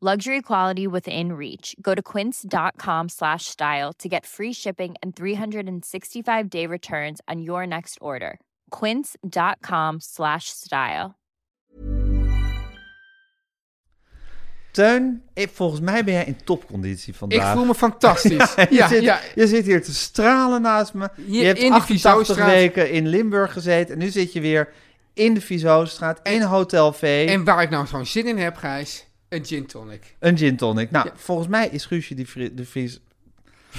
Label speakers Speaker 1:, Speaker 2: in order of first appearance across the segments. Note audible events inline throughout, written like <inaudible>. Speaker 1: Luxury quality within reach. Go to quince.com slash style to get free shipping and 365 day returns on your next order. Quince.com slash style.
Speaker 2: Teun, ik, volgens mij ben jij in topconditie vandaag.
Speaker 3: Ik voel me
Speaker 2: <laughs>
Speaker 3: fantastisch.
Speaker 2: je,
Speaker 3: ja,
Speaker 2: zit,
Speaker 3: ja.
Speaker 2: je zit hier te stralen naast me.
Speaker 3: Hier
Speaker 2: je hebt
Speaker 3: in de
Speaker 2: 88
Speaker 3: Vizostraat.
Speaker 2: weken in Limburg gezeten. En nu zit je weer in de Vizostraat, in Hotel V.
Speaker 3: En waar ik nou gewoon zin in heb, Gijs, een gin tonic. <laughs>
Speaker 2: Een gin tonic. Nou,
Speaker 3: Ja.
Speaker 2: volgens mij is Guusje die Vri- de Vries...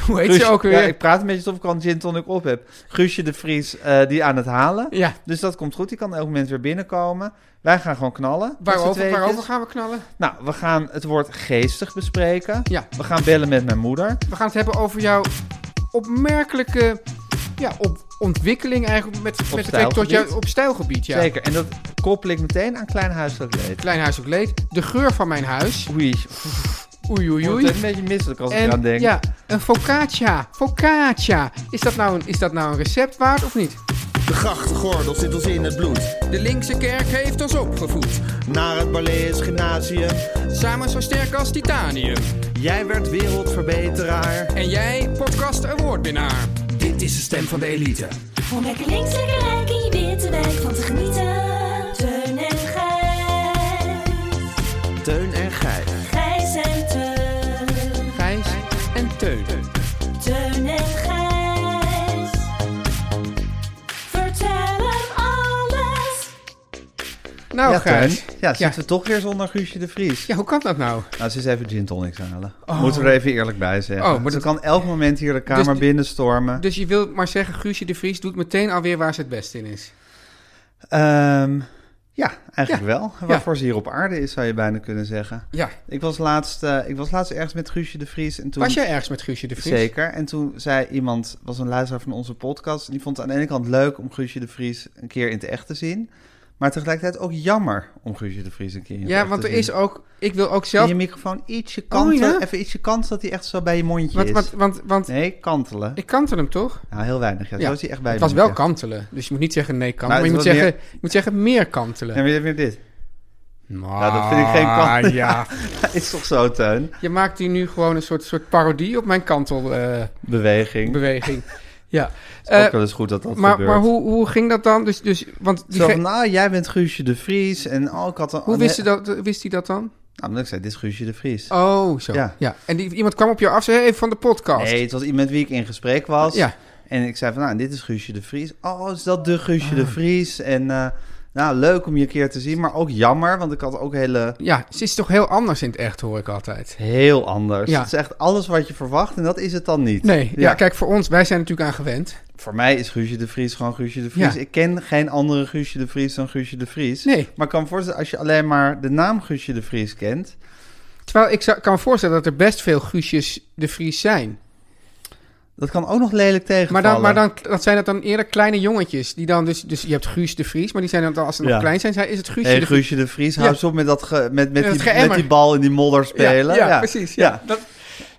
Speaker 3: Hoe heet
Speaker 2: Guusje-
Speaker 3: ze ook weer?
Speaker 2: Dus Ja,
Speaker 3: Ja,
Speaker 2: ik praat een beetje alsof ik al een gin tonic op heb. Guusje de Vries eh, die aan het halen. Dus dat komt goed. Die kan elk moment weer binnenkomen. Wij gaan gewoon knallen. met z'n
Speaker 3: Waarover,
Speaker 2: tweetjes.
Speaker 3: waarover gaan we knallen?
Speaker 2: Nou, we gaan het woord geestig bespreken.
Speaker 3: Ja.
Speaker 2: We gaan bellen met mijn moeder.
Speaker 3: We gaan het hebben over jouw opmerkelijke ja, op ontwikkeling eigenlijk met, met betrekking tot
Speaker 2: stijlgebied.
Speaker 3: jouw op stijlgebied. Ja.
Speaker 2: Zeker. En dat koppel ik meteen aan klein huiselijk leed.
Speaker 3: Klein huis ook leed. De geur van mijn huis.
Speaker 2: Oei,
Speaker 3: Oei, oei,
Speaker 2: Joei.
Speaker 3: oei.
Speaker 2: een beetje misselijk als ik
Speaker 3: En
Speaker 2: eraan denk.
Speaker 3: ja, een focaccia. Focaccia. Is dat, nou een, is dat nou een recept waard of niet?
Speaker 4: De grachtgordel zit ons in het bloed.
Speaker 5: De linkse kerk heeft ons opgevoed,
Speaker 4: Naar het Balees Gymnasium.
Speaker 5: samen zo sterk als titanium.
Speaker 4: Jij werd wereldverbeteraar.
Speaker 5: En jij, podcast awardwinnaar. Dit is de stem van de elite.
Speaker 6: Om lekker links, lekker rijk in je witte wijk van te genieten. Teun en Gijs.
Speaker 4: Teun en Gijs.
Speaker 6: Gijs en Teun.
Speaker 3: Gijs.
Speaker 5: En Teun.
Speaker 6: Teun en Gijs. Vertel hem alles.
Speaker 3: Nou,
Speaker 2: ja,
Speaker 3: Gijs.
Speaker 2: Teun. Ja,
Speaker 3: ja.
Speaker 2: zitten we toch weer zonder Guusje de Vries.
Speaker 3: Ja, hoe kan dat nou?
Speaker 2: Nou, ze is even gin tonics halen. Moeten we er even eerlijk bij zeggen.
Speaker 3: Oh, maar
Speaker 2: ze
Speaker 3: dat-
Speaker 2: kan elk moment hier de kamer
Speaker 3: Dus-
Speaker 2: binnenstormen.
Speaker 3: Dus je wilt maar zeggen, Guusje de Vries doet meteen alweer waar ze het best in is.
Speaker 2: Ehm, ja, eigenlijk
Speaker 3: Ja.
Speaker 2: wel. Waarvoor ze hier op aarde is, zou je bijna kunnen zeggen.
Speaker 3: Ja.
Speaker 2: Ik was laatst, eh, ik was laatst ergens met Guusje de Vries. En toen,
Speaker 3: Was jij ergens met Guusje de Vries?
Speaker 2: Zeker. En toen zei iemand, was een luisteraar van onze podcast... en die vond het aan de ene kant leuk om Guusje de Vries een keer in het echt te zien... maar tegelijkertijd ook jammer om Guusje de Vries een keer in het
Speaker 3: Ja,
Speaker 2: echt
Speaker 3: want
Speaker 2: te
Speaker 3: er
Speaker 2: zien.
Speaker 3: is ook... Ik wil ook
Speaker 2: Kun
Speaker 3: zelf...
Speaker 2: je microfoon ietsje kantelen,
Speaker 3: ja?
Speaker 2: even ietsje kantelen dat hij echt zo bij je mondje
Speaker 3: Want,
Speaker 2: is.
Speaker 3: want, want, want
Speaker 2: Nee, kantelen.
Speaker 3: ik kantel hem toch?
Speaker 2: Nou, heel weinig. Ja. Zo is hij echt bij
Speaker 3: het
Speaker 2: je
Speaker 3: was wel
Speaker 2: mondje.
Speaker 3: kantelen. Dus je moet niet zeggen nee kantelen,
Speaker 2: Maar
Speaker 3: maar, je, moet
Speaker 2: het was
Speaker 3: zeggen, je moet zeggen meer
Speaker 2: Ja,
Speaker 3: kantelen.
Speaker 2: maar je hebt weer dit. <laughs>
Speaker 3: Nou,
Speaker 2: Nou, dat vind ik geen kantelen.
Speaker 3: Ja.
Speaker 2: is toch zo, Teun?
Speaker 3: Je maakt hier nu gewoon een soort, soort parodie op mijn
Speaker 2: <laughs>
Speaker 3: kantelbeweging.
Speaker 2: Beweging.
Speaker 3: ja.
Speaker 2: Het is
Speaker 3: Eh,
Speaker 2: ook wel eens goed dat dat
Speaker 3: maar
Speaker 2: gebeurt.
Speaker 3: maar hoe, hoe ging dat dan? Dus, dus, want die
Speaker 2: Zo
Speaker 3: ge-
Speaker 2: van, nou, jij bent Guusje de Vries en oh, ik had een...
Speaker 3: hoe wist,
Speaker 2: je
Speaker 3: je dat, wist hij dat dan?
Speaker 2: Nou, omdat ik zei, dit is Guusje de Vries.
Speaker 3: Oh, zo.
Speaker 2: Ja.
Speaker 3: Ja. En die, iemand kwam op jou af en zei, hey, van de podcast.
Speaker 2: Nee, het was iemand met wie ik in gesprek was.
Speaker 3: Ja.
Speaker 2: En ik zei van, nou, dit is Guusje de Vries. Oh, is dat de Guusje
Speaker 3: Ah.
Speaker 2: de Vries? En eh, nou, leuk om je een keer te zien, maar ook jammer, want ik had ook hele...
Speaker 3: Ja, ze is toch heel anders in het echt, hoor ik altijd.
Speaker 2: Heel anders.
Speaker 3: Ja.
Speaker 2: Het is echt alles wat je verwacht en dat is het dan niet.
Speaker 3: Nee, ja. kijk, voor ons, wij zijn natuurlijk aan gewend.
Speaker 2: Voor mij is Guusje de Vries gewoon Guusje de Vries.
Speaker 3: Ja.
Speaker 2: Ik ken geen andere Guusje de Vries dan Guusje de Vries.
Speaker 3: Nee.
Speaker 2: Maar ik kan me voorstellen, als je alleen maar de naam Guusje de Vries kent...
Speaker 3: Terwijl ik zou- kan me voorstellen dat er best veel Guusjes de Vries zijn.
Speaker 2: dat kan ook nog lelijk
Speaker 3: Maar,
Speaker 2: tegenvallen.
Speaker 3: dan, maar dan, dat zijn dat dan eerder kleine jongetjes. Die dan dus, dus je hebt Guus de Vries, maar die zijn dan als ze nog
Speaker 2: Ja.
Speaker 3: klein zijn, zijn is het Guusje
Speaker 2: Hey,
Speaker 3: de Vries.
Speaker 2: Guusje de Vries, hou
Speaker 3: Ja.
Speaker 2: eens op met, dat ge- met, met,
Speaker 3: dat
Speaker 2: die,
Speaker 3: geëmmer.
Speaker 2: met die bal in die modder spelen.
Speaker 3: Ja, ja, precies, ja. Dat-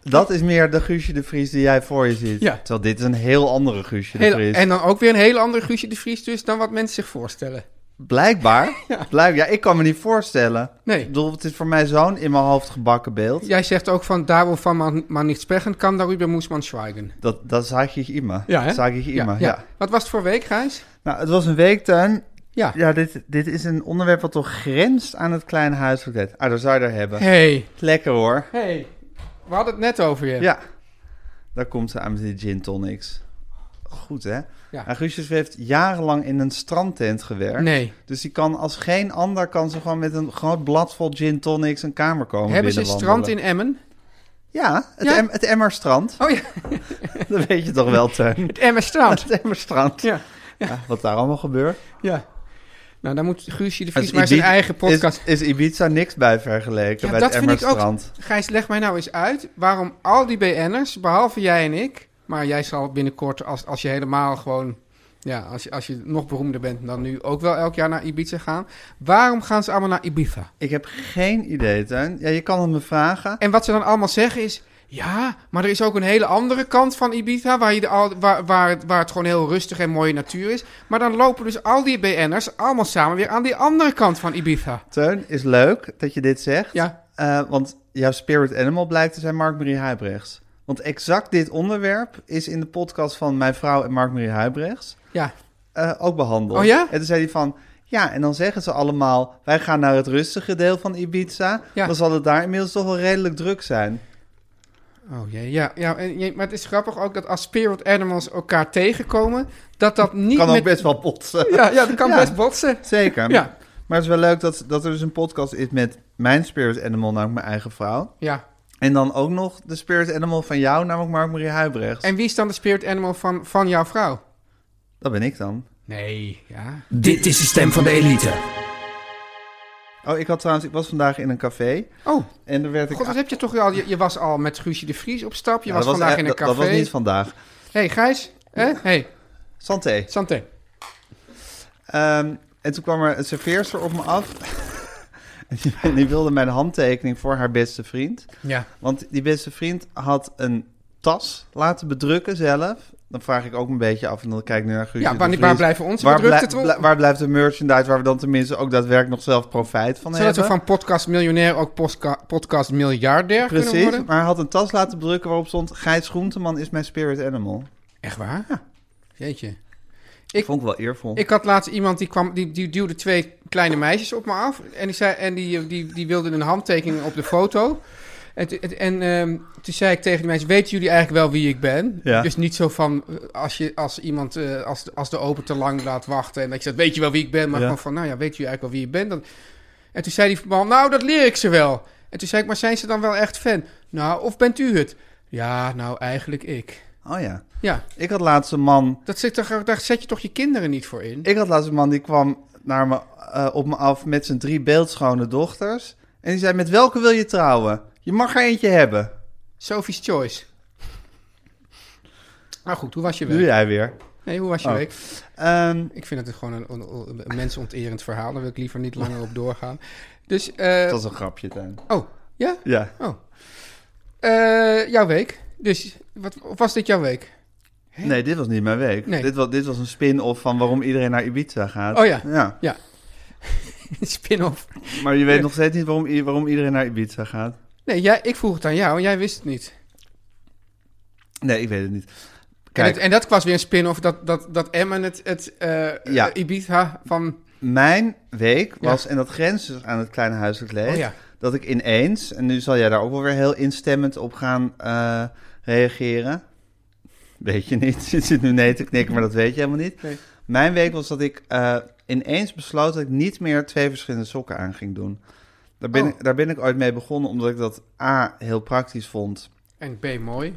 Speaker 2: Dat is meer de Guusje de Vries die jij voor je ziet.
Speaker 3: Ja.
Speaker 2: Terwijl dit is een heel andere Guusje de
Speaker 3: Hele-
Speaker 2: Vries.
Speaker 3: en dan ook weer een hele andere Guusje de Vries dus dan wat mensen zich voorstellen. <laughs>
Speaker 2: Blijkbaar. ja. Blijkbaar. Ja, ik kan me niet voorstellen.
Speaker 3: Nee.
Speaker 2: Ik bedoel, het is voor mij zo'n in mijn hoofd gebakken beeld.
Speaker 3: Jij zegt ook van, daarom van man, man niet spreken kan, darüber muss man schweigen.
Speaker 2: Dat, dat zag ik immer.
Speaker 3: Ja, hè?
Speaker 2: Zag ik
Speaker 3: Ja,
Speaker 2: immer, ja.
Speaker 3: ja. Wat was het voor week, Gijs?
Speaker 2: Nou, het was een weektuin.
Speaker 3: Ja.
Speaker 2: Ja, dit, dit is een onderwerp wat toch grenst aan het kleine huiselijk leed. Ah, daar zou je er hebben.
Speaker 3: Hey.
Speaker 2: Lekker hoor.
Speaker 3: Hey. We hadden het net over je.
Speaker 2: Ja. Daar komt ze aan met die gin tonics. Goed, hè?
Speaker 3: Ja.
Speaker 2: En Guusjes heeft jarenlang in een strandtent gewerkt.
Speaker 3: Nee.
Speaker 2: Dus die kan als geen ander... kan ze gewoon met een groot blad vol gin tonics een kamer komen
Speaker 3: Hebben ze een strand in
Speaker 2: binnenwandelen.
Speaker 3: Emmen?
Speaker 2: Ja, het,
Speaker 3: Ja?
Speaker 2: Em- het
Speaker 3: <laughs>
Speaker 2: Emmerstrand.
Speaker 3: Oh ja,
Speaker 2: Dat weet je toch wel,
Speaker 3: <laughs>
Speaker 2: Teun?
Speaker 3: het Emmenstrand.
Speaker 2: Het Emmerstrand.
Speaker 3: ja,
Speaker 2: Ja, wat daar allemaal gebeurt.
Speaker 3: ja. Nou, dan moet Guusje de
Speaker 2: Als
Speaker 3: Vries maar zijn
Speaker 2: Ibiza-
Speaker 3: eigen podcast...
Speaker 2: Is, is Ibiza niks bij vergeleken
Speaker 3: Ja,
Speaker 2: bij
Speaker 3: dat
Speaker 2: het
Speaker 3: vind ik ook.
Speaker 2: Emmerstrand.
Speaker 3: Gijs, leg mij nou eens uit waarom al die BN'ers, behalve jij en ik... Maar jij zal binnenkort, als, als je helemaal gewoon... Ja, als je, als je nog beroemder bent dan nu, ook wel elk jaar naar Ibiza gaan. Waarom gaan ze allemaal naar Ibiza?
Speaker 2: Ik heb geen idee, Teun. Ja, je kan het me vragen.
Speaker 3: En wat ze dan allemaal zeggen is... Ja, maar er is ook een hele andere kant van Ibiza... Waar, je de, al- waar, waar, het- waar het gewoon heel rustig en mooie natuur is. Maar dan lopen dus al die BN'ers allemaal samen weer aan die andere kant van Ibiza.
Speaker 2: Teun, is leuk dat je dit zegt.
Speaker 3: Ja.
Speaker 2: Eh, want jouw spirit animal blijkt te zijn Mark-Marie Huibrechts. Want exact dit onderwerp is in de podcast van mijn vrouw en Mark-Marie Huibrechts
Speaker 3: Ja,
Speaker 2: eh, ook behandeld.
Speaker 3: Oh ja?
Speaker 2: En toen zei hij van... Ja, en dan zeggen ze allemaal... wij gaan naar het rustige deel van Ibiza.
Speaker 3: Ja.
Speaker 2: Dan zal het daar inmiddels toch wel redelijk druk zijn.
Speaker 3: Oh jee, ja, ja en, je- maar het is grappig ook dat als spirit animals elkaar tegenkomen, dat dat niet
Speaker 2: Kan ook
Speaker 3: met...
Speaker 2: best wel botsen.
Speaker 3: Ja, ja, dat kan
Speaker 2: Ja.
Speaker 3: best botsen.
Speaker 2: <laughs> Zeker.
Speaker 3: Ja.
Speaker 2: Maar het is wel leuk dat, dat er dus een podcast is met mijn spirit animal, namelijk mijn eigen vrouw.
Speaker 3: Ja.
Speaker 2: En dan ook nog de spirit animal van jou, namelijk Mark-Marie Huibrechts.
Speaker 3: En wie is dan de spirit animal van, van jouw vrouw?
Speaker 2: Dat ben ik dan.
Speaker 3: Nee, ja.
Speaker 5: Dit is de stem van de elite.
Speaker 2: Oh, ik had trouwens, ik was vandaag in een café
Speaker 3: Oh,
Speaker 2: en er werd ik.
Speaker 3: god, dat heb je toch al... Je, je was al met Guusje de Vries op stap, je
Speaker 2: Ja,
Speaker 3: was
Speaker 2: dat
Speaker 3: vandaag
Speaker 2: echt-
Speaker 3: in een
Speaker 2: dat-
Speaker 3: café.
Speaker 2: Dat was niet vandaag.
Speaker 3: hey, Gijs, hè? hey,
Speaker 2: Santé.
Speaker 3: santé.
Speaker 2: Ehm, en toen kwam er een serveerster op me af. <laughs> en die, die wilde mijn handtekening voor haar beste vriend.
Speaker 3: Ja.
Speaker 2: Want die beste vriend had een tas laten bedrukken zelf. Dan vraag ik ook een beetje af en dan kijk ik nu naar Guusje.
Speaker 3: Ja,
Speaker 2: de
Speaker 3: waar- waar
Speaker 2: Vries.
Speaker 3: blijven onze
Speaker 2: waar
Speaker 3: bedrukte
Speaker 2: blij-
Speaker 3: troep?
Speaker 2: blij- waar blijft de merchandise waar we dan tenminste ook daadwerkelijk nog zelf profijt van
Speaker 3: Zodat we
Speaker 2: hebben?
Speaker 3: van podcast miljonair ook postka- podcast miljardair kunnen
Speaker 2: Precies,
Speaker 3: worden.
Speaker 2: maar hij had een tas laten bedrukken waarop stond... Gijs Groenteman is mijn spirit animal.
Speaker 3: Echt waar? Jeetje.
Speaker 2: Ik vond ik wel eervol.
Speaker 3: Ik had laatst iemand die kwam, die, die duwde twee kleine meisjes op me af. En die, zei, en die, die, die wilde een handtekening op de foto. En, t- en, en ehm, toen zei ik tegen die mensen: Weten jullie eigenlijk wel wie ik ben?
Speaker 2: Ja.
Speaker 3: Dus niet zo van eh, als, je, als iemand, eh, als, de- als de open te lang laat wachten. En dat je zegt: Weet je wel wie ik ben? Maar
Speaker 2: Ja.
Speaker 3: gewoon van: Nou ja, weet jullie eigenlijk wel wie je bent? Dan, en toen zei die man: Nou, dat leer ik ze wel. En toen zei ik: Maar zijn ze dan wel echt fan? Nou, of bent u het? Ja, nou eigenlijk ik.
Speaker 2: Oh ja.
Speaker 3: Ja,
Speaker 2: Ik had laatst een man...
Speaker 3: dat zit toch, daar zet je toch je kinderen niet voor in?
Speaker 2: Ik had laatst een man die kwam naar me, eh, op me af met zijn drie beeldschone dochters. En die zei, met welke wil je trouwen? Je mag er eentje hebben.
Speaker 3: Sophie's Choice. Nou goed, hoe was je
Speaker 2: Doe
Speaker 3: week?
Speaker 2: jij weer.
Speaker 3: Nee, hoe was je
Speaker 2: Oh.
Speaker 3: week?
Speaker 2: Ehm,
Speaker 3: Ik vind het gewoon een, een, een mensonterend verhaal. Daar wil ik liever niet langer op doorgaan. Dus, eh,
Speaker 2: dat was een grapje, Tuin.
Speaker 3: oh, ja?
Speaker 2: Ja.
Speaker 3: Oh. Eh, jouw week. Dus, wat, of was dit jouw week?
Speaker 2: Nee, dit was niet mijn week.
Speaker 3: Nee.
Speaker 2: Dit, was, dit was een spin-off van waarom iedereen naar Ibiza gaat.
Speaker 3: Oh ja.
Speaker 2: ja.
Speaker 3: Ja. <laughs> Spin-off.
Speaker 2: Maar je weet nog steeds niet waarom, i- waarom iedereen naar Ibiza gaat.
Speaker 3: Nee, jij, ik vroeg het aan jou en jij wist het niet.
Speaker 2: Nee, ik weet het niet.
Speaker 3: En,
Speaker 2: Kijk,
Speaker 3: het- en dat was weer een spin-off dat, dat, dat Emmen het, het eh,
Speaker 2: Ja.
Speaker 3: Ibiza van...
Speaker 2: mijn week was, en dat grenst dus aan het kleine huiselijk leven,
Speaker 3: Oh ja.
Speaker 2: dat ik ineens, en nu zal jij daar ook wel weer heel instemmend op gaan eh, reageren. Weet je niet, <laughs> je zit nu nee te knikken, maar dat weet je helemaal niet.
Speaker 3: Nee.
Speaker 2: Mijn week was dat ik eh, ineens besloot dat ik niet meer twee verschillende sokken aan ging doen. Daar ben,
Speaker 3: Oh.
Speaker 2: ik, daar ben ik ooit mee begonnen, omdat ik dat A, heel praktisch vond.
Speaker 3: En B, mooi.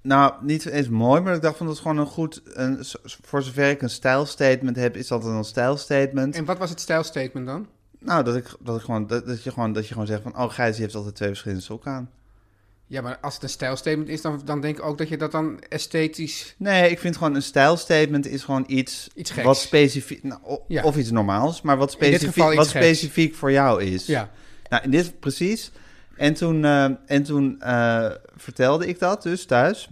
Speaker 2: Nou, niet eens mooi, maar ik dacht van dat is gewoon een goed. Een, s- voor zover ik een stijlstatement heb, is dat dan een stijlstatement.
Speaker 3: En wat was het stijlstatement dan?
Speaker 2: Nou, dat ik, dat ik gewoon, dat, dat je gewoon, dat je gewoon zegt van, oh, Gijs, die heeft altijd twee verschillende sokken aan.
Speaker 3: Ja, maar als het een stijlstatement is, dan, dan denk ik ook dat je dat dan esthetisch...
Speaker 2: Nee, ik vind gewoon een stijlstatement is gewoon iets,
Speaker 3: Iets geks.
Speaker 2: wat specifiek, nou, o-
Speaker 3: Ja.
Speaker 2: of iets normaals, maar wat
Speaker 3: dit geval
Speaker 2: specifiek,
Speaker 3: iets
Speaker 2: wat
Speaker 3: geks.
Speaker 2: specifiek voor jou is.
Speaker 3: Ja.
Speaker 2: Nou, in dit precies. En toen, eh, en toen eh, vertelde ik dat dus thuis.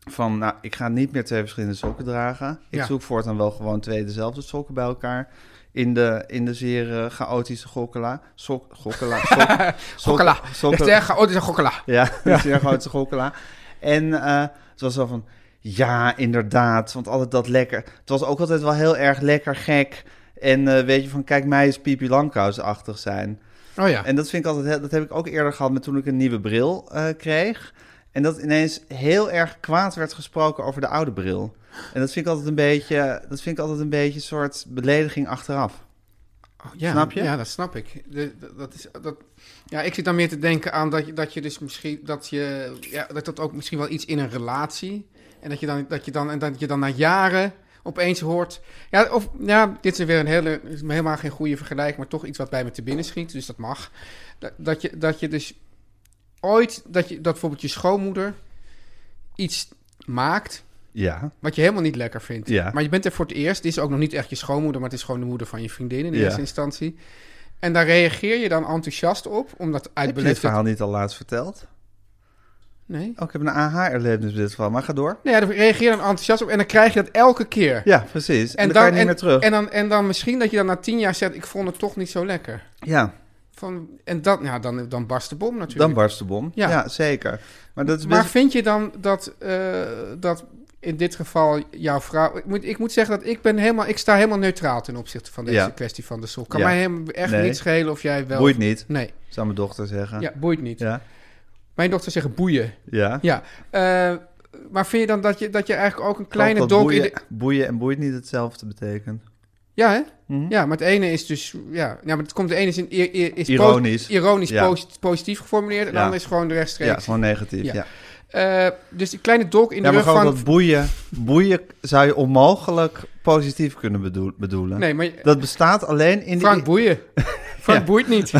Speaker 2: Van, nou, ik ga niet meer twee verschillende sokken dragen. Ik
Speaker 3: Ja.
Speaker 2: zoek voortaan wel gewoon twee dezelfde sokken bij elkaar. In de, in de zeer eh, chaotische gokkela. Sok, gokkela. Sok, sok-
Speaker 3: <laughs> Gokkela.
Speaker 2: sokken-
Speaker 3: Dat is erg- oh, dit is een gokkela.
Speaker 2: <laughs> ja, een zeer grote schokkela. En eh, het was zo van, ja, inderdaad, want altijd dat lekker. Het was ook altijd wel heel erg lekker gek. En eh, weet je, van kijk mij eens Pipi Langkous-achtig zijn.
Speaker 3: Oh ja.
Speaker 2: En dat vind ik altijd, heel- dat heb ik ook eerder gehad met toen ik een nieuwe bril eh, kreeg. En dat ineens heel erg kwaad werd gesproken over de oude bril. En dat vind ik altijd een beetje, dat vind ik altijd een beetje een soort belediging achteraf.
Speaker 3: Oh, ja,
Speaker 2: Snap je?
Speaker 3: Ja, dat snap ik. De- de- dat is, dat, ja, ik zit dan meer te denken aan dat je, dat je dus misschien dat je ja, dat dat ook misschien wel iets in een relatie en dat je dan dat je dan en dat je dan na jaren opeens hoort. Ja, of ja, dit is weer een hele is helemaal geen goede vergelijking, maar toch iets wat bij me te binnen schiet, dus dat mag. Dat, dat je dat je dus ooit dat je dat bijvoorbeeld je schoonmoeder iets maakt
Speaker 2: Ja.
Speaker 3: wat je helemaal niet lekker vindt.
Speaker 2: Ja.
Speaker 3: Maar je bent er voor het eerst. Dit is ook nog niet echt je schoonmoeder, maar het is gewoon de moeder van je vriendin in
Speaker 2: Ja.
Speaker 3: eerste instantie. En daar reageer je dan enthousiast op, omdat
Speaker 2: Heb
Speaker 3: uit
Speaker 2: je dit
Speaker 3: beleefdheid...
Speaker 2: verhaal niet al laatst verteld?
Speaker 3: Nee.
Speaker 2: Oh, ik heb een AH-erlevenis bij dit verhaal, maar ga door.
Speaker 3: Nee, ja, daar reageer je dan enthousiast op en dan krijg je dat elke keer.
Speaker 2: Ja, precies. En, dan, kan je niet
Speaker 3: en,
Speaker 2: meer terug.
Speaker 3: En dan, en dan misschien dat je dan na tien jaar zegt, ik vond het toch niet zo lekker.
Speaker 2: ja,
Speaker 3: Van, en dat, ja, dan, dan barst de bom natuurlijk.
Speaker 2: dan barst de bom. Ja,
Speaker 3: Ja.
Speaker 2: zeker. Maar dat is
Speaker 3: Maar
Speaker 2: best...
Speaker 3: vind je dan dat, eh, dat in dit geval jouw vrouw... Ik moet, ik moet zeggen dat ik ben helemaal... Ik sta helemaal neutraal ten opzichte van deze
Speaker 2: Ja.
Speaker 3: kwestie van de sol. Kan
Speaker 2: Ja.
Speaker 3: mij helemaal echt
Speaker 2: Nee.
Speaker 3: niet schelen of jij wel...
Speaker 2: Boeit niet,
Speaker 3: Nee,
Speaker 2: zou mijn dochter zeggen.
Speaker 3: ja, boeit niet.
Speaker 2: Ja.
Speaker 3: Mijn dochter zegt boeien.
Speaker 2: ja.
Speaker 3: Ja. eh, maar vind je dan dat je, dat je eigenlijk ook een kleine
Speaker 2: Klopt dat
Speaker 3: donk in
Speaker 2: boeien,
Speaker 3: de...
Speaker 2: boeien en boeit niet hetzelfde betekent.
Speaker 3: Ja, hè?
Speaker 2: Mhm.
Speaker 3: Ja, maar het ene is dus... Ja, ja maar het komt de ene is, in, i- i- is po-
Speaker 2: Ironisch.
Speaker 3: ironisch
Speaker 2: Ja.
Speaker 3: posi- positief geformuleerd. En
Speaker 2: Ja.
Speaker 3: de andere is gewoon de
Speaker 2: Ja,
Speaker 3: rechtstreeks.
Speaker 2: gewoon negatief. Ja,
Speaker 3: Ja.
Speaker 2: ja.
Speaker 3: Eh, dus die kleine dolk in de
Speaker 2: maar
Speaker 3: rug
Speaker 2: gewoon
Speaker 3: van...
Speaker 2: dat boeien, boeien zou je onmogelijk positief kunnen bedoel- bedoelen.
Speaker 3: Nee, maar
Speaker 2: Dat bestaat alleen in
Speaker 3: Frank
Speaker 2: de...
Speaker 3: <laughs> boeien. Frank
Speaker 2: Ja.
Speaker 3: boeit <laughs> niet.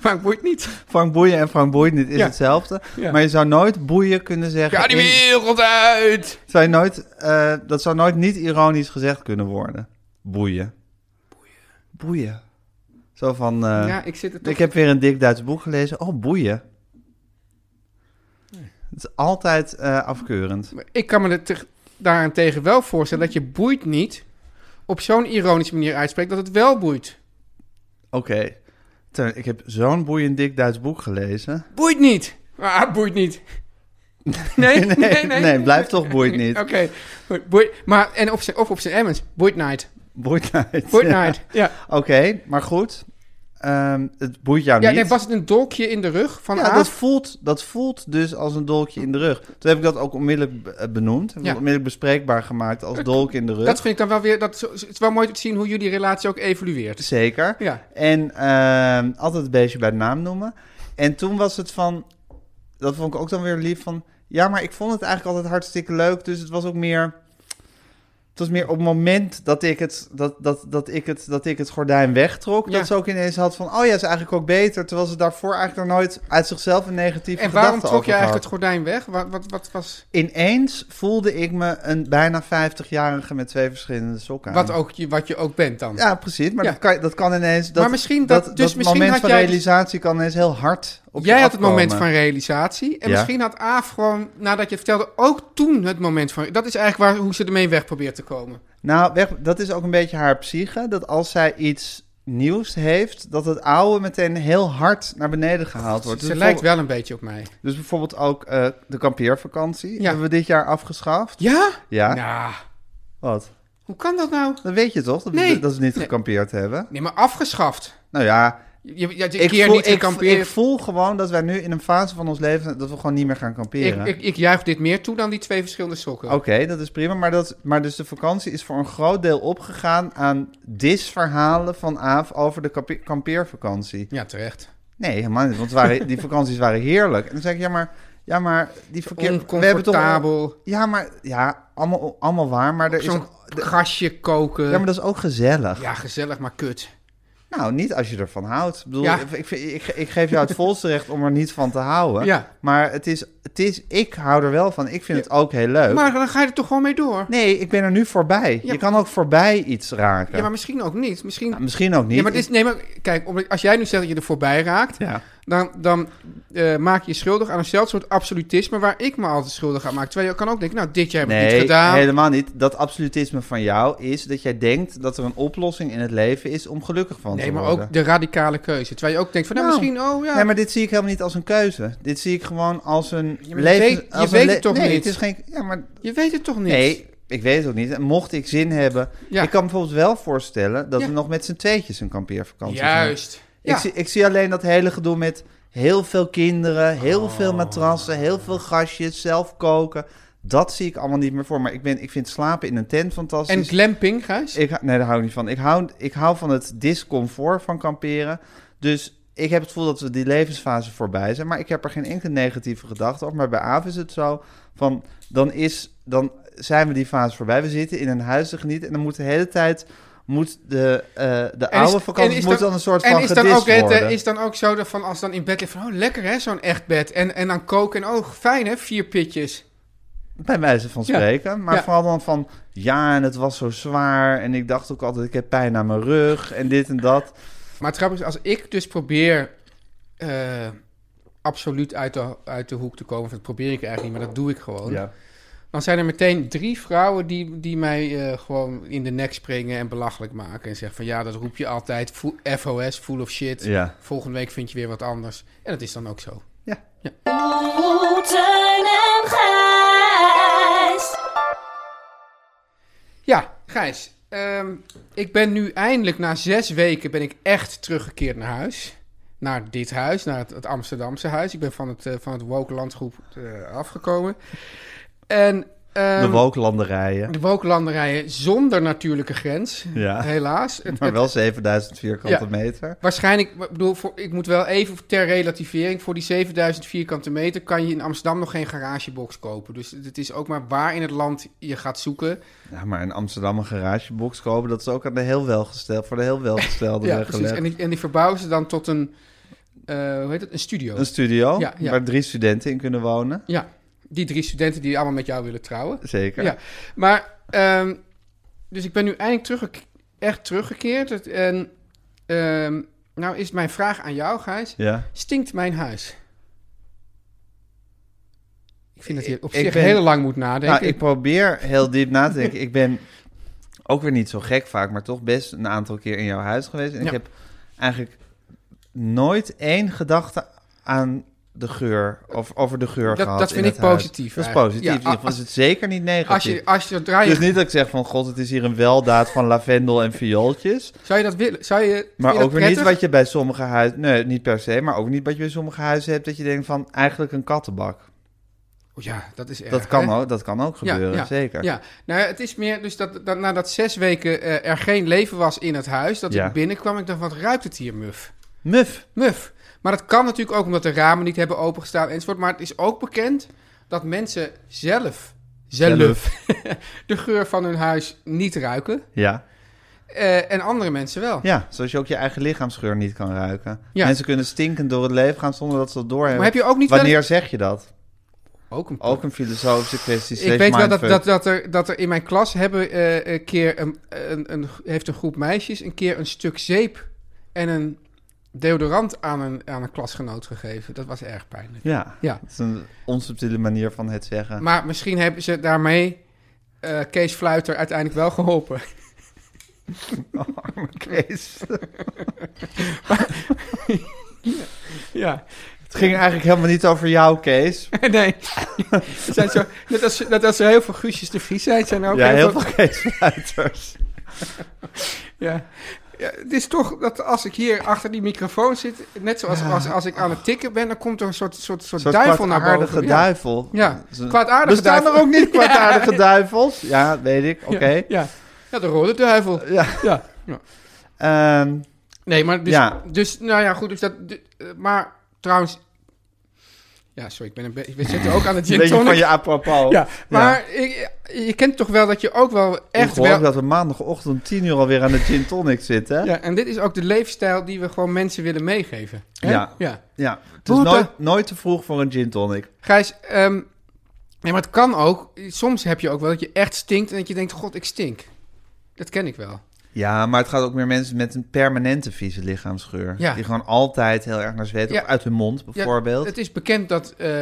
Speaker 3: Frank boeit niet.
Speaker 2: Frank Boeien en Frank Boeit niet is
Speaker 3: Ja.
Speaker 2: hetzelfde.
Speaker 3: Ja.
Speaker 2: Maar je zou nooit boeien kunnen zeggen...
Speaker 3: Ga die
Speaker 2: in-
Speaker 3: wereld uit!
Speaker 2: zou je nooit, eh, dat zou nooit niet ironisch gezegd kunnen worden. Boeien. Boeien. Boeien. Zo van... eh,
Speaker 3: ja, ik zit er toch...
Speaker 2: Ik heb weer een dik Duits boek gelezen. Oh, boeien. Het is altijd eh, afkeurend.
Speaker 3: Maar Ik kan me er teg- daarentegen wel voorstellen dat je boeit niet op zo'n ironische manier uitspreekt dat het wel boeit.
Speaker 2: Oké. Teun, Ik heb zo'n boeiend dik Duits boek gelezen.
Speaker 3: <laughs> Boeit niet! Ah, boeit <laughs> niet. Nee, nee, nee.
Speaker 2: blijf toch boeit niet.
Speaker 3: Oké, <laughs> goed, boeit- maar en op zijn, of op zijn emmens, boeit night,
Speaker 2: Boeit niet.
Speaker 3: boeit
Speaker 2: Ja.
Speaker 3: night. Ja,
Speaker 2: <laughs> Oké, maar goed. Ehm, het boeit jou
Speaker 3: ja
Speaker 2: niet.
Speaker 3: nee, was het een dolkje in de rug van ah,
Speaker 2: ja,
Speaker 3: A?
Speaker 2: dat voelt, dat voelt dus als een dolkje in de rug. Toen heb ik dat ook onmiddellijk be- eh, benoemd. Heb ik
Speaker 3: Ja.
Speaker 2: Onmiddellijk bespreekbaar gemaakt als dolk in de rug.
Speaker 3: Dat vind ik dan wel weer, dat, is- het is wel mooi te zien hoe jullie relatie ook evolueert.
Speaker 2: Zeker.
Speaker 3: Ja,
Speaker 2: En ehm, altijd het beestje bij de naam noemen. En toen was het van, dat vond ik ook dan weer lief van, ja, maar ik vond het eigenlijk altijd hartstikke leuk. Dus het was ook meer, het was meer op het moment dat ik het, dat, dat, dat ik het, dat ik het gordijn wegtrok,
Speaker 3: Ja.
Speaker 2: dat ze ook ineens had van, oh ja, is eigenlijk ook beter. Terwijl ze daarvoor eigenlijk nog nooit uit zichzelf een negatieve
Speaker 3: en
Speaker 2: gedachte
Speaker 3: waarom trok
Speaker 2: over
Speaker 3: je eigenlijk
Speaker 2: had.
Speaker 3: het gordijn weg? Wat, wat, wat was...
Speaker 2: Ineens voelde ik me een bijna 50-jarige met twee verschillende sokken aan.
Speaker 3: Wat, ook je, wat je ook bent dan.
Speaker 2: Ja, precies. Maar
Speaker 3: Ja.
Speaker 2: Dat, kan, dat kan ineens... Dat,
Speaker 3: Maar misschien dat- dus misschien
Speaker 2: moment
Speaker 3: had
Speaker 2: van
Speaker 3: jij dus-
Speaker 2: realisatie kan ineens heel hard op je
Speaker 3: Jij had het
Speaker 2: afkomen.
Speaker 3: moment van realisatie. En
Speaker 2: Ja.
Speaker 3: misschien had Aaf gewoon, nadat je het vertelde, ook toen het moment van... Dat is eigenlijk waar, hoe ze ermee weg probeert te komen.
Speaker 2: Nou, weg, dat is ook een beetje haar psyche. Dat als zij iets nieuws heeft, dat het oude meteen heel hard naar beneden gehaald wordt.
Speaker 3: ze
Speaker 2: Dus
Speaker 3: lijkt
Speaker 2: bijvoorbeeld-
Speaker 3: wel een beetje op mij.
Speaker 2: Dus bijvoorbeeld ook eh, de kampeervakantie
Speaker 3: Ja.
Speaker 2: hebben we dit jaar afgeschaft.
Speaker 3: Ja?
Speaker 2: Ja,
Speaker 3: Nou,
Speaker 2: wat?
Speaker 3: hoe kan dat nou?
Speaker 2: Dat weet je toch? Dat, we-
Speaker 3: Nee.
Speaker 2: dat we niet
Speaker 3: Nee.
Speaker 2: gekampeerd hebben.
Speaker 3: Nee, maar afgeschaft.
Speaker 2: Nou ja,
Speaker 3: Je, je, je
Speaker 2: ik
Speaker 3: keer
Speaker 2: voel,
Speaker 3: niet
Speaker 2: ik,
Speaker 3: gekampeerd.
Speaker 2: ik voel gewoon dat wij nu in een fase van ons leven... dat we gewoon niet meer gaan
Speaker 3: Ik,
Speaker 2: kamperen.
Speaker 3: ik, ik juich dit meer toe dan die twee verschillende sokken.
Speaker 2: Oké, dat is prima. Maar, dat, maar dus de vakantie is voor een groot deel opgegaan aan disverhalen van Aaf over de kampe- kampeervakantie.
Speaker 3: Ja, terecht.
Speaker 2: Nee, helemaal niet. Want het waren, die vakanties waren heerlijk. En dan zeg ik, ja, maar, ja, maar die verkeer... we hebben toch-
Speaker 3: Oncomfortabel.
Speaker 2: Ja, maar, ja, allemaal, allemaal waar. Maar er is
Speaker 3: Zo'n
Speaker 2: ook-
Speaker 3: gasje koken.
Speaker 2: ja,
Speaker 3: Ja,
Speaker 2: maar dat is ook gezellig.
Speaker 3: gezellig, maar kut.
Speaker 2: Nou, niet als je ervan houdt. Ik bedoel,
Speaker 3: Ja.
Speaker 2: ik, ik, ik, ik geef jou het
Speaker 3: <laughs>
Speaker 2: volste recht om er niet van te houden.
Speaker 3: Ja.
Speaker 2: Maar het is, het is, ik hou er wel van. Ik vind het ook heel leuk.
Speaker 3: Maar dan ga je er toch gewoon mee door.
Speaker 2: Nee, ik ben er nu voorbij.
Speaker 3: Ja.
Speaker 2: Je kan ook voorbij iets raken.
Speaker 3: Ja, maar misschien ook niet. Misschien...
Speaker 2: Nou, misschien ook niet.
Speaker 3: Ja, maar dit is, nee, maar kijk, omdat- als jij nu zegt dat je er voorbij raakt,
Speaker 2: Ja.
Speaker 3: dan, dan eh, maak je je schuldig aan een zeldsoort absolutisme waar ik me altijd schuldig aan maak. Terwijl je kan ook denken, nou, dit jaar heb ik niet
Speaker 2: Nee,
Speaker 3: gedaan.
Speaker 2: helemaal niet. Dat absolutisme van jou is dat jij denkt dat er een oplossing in het leven is om gelukkig van
Speaker 3: Nee,
Speaker 2: te
Speaker 3: maar
Speaker 2: worden.
Speaker 3: ook de radicale keuze. Terwijl je ook denkt van, nou,
Speaker 2: Nou,
Speaker 3: misschien, oh ja.
Speaker 2: Nee, maar dit zie ik helemaal niet als een keuze. Dit zie ik gewoon als een
Speaker 3: je
Speaker 2: leven...
Speaker 3: weet- je
Speaker 2: als een
Speaker 3: weet
Speaker 2: le-
Speaker 3: het toch
Speaker 2: nee,
Speaker 3: niet?
Speaker 2: Het is geen... Ja, maar...
Speaker 3: Je weet het toch niet?
Speaker 2: Nee, ik weet het ook niet. En mocht ik zin hebben...
Speaker 3: Ja.
Speaker 2: Ik kan me bijvoorbeeld wel voorstellen dat
Speaker 3: Ja.
Speaker 2: we nog met z'n tweetjes een kampeervakantie gaan.
Speaker 3: Juist.
Speaker 2: Ik,
Speaker 3: Ja.
Speaker 2: zie, ik zie alleen dat hele gedoe met... Heel veel kinderen, heel veel matrassen, heel veel gastjes, zelf koken. Dat zie ik allemaal niet meer voor. Maar ik, ben, ik vind slapen in een tent fantastisch.
Speaker 3: En glamping, Gijs?
Speaker 2: Ik, hou- nee, daar hou ik niet van. Ik hou, ik hou van het discomfort van kamperen. Dus ik heb het gevoel dat we die levensfase voorbij zijn. Maar ik heb er geen enkele negatieve gedachte over. Maar bij Aaf is het zo van... Dan, is, dan zijn we die fase voorbij. We zitten in een huis te genieten. En dan moet de hele tijd... Moet de, eh, de
Speaker 3: En is-
Speaker 2: oude
Speaker 3: en
Speaker 2: vakantie
Speaker 3: is
Speaker 2: moet
Speaker 3: dan-
Speaker 2: dan een soort
Speaker 3: En
Speaker 2: van
Speaker 3: is dan,
Speaker 2: gedist
Speaker 3: ook, het, eh,
Speaker 2: worden.
Speaker 3: is dan ook zo dat van als dan in bed ligt van, oh lekker hè, zo'n echt bed. En, en dan koken en oh fijn hè, vier pitjes.
Speaker 2: Bij wijze van
Speaker 3: Ja.
Speaker 2: spreken. Maar
Speaker 3: Ja.
Speaker 2: vooral dan van... Ja, en het was zo zwaar. En ik dacht ook altijd... Ik heb pijn aan mijn rug. En dit en dat.
Speaker 3: Maar het grappige is, als ik dus probeer eh, absoluut uit de, uit de hoek te komen, of dat probeer ik eigenlijk niet, maar dat doe ik gewoon. Dan zijn er meteen drie vrouwen die, die mij eh, gewoon in de nek springen en belachelijk maken. En zeggen van ja, dat roep je altijd. Fu- FOS, full of shit.
Speaker 2: Ja.
Speaker 3: Volgende week vind je weer wat anders. En dat is dan ook zo.
Speaker 2: Ja.
Speaker 6: Oeh, Oh, Teun en Gijs.
Speaker 3: Ja, Gijs. ehm, ik ben nu eindelijk, na zes weken, ben ik echt teruggekeerd naar huis. Naar dit huis, naar het, het Amsterdamse huis. Ik ben van het, eh, van het woke landgroep eh, afgekomen. En, ehm,
Speaker 2: De wolklanderijen.
Speaker 3: de woke landerijen zonder natuurlijke grens,
Speaker 2: Ja. <laughs>
Speaker 3: helaas. Het- <laughs>
Speaker 2: Maar
Speaker 3: het-
Speaker 2: wel 7000 vierkante
Speaker 3: Ja.
Speaker 2: meter.
Speaker 3: Waarschijnlijk, ik bedoel, voor, ik moet wel even ter relativering, voor die 7000 vierkante meter kan je in Amsterdam nog geen garagebox kopen. Dus het is ook maar waar in het land je gaat zoeken.
Speaker 2: Ja, maar in Amsterdam een garagebox kopen, dat is ook aan de heel welgesteld, voor de heel welgestelde
Speaker 3: <laughs> Ja,
Speaker 2: weggelegd.
Speaker 3: precies. En die, en die verbouwen ze dan tot een, eh, hoe heet het, een studio.
Speaker 2: Een studio
Speaker 3: Ja, ja.
Speaker 2: waar drie studenten in kunnen wonen.
Speaker 3: Ja, die drie studenten die allemaal met jou willen trouwen.
Speaker 2: Zeker.
Speaker 3: Ja, maar, ehm, dus ik ben nu eindelijk terugge- echt teruggekeerd. Het- En, ehm, nou is mijn vraag aan jou, Gijs.
Speaker 2: Ja.
Speaker 3: Stinkt mijn huis? Ik vind dat je op
Speaker 2: Ik
Speaker 3: zich
Speaker 2: ben-
Speaker 3: heel lang moet nadenken.
Speaker 2: Nou, ik probeer heel diep na te denken. ik ben ook weer niet zo gek vaak, maar toch best een aantal keer in jouw huis geweest. En
Speaker 3: Ja.
Speaker 2: ik heb eigenlijk nooit één gedachte aan de geur, of over de geur
Speaker 3: Dat-
Speaker 2: gehad
Speaker 3: dat vind
Speaker 2: in
Speaker 3: ik
Speaker 2: het huis.
Speaker 3: positief
Speaker 2: Dat is
Speaker 3: eigenlijk.
Speaker 2: positief.
Speaker 3: Ja,
Speaker 2: in ieder geval is het zeker niet negatief.
Speaker 3: als je, als je, zodra je,
Speaker 2: Dus niet dat ik zeg van god, het is hier een weldaad van lavendel en viooltjes.
Speaker 3: zou je dat willen? Zou je, vind
Speaker 2: Maar
Speaker 3: je dat
Speaker 2: ook weer niet
Speaker 3: prettig?
Speaker 2: wat je bij sommige huizen, nee, niet per se, maar ook niet wat je bij sommige huizen hebt dat je denkt van eigenlijk een kattenbak.
Speaker 3: Oh ja, dat is erg.
Speaker 2: dat, kan
Speaker 3: hè?
Speaker 2: ook, dat kan ook gebeuren,
Speaker 3: ja,
Speaker 2: zeker.
Speaker 3: Ja, nou ja, het is meer dus dat, dat nadat zes weken eh, er geen leven was in het huis, dat
Speaker 2: Ja.
Speaker 3: ik binnenkwam, ik dacht, wat ruikt het hier muf?
Speaker 2: Muf.
Speaker 3: Muf. Maar dat kan natuurlijk ook omdat de ramen niet hebben opengestaan enzovoort. Maar het is ook bekend dat mensen zelf, zelf, <laughs> de geur van hun huis niet ruiken.
Speaker 2: Ja.
Speaker 3: Eh, en andere mensen wel.
Speaker 2: ja, zoals je ook je eigen lichaamsgeur niet kan ruiken.
Speaker 3: Ja.
Speaker 2: Mensen kunnen stinkend door het leven gaan zonder dat ze dat doorhebben.
Speaker 3: Maar heb je ook niet wel-
Speaker 2: Wanneer zeg je dat?
Speaker 3: Ook een
Speaker 2: Ook een filosofische kwestie.
Speaker 3: Ik
Speaker 2: slash
Speaker 3: weet wel dat,
Speaker 2: mindfuck.
Speaker 3: dat, dat, er, dat er in mijn klas hebben eh, een keer een, een, een, heeft een groep meisjes een keer een stuk zeep en een deodorant aan een, aan een klasgenoot gegeven. Dat was erg pijnlijk.
Speaker 2: Ja.
Speaker 3: Ja.
Speaker 2: dat is een onsubtiele manier van het zeggen. <laughs>
Speaker 3: Maar misschien hebben ze daarmee eh, Kees Fluiter uiteindelijk wel geholpen. <laughs>
Speaker 2: Oh, Arme Kees.
Speaker 3: Ja. <laughs>
Speaker 2: het ging eigenlijk helemaal niet over jou, Kees.
Speaker 3: nee. Het zijn zo, net, als, net als er heel veel Guusjes de Vries zijn, zijn er ook
Speaker 2: ja, heel
Speaker 3: veel-
Speaker 2: veel Kees Fluiters.
Speaker 3: Ja. Ja, het is toch dat als ik hier achter die microfoon zit, net zoals als, als ik aan het tikken ben, dan komt er een soort, soort, soort,
Speaker 2: Een soort
Speaker 3: duivel naar boven.
Speaker 2: kwaadaardige
Speaker 3: Ja.
Speaker 2: duivel.
Speaker 3: Ja,
Speaker 2: Ze-
Speaker 3: kwaadaardige
Speaker 2: Bestaan
Speaker 3: duivel.
Speaker 2: er
Speaker 3: <laughs>
Speaker 2: ook niet kwaadaardige duivels? Ja, weet ik. Oké.
Speaker 3: Ja. ja, de rode duivel.
Speaker 2: Ja.
Speaker 3: Ja.
Speaker 2: Ehm,
Speaker 3: Nee, maar dus,
Speaker 2: Ja.
Speaker 3: dus, nou ja, goed. Dus dat, d- eh, maar trouwens, ja, sorry, ik ben een beetje, we zitten ook aan
Speaker 2: <laughs> een
Speaker 3: het gin
Speaker 2: beetje
Speaker 3: tonic.
Speaker 2: van je apropos.
Speaker 3: Ja, maar ik- je kent toch wel dat je ook wel
Speaker 2: Echt
Speaker 3: echt
Speaker 2: ik hoor
Speaker 3: wel...
Speaker 2: ook dat we maandagochtend om tien uur alweer aan de gin tonic zitten. Ja.
Speaker 3: Ja, en dit is ook de leefstijl die we gewoon mensen willen meegeven. hè?
Speaker 2: Ja.
Speaker 3: ja.
Speaker 2: Het is
Speaker 3: Boete.
Speaker 2: nooit, nooit te vroeg voor een gin tonic.
Speaker 3: Gijs, ehm, nee, maar het kan ook. Soms heb je ook wel dat je echt stinkt en dat je denkt, god, ik stink. Dat ken ik wel.
Speaker 2: Ja, maar het gaat ook meer mensen met een permanente vieze lichaamsgeur.
Speaker 3: Ja.
Speaker 2: Die gewoon altijd heel erg naar zweet.
Speaker 3: Ja.
Speaker 2: Of uit hun mond
Speaker 3: Ja,
Speaker 2: bijvoorbeeld.
Speaker 3: het is bekend dat eh,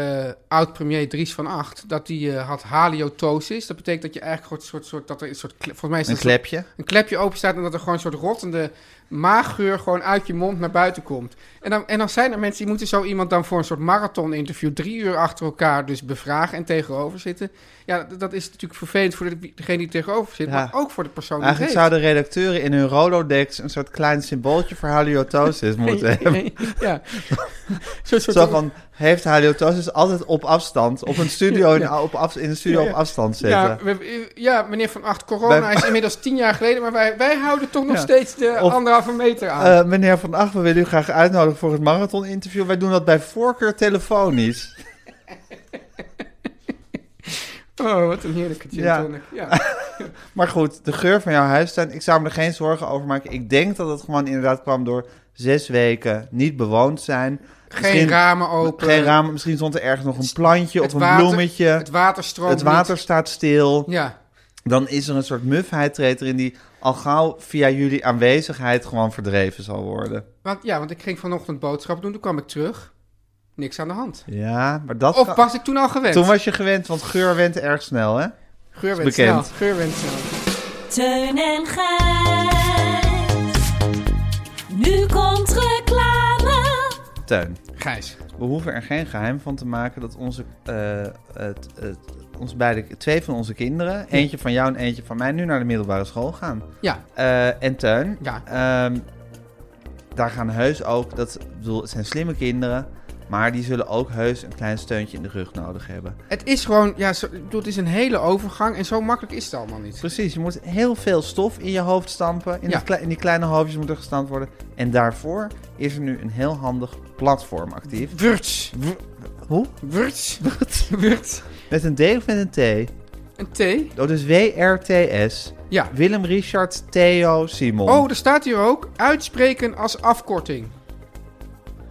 Speaker 3: oud-premier Dries van Acht, dat die eh, had haliotosis. Dat betekent dat je eigenlijk gewoon een soort, soort, dat er een soort, kle- volgens mij is dus
Speaker 2: Een
Speaker 3: dat een, soort-
Speaker 2: klepje.
Speaker 3: een klepje open staat en dat er gewoon een soort rottende maaggeur gewoon uit je mond naar buiten komt. En dan, en dan zijn er mensen die moeten zo iemand dan voor een soort marathon-interview drie uur achter elkaar dus bevragen en tegenover zitten. Ja, dat, dat is natuurlijk vervelend voor degene die tegenover zit,
Speaker 2: Ja.
Speaker 3: maar ook voor de persoon die het
Speaker 2: Eigenlijk
Speaker 3: heeft.
Speaker 2: zou de redacteur redacteuren in hun Rolodex een soort klein symbooltje voor
Speaker 3: <laughs>
Speaker 2: halitosis moeten hebben.
Speaker 3: ja. Zo'n soort-
Speaker 2: Zo van, heeft halitosis altijd op afstand, op een
Speaker 3: <laughs>
Speaker 2: studio, in, op af, in een studio
Speaker 3: Ja, ja.
Speaker 2: op afstand zetten.
Speaker 3: ja, we- eh, ja, meneer Van Acht, corona
Speaker 2: Bij-
Speaker 3: is inmiddels tien jaar geleden, maar wij, wij houden toch nog
Speaker 2: Ja.
Speaker 3: steeds de
Speaker 2: Of-
Speaker 3: anderhalve meter aan.
Speaker 2: Eh, meneer Van Acht, we willen u graag uitnodigen voor het marathoninterview. Wij doen dat bij voorkeur telefonisch.
Speaker 3: oh, wat een heerlijke gin
Speaker 2: ja.
Speaker 3: tonic.
Speaker 2: <laughs>
Speaker 3: Ja.
Speaker 2: Maar goed, de geur van jouw huistuin, ik zou me er geen zorgen over maken. Ik denk dat het gewoon inderdaad kwam door zes weken niet bewoond zijn.
Speaker 3: Geen ramen open.
Speaker 2: Geen ramen, misschien stond er ergens nog een plantje
Speaker 3: Het
Speaker 2: of een
Speaker 3: water-
Speaker 2: bloemetje.
Speaker 3: Het water stroomt
Speaker 2: het water
Speaker 3: niet.
Speaker 2: staat stil.
Speaker 3: Ja.
Speaker 2: Dan is er een soort mufheid treedt erin die al gauw via jullie aanwezigheid gewoon verdreven zal worden.
Speaker 3: Want, ja, want ik ging vanochtend boodschap doen, toen kwam ik terug. Niks aan de hand.
Speaker 2: Ja, maar dat...
Speaker 3: Of
Speaker 2: kan-
Speaker 3: was ik toen al gewend?
Speaker 2: Toen was je gewend, want geur went erg snel, hè?
Speaker 3: Geur werd
Speaker 2: is bekend.
Speaker 3: snel. Geur werd snel.
Speaker 6: Teun en Gijs. Nu komt reclame.
Speaker 2: Teun.
Speaker 3: Gijs.
Speaker 2: We hoeven er geen geheim van te maken dat onze, eh, het, het, ons beide, twee van onze kinderen, eentje van jou en eentje van mij, nu naar de middelbare school gaan.
Speaker 3: Ja.
Speaker 2: Eh, en Teun,
Speaker 3: Ja.
Speaker 2: ehm, daar gaan heus ook, dat, ik bedoel, het zijn slimme kinderen, maar die zullen ook heus een klein steuntje in de rug nodig hebben.
Speaker 3: Het is gewoon, ja, zo, ik bedoel, het is een hele overgang en zo makkelijk is het allemaal niet.
Speaker 2: Precies, je moet heel veel stof in je hoofd stampen, in,
Speaker 3: Ja.
Speaker 2: die, kle- in die kleine hoofdjes moet er gestampt worden. En daarvoor is er nu een heel handig platform actief.
Speaker 3: Wurts.
Speaker 2: Hoe?
Speaker 3: Wurts. Wurts.
Speaker 2: Met een D of met een T?
Speaker 3: Een thee?
Speaker 2: Oh, dus WRTS.
Speaker 3: Ja.
Speaker 2: Willem, Richard, Theo, Simon.
Speaker 3: Oh, er staat hier ook uitspreken als afkorting.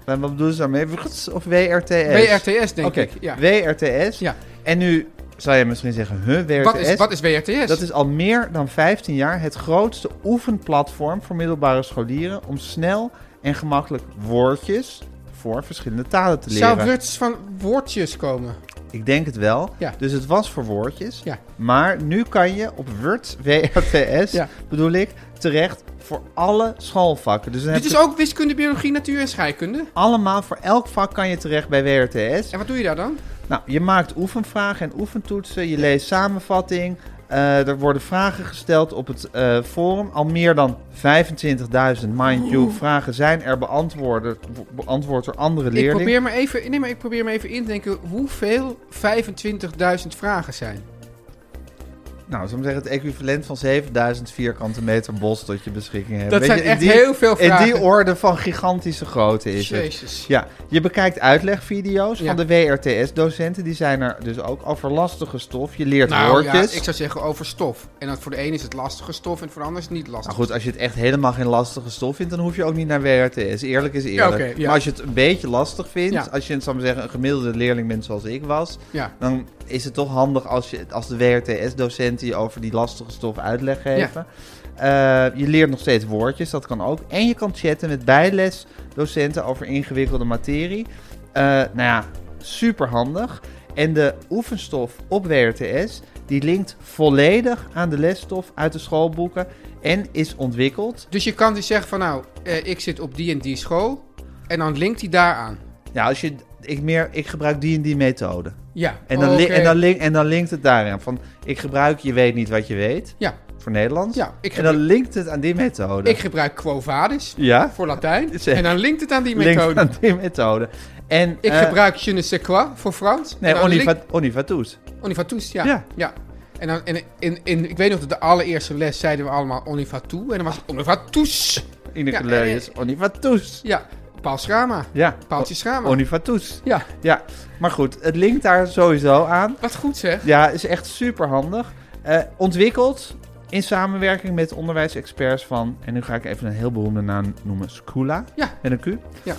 Speaker 2: En wat bedoelen ze daarmee? Wrts Of WRTS?
Speaker 3: WRTS, denk
Speaker 2: Oké,
Speaker 3: ik. Ja.
Speaker 2: WRTS.
Speaker 3: Ja.
Speaker 2: En nu zou je misschien zeggen, huh, WRTS?
Speaker 3: Wat, is, wat is WRTS?
Speaker 2: Dat is al meer dan 15 jaar het grootste oefenplatform voor middelbare scholieren om snel en gemakkelijk woordjes voor verschillende talen te leren.
Speaker 3: Zou Wurts van woordjes komen?
Speaker 2: Ik denk het wel.
Speaker 3: Ja.
Speaker 2: Dus het was voor woordjes.
Speaker 3: Ja.
Speaker 2: Maar nu kan je op Word, WRTS,
Speaker 3: Ja.
Speaker 2: bedoel ik, terecht voor alle schoolvakken. Dus dan heb
Speaker 3: Dit is
Speaker 2: je
Speaker 3: ook wiskunde, biologie, natuur en scheikunde.
Speaker 2: allemaal, voor elk vak kan je terecht bij WRTS.
Speaker 3: En wat doe je daar dan?
Speaker 2: Nou, je maakt oefenvragen en oefentoetsen, je leest samenvatting. eh, er worden vragen gesteld op het eh, forum. Al meer dan 25.000, mind you, vragen zijn er beantwoord, beantwoord door andere
Speaker 3: Ik
Speaker 2: leerlingen.
Speaker 3: probeer, me even, nee, maar ik probeer me even in te denken hoeveel 25.000 vragen zijn.
Speaker 2: Nou, zullen we zeggen, het equivalent van 7000 vierkante meter bos tot je beschikking hebt.
Speaker 3: Dat
Speaker 2: Weet
Speaker 3: zijn
Speaker 2: je, in
Speaker 3: echt
Speaker 2: die-
Speaker 3: heel veel vragen.
Speaker 2: In die orde van gigantische grootte is het.
Speaker 3: Jezus.
Speaker 2: Ja, je bekijkt uitlegvideo's
Speaker 3: Ja.
Speaker 2: van de WRTS-docenten. Die zijn er dus ook over lastige stof. Je leert
Speaker 3: Nou
Speaker 2: woordjes.
Speaker 3: ja, ik zou zeggen over stof. En dat voor de een is het lastige stof en voor de ander is het niet lastig.
Speaker 2: Nou goed, als je het echt helemaal geen lastige stof vindt, dan hoef je ook niet naar WRTS. Eerlijk is eerlijk.
Speaker 3: Ja, oké, ja.
Speaker 2: Maar als je het een beetje lastig vindt,
Speaker 3: Ja.
Speaker 2: als je, zal ik maar zeggen, een gemiddelde leerling bent zoals ik was,
Speaker 3: Ja.
Speaker 2: dan is het toch handig als, je, als de WRTS-docent die over die lastige stof uitleg geven. Eh, je leert nog steeds woordjes, dat kan ook. En je kan chatten met bijlesdocenten over ingewikkelde materie. Eh, nou ja, super handig. En de oefenstof op WRTS, die linkt volledig aan de lesstof uit de schoolboeken en is ontwikkeld.
Speaker 3: Dus je kan dus zeggen van nou, eh, ik zit op die en die school. En dan linkt hij daar aan.
Speaker 2: Ja, als je, ik, meer, ik gebruik die en die methode.
Speaker 3: Ja.
Speaker 2: En dan, li-
Speaker 3: Oh, oké.
Speaker 2: en, dan link- en dan linkt het daaraan. Van, ik gebruik je weet niet wat je weet.
Speaker 3: Ja,
Speaker 2: Voor Nederlands.
Speaker 3: Ja, ik
Speaker 2: en dan linkt het aan die methode.
Speaker 3: ik gebruik Quo Vadis
Speaker 2: ja,
Speaker 3: voor Latijn.
Speaker 2: <laughs> Zeg.
Speaker 3: En dan linkt het aan die
Speaker 2: linkt
Speaker 3: methode.
Speaker 2: aan die methode. En,
Speaker 3: Ik
Speaker 2: eh,
Speaker 3: gebruik je ne sais quoi voor Frans.
Speaker 2: Nee,
Speaker 3: En dan
Speaker 2: Oniva-
Speaker 3: linkt-
Speaker 2: Onivatus.
Speaker 3: Onivatus, ja.
Speaker 2: Ja.
Speaker 3: ja. En, dan, en in, in, ik weet nog dat de allereerste les zeiden we allemaal Onivatu. En dan was het Onivatus.
Speaker 2: Ineke
Speaker 3: Ja,
Speaker 2: Leuijes, Onivatus.
Speaker 3: Ja, Paul Schrama.
Speaker 2: Ja,
Speaker 3: Paaltje Schrama.
Speaker 2: Onivatus.
Speaker 3: ja,
Speaker 2: Ja, maar goed, het linkt daar sowieso aan.
Speaker 3: wat goed zeg.
Speaker 2: Ja, is echt super handig. ontwikkeld in samenwerking met onderwijsexperts van, en nu ga ik even een heel beroemde naam noemen, Scula.
Speaker 3: Ja.
Speaker 2: Met een Q.
Speaker 3: Ja.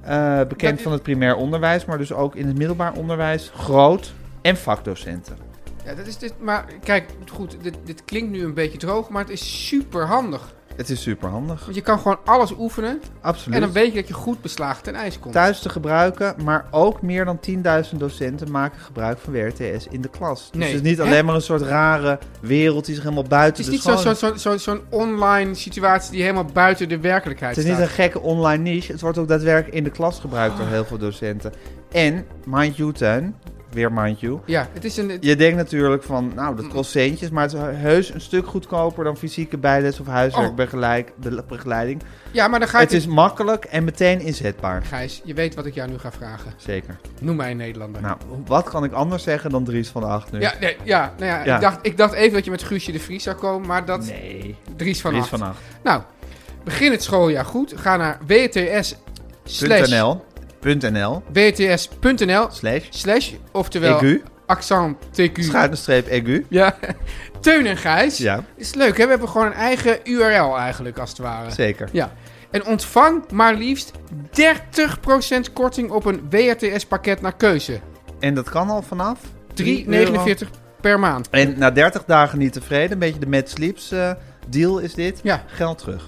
Speaker 2: Eh, bekend
Speaker 3: Dat-
Speaker 2: van het primair onderwijs, maar dus ook in het middelbaar onderwijs. Groot. En vakdocenten.
Speaker 3: Ja, dat is dit, maar kijk, goed, dit, dit klinkt nu een beetje droog, maar het is super handig.
Speaker 2: Het is super handig.
Speaker 3: Want je kan gewoon alles oefenen en
Speaker 2: Absoluut.
Speaker 3: dan weet je dat je goed beslagen ten ijs komt.
Speaker 2: Thuis te gebruiken, maar ook meer dan 10.000 docenten maken gebruik van WRTS in de klas. Dus
Speaker 3: Nee.
Speaker 2: het is niet
Speaker 3: Hè?
Speaker 2: alleen maar een soort rare wereld die zich helemaal
Speaker 3: het
Speaker 2: buiten
Speaker 3: is
Speaker 2: de
Speaker 3: niet
Speaker 2: school...
Speaker 3: zo'n zo, zo, zo, zo'n online situatie die helemaal buiten de werkelijkheid
Speaker 2: Het is
Speaker 3: staat.
Speaker 2: niet een gekke online niche. Het wordt ook daadwerkelijk in de klas gebruikt door heel veel docenten. En, mind you, Teun, weer mind you.
Speaker 3: Ja, het is een... het-
Speaker 2: Je denkt natuurlijk van, nou, dat kost centjes, maar het is heus een stuk goedkoper dan fysieke bijles of huiswerkbegeleiding.
Speaker 3: Oh.
Speaker 2: begeleiding.
Speaker 3: ja, maar dan ga je...
Speaker 2: Het is makkelijk en meteen inzetbaar.
Speaker 3: Gijs, je weet wat ik jou nu ga vragen.
Speaker 2: Zeker.
Speaker 3: Noem mij een Nederlander.
Speaker 2: Nou, wat kan ik anders zeggen dan Dries van de Acht nu?
Speaker 3: Ja, nee, ja, nou ja,
Speaker 2: Ja.
Speaker 3: Ik, dacht, ik dacht even dat je met Guusje de Vries zou komen, maar dat...
Speaker 2: Nee,
Speaker 3: Dries van
Speaker 2: Dries
Speaker 3: Acht.
Speaker 2: van Acht.
Speaker 3: Nou, begin het schooljaar goed. Ga naar WTS slash
Speaker 2: .nl. .nl.
Speaker 3: WTS.nl
Speaker 2: Slash. E
Speaker 3: slash, oftewel
Speaker 2: EQ.
Speaker 3: accent TQ.
Speaker 2: Schuitenstreep egu.
Speaker 3: Ja. <laughs> Teun en Gijs.
Speaker 2: E Ja,
Speaker 3: Is leuk, hè? We hebben gewoon een eigen URL eigenlijk, als het ware.
Speaker 2: zeker.
Speaker 3: Ja. En ontvang maar liefst 30% korting op een WRTS-pakket naar keuze. 3,49
Speaker 2: En dat kan al vanaf? 3,49.
Speaker 3: per maand.
Speaker 2: En na 30 dagen niet tevreden, een beetje de Mad Sleeps eh, deal is dit.
Speaker 3: Ja.
Speaker 2: Geld terug.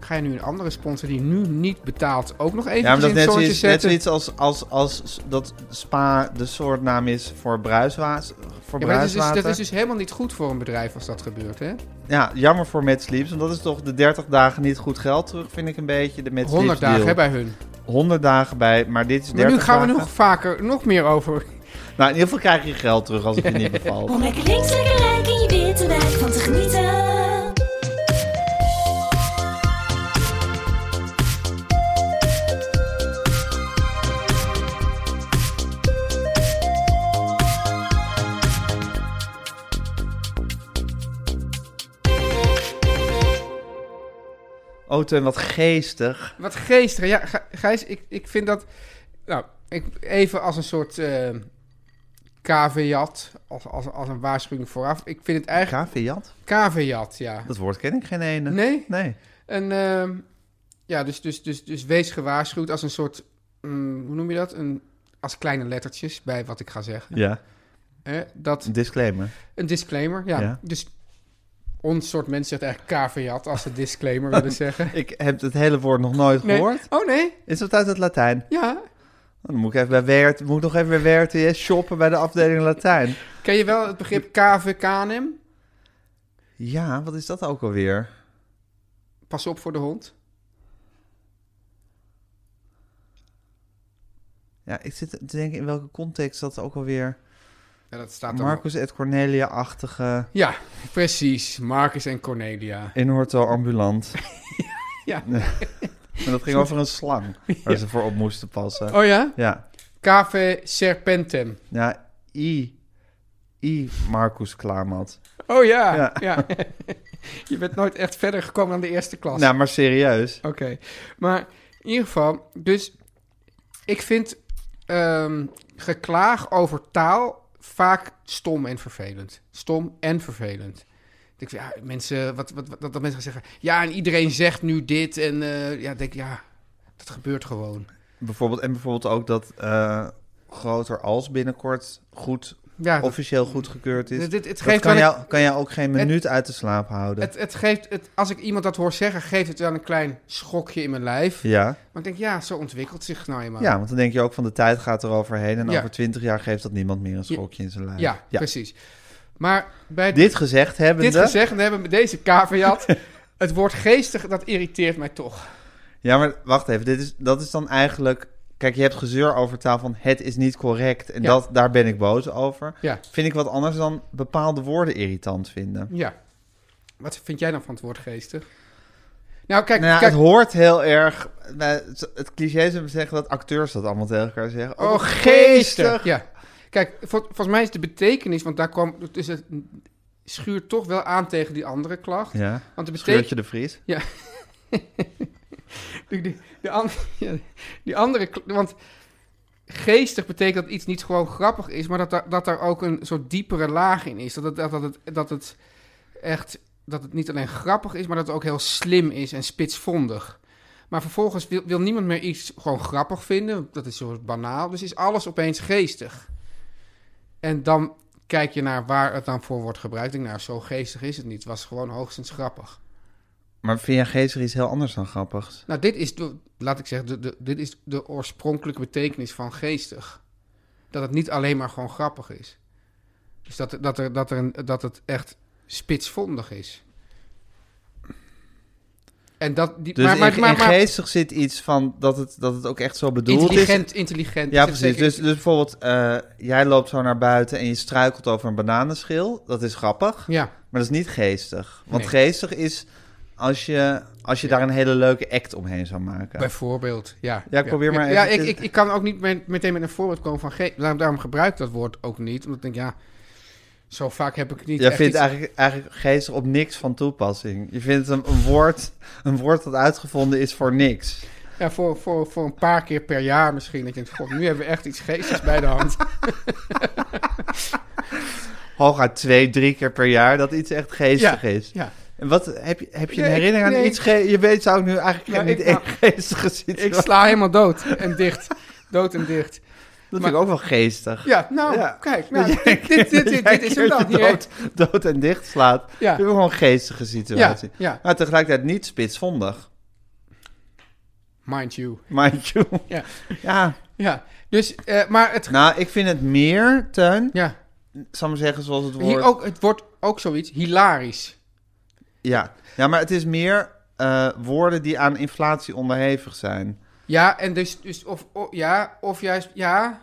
Speaker 3: Ga je nu een andere sponsor die nu niet betaalt ook nog even
Speaker 2: Ja, maar dat
Speaker 3: in
Speaker 2: is
Speaker 3: het
Speaker 2: net
Speaker 3: zonnetje
Speaker 2: zoiets, net
Speaker 3: zetten?
Speaker 2: zoiets als, als, als dat spa de soortnaam is voor bruiswater. Voor
Speaker 3: Ja, maar dat is, dus,
Speaker 2: bruiswater.
Speaker 3: dat is dus helemaal niet goed voor een bedrijf als dat gebeurt, hè?
Speaker 2: Ja, jammer voor Mad Sleeps, want dat is toch de 30 dagen niet goed geld terug, vind ik een beetje de Mad
Speaker 3: 100
Speaker 2: Sleeps
Speaker 3: dagen
Speaker 2: deal.
Speaker 3: hè, bij hun.
Speaker 2: 100 dagen bij, maar dit is 30
Speaker 3: Maar nu gaan we
Speaker 2: dagen.
Speaker 3: nog vaker, nog meer over. <laughs>
Speaker 2: Nou, in ieder geval krijg je geld terug als het je niet bevalt.
Speaker 6: Om lekker links, lekker rijk in je witte wijk van te genieten.
Speaker 2: Oh, Teun, wat geestig.
Speaker 3: Wat geestig. Ja, Gij- Gijs, ik, ik vind dat... Nou, ik, even als een soort eh caveat, als, als, als een waarschuwing vooraf. Ik vind het eigenlijk...
Speaker 2: Kaviat?
Speaker 3: Caveat, ja.
Speaker 2: Dat woord ken ik geen ene.
Speaker 3: Nee?
Speaker 2: Nee.
Speaker 3: En, ehm, ja, dus, dus, dus, dus wees gewaarschuwd als een soort... mm, hoe noem je dat? Een, als kleine lettertjes bij wat ik ga zeggen.
Speaker 2: Ja,
Speaker 3: Hè? Dat
Speaker 2: een disclaimer.
Speaker 3: Een disclaimer, ja.
Speaker 2: Ja.
Speaker 3: Dus ons soort mensen zegt eigenlijk caveat als ze disclaimer willen zeggen.
Speaker 2: Ik heb het hele woord nog nooit
Speaker 3: Nee.
Speaker 2: gehoord.
Speaker 3: Oh nee,
Speaker 2: Is het uit het Latijn? Oh,
Speaker 3: ja.
Speaker 2: Dan moet ik, even bij WRT, moet ik nog even bij WRTS shoppen bij de afdeling Latijn.
Speaker 3: Ken je wel het begrip KVKNM?
Speaker 2: Ja, wat is dat ook alweer?
Speaker 3: Pas op voor de hond.
Speaker 2: Ja, ik zit te denken in welke context dat ook alweer...
Speaker 3: Ja, dat staat dan
Speaker 2: Marcus et Cornelia-achtige...
Speaker 3: Ja, precies. Marcus en Cornelia.
Speaker 2: In Horto Ambulant.
Speaker 3: <laughs> Ja.
Speaker 2: <laughs> En dat ging over een slang waar ze voor op moesten passen.
Speaker 3: Oh ja?
Speaker 2: Ja.
Speaker 3: KV Serpentem.
Speaker 2: Ja, I. I. Marcus Klamat.
Speaker 3: Oh ja, ja. <laughs>
Speaker 2: Ja.
Speaker 3: je bent nooit echt verder gekomen dan de eerste klas.
Speaker 2: Nou, maar serieus.
Speaker 3: Oké, maar in ieder geval, dus ik vind ehm, geklaag over taal vaak stom en vervelend. Stom en vervelend. Ik denk, ja, mensen, wat, wat, wat, dat mensen gaan zeggen, ja, en iedereen zegt nu dit en eh, ja, ik denk ja, dat gebeurt gewoon.
Speaker 2: Bijvoorbeeld, en bijvoorbeeld ook dat eh, groter als binnenkort goed,
Speaker 3: Ja, dat-
Speaker 2: officieel goedgekeurd is.
Speaker 3: dit- dit- het
Speaker 2: Dat
Speaker 3: geeft
Speaker 2: kan,
Speaker 3: wel een-
Speaker 2: jou, kan jou ook geen minuut uit de slaap houden.
Speaker 3: het, het geeft, het, als ik iemand dat hoor zeggen, geeft het wel een klein schokje in mijn lijf.
Speaker 2: ja.
Speaker 3: Maar ik denk, ja, zo ontwikkelt zich nou eenmaal.
Speaker 2: ja, want dan denk je ook van de tijd gaat eroverheen. En
Speaker 3: Ja.
Speaker 2: over twintig jaar geeft dat niemand meer een schokje in zijn lijf.
Speaker 3: ja, precies. Maar bij
Speaker 2: Dit gezegd hebbende...
Speaker 3: Dit gezegd, dan hebben we deze caveat.
Speaker 2: <laughs>
Speaker 3: het woord geestig, dat irriteert mij toch.
Speaker 2: Ja, maar wacht even. Dit is, dat is dan eigenlijk... Kijk, je hebt gezeur over taal van het is niet correct. En
Speaker 3: Ja.
Speaker 2: dat, daar ben ik boos over.
Speaker 3: Ja.
Speaker 2: Vind ik wat anders dan bepaalde woorden irritant vinden.
Speaker 3: Ja. Wat vind jij dan van het woord geestig? Nou, kijk,
Speaker 2: Nou ja,
Speaker 3: kijk.
Speaker 2: het hoort heel erg... nou, het- Het cliché zou zeggen dat acteurs dat allemaal tegen elkaar zeggen.
Speaker 3: Oh, geestig! Ja. Kijk, vol- volgens mij is de betekenis, want daar kwam, dus het schuurt toch wel aan tegen die andere klacht.
Speaker 2: Ja,
Speaker 3: Want de betekenis.
Speaker 2: Scheurtje de Vries.
Speaker 3: De, de, de an- <laughs> ja, die andere. kl- Want geestig betekent dat iets niet gewoon grappig is, maar dat, daar- dat daar ook een soort diepere laag in is. Dat het, dat, dat het, dat het echt. Dat het niet alleen grappig is, maar dat het ook heel slim is en spitsvondig. Maar vervolgens wil, wil niemand meer iets gewoon grappig vinden. Dat is zo banaal. Dus is alles opeens geestig. En dan kijk je naar waar het dan voor wordt gebruikt. Ik denk, nou, zo geestig is het niet. Het was gewoon hoogstens grappig.
Speaker 2: Maar vind jij geestig iets heel anders dan grappigs?
Speaker 3: Nou, dit is, de, laat ik zeggen, de, de, dit is de oorspronkelijke betekenis van geestig. Dat het niet alleen maar gewoon grappig is. Dus dat, dat, er, dat, er een, dat het echt spitsvondig is. En dat, die,
Speaker 2: Dus
Speaker 3: maar, maar,
Speaker 2: in,
Speaker 3: maar,
Speaker 2: in
Speaker 3: maar-
Speaker 2: geestig zit iets van dat het, dat het ook echt zo bedoeld is.
Speaker 3: intelligent, intelligent.
Speaker 2: Ja,
Speaker 3: Dat is
Speaker 2: precies.
Speaker 3: zeker-
Speaker 2: Dus, dus bijvoorbeeld, eh, jij loopt zo naar buiten en je struikelt over een bananenschil. Dat is grappig,
Speaker 3: ja,
Speaker 2: maar dat is niet geestig. Want
Speaker 3: Nee.
Speaker 2: geestig is als je, als je daar een hele leuke act omheen zou maken.
Speaker 3: bijvoorbeeld. Ja,
Speaker 2: Ja, ik probeer maar
Speaker 3: Ja, ik,
Speaker 2: eventjes-
Speaker 3: ik, ik kan ook niet met- meteen met een voorbeeld komen van geest. Daarom, daarom gebruik ik dat woord ook niet. Omdat ik denk, ja, zo vaak heb ik niet
Speaker 2: Jij
Speaker 3: echt
Speaker 2: vindt
Speaker 3: iets-
Speaker 2: eigenlijk, eigenlijk geestig op niks van toepassing. Je vindt een, een, woord, een woord dat uitgevonden is voor niks.
Speaker 3: Ja, voor, voor, voor een paar keer per jaar misschien. Dat je denkt, god, nu hebben we echt iets geestigs bij de hand.
Speaker 2: Hooguit twee, drie keer per jaar dat iets echt geestig is.
Speaker 3: Ja.
Speaker 2: En wat heb je, heb je een
Speaker 3: Nee, ik-
Speaker 2: herinnering aan
Speaker 3: nee,
Speaker 2: iets? Ge- je weet, zou ik nu eigenlijk
Speaker 3: Nou,
Speaker 2: niet
Speaker 3: ik-
Speaker 2: echt geestige situatie.
Speaker 3: <laughs> Ik sla helemaal dood en dicht. Dood en dicht.
Speaker 2: dat
Speaker 3: maar-
Speaker 2: vind ik ook wel geestig.
Speaker 3: Ja, nou,
Speaker 2: Ja. <laughs>
Speaker 3: kijk. Nou, dit, dit, dit, dit, dit is hem dan. Hier
Speaker 2: dood, dood en dicht slaat.
Speaker 3: Ja.
Speaker 2: Ja. Vind ik gewoon een geestige situatie.
Speaker 3: Ja, ja.
Speaker 2: Maar tegelijkertijd niet spitsvondig.
Speaker 3: Mind you.
Speaker 2: <laughs> Mind you.
Speaker 3: Ja.
Speaker 2: Ja.
Speaker 3: Ja, dus, eh, maar het...
Speaker 2: Nou, ik vind het meer, Teun,
Speaker 3: Ja,
Speaker 2: zal ik maar zeggen zoals het
Speaker 3: hier
Speaker 2: woord...
Speaker 3: ook, het wordt ook zoiets hilarisch.
Speaker 2: Ja. ja, maar het is meer eh, woorden die aan inflatie onderhevig zijn.
Speaker 3: Ja, en dus, dus of, o- ja, of juist, ja.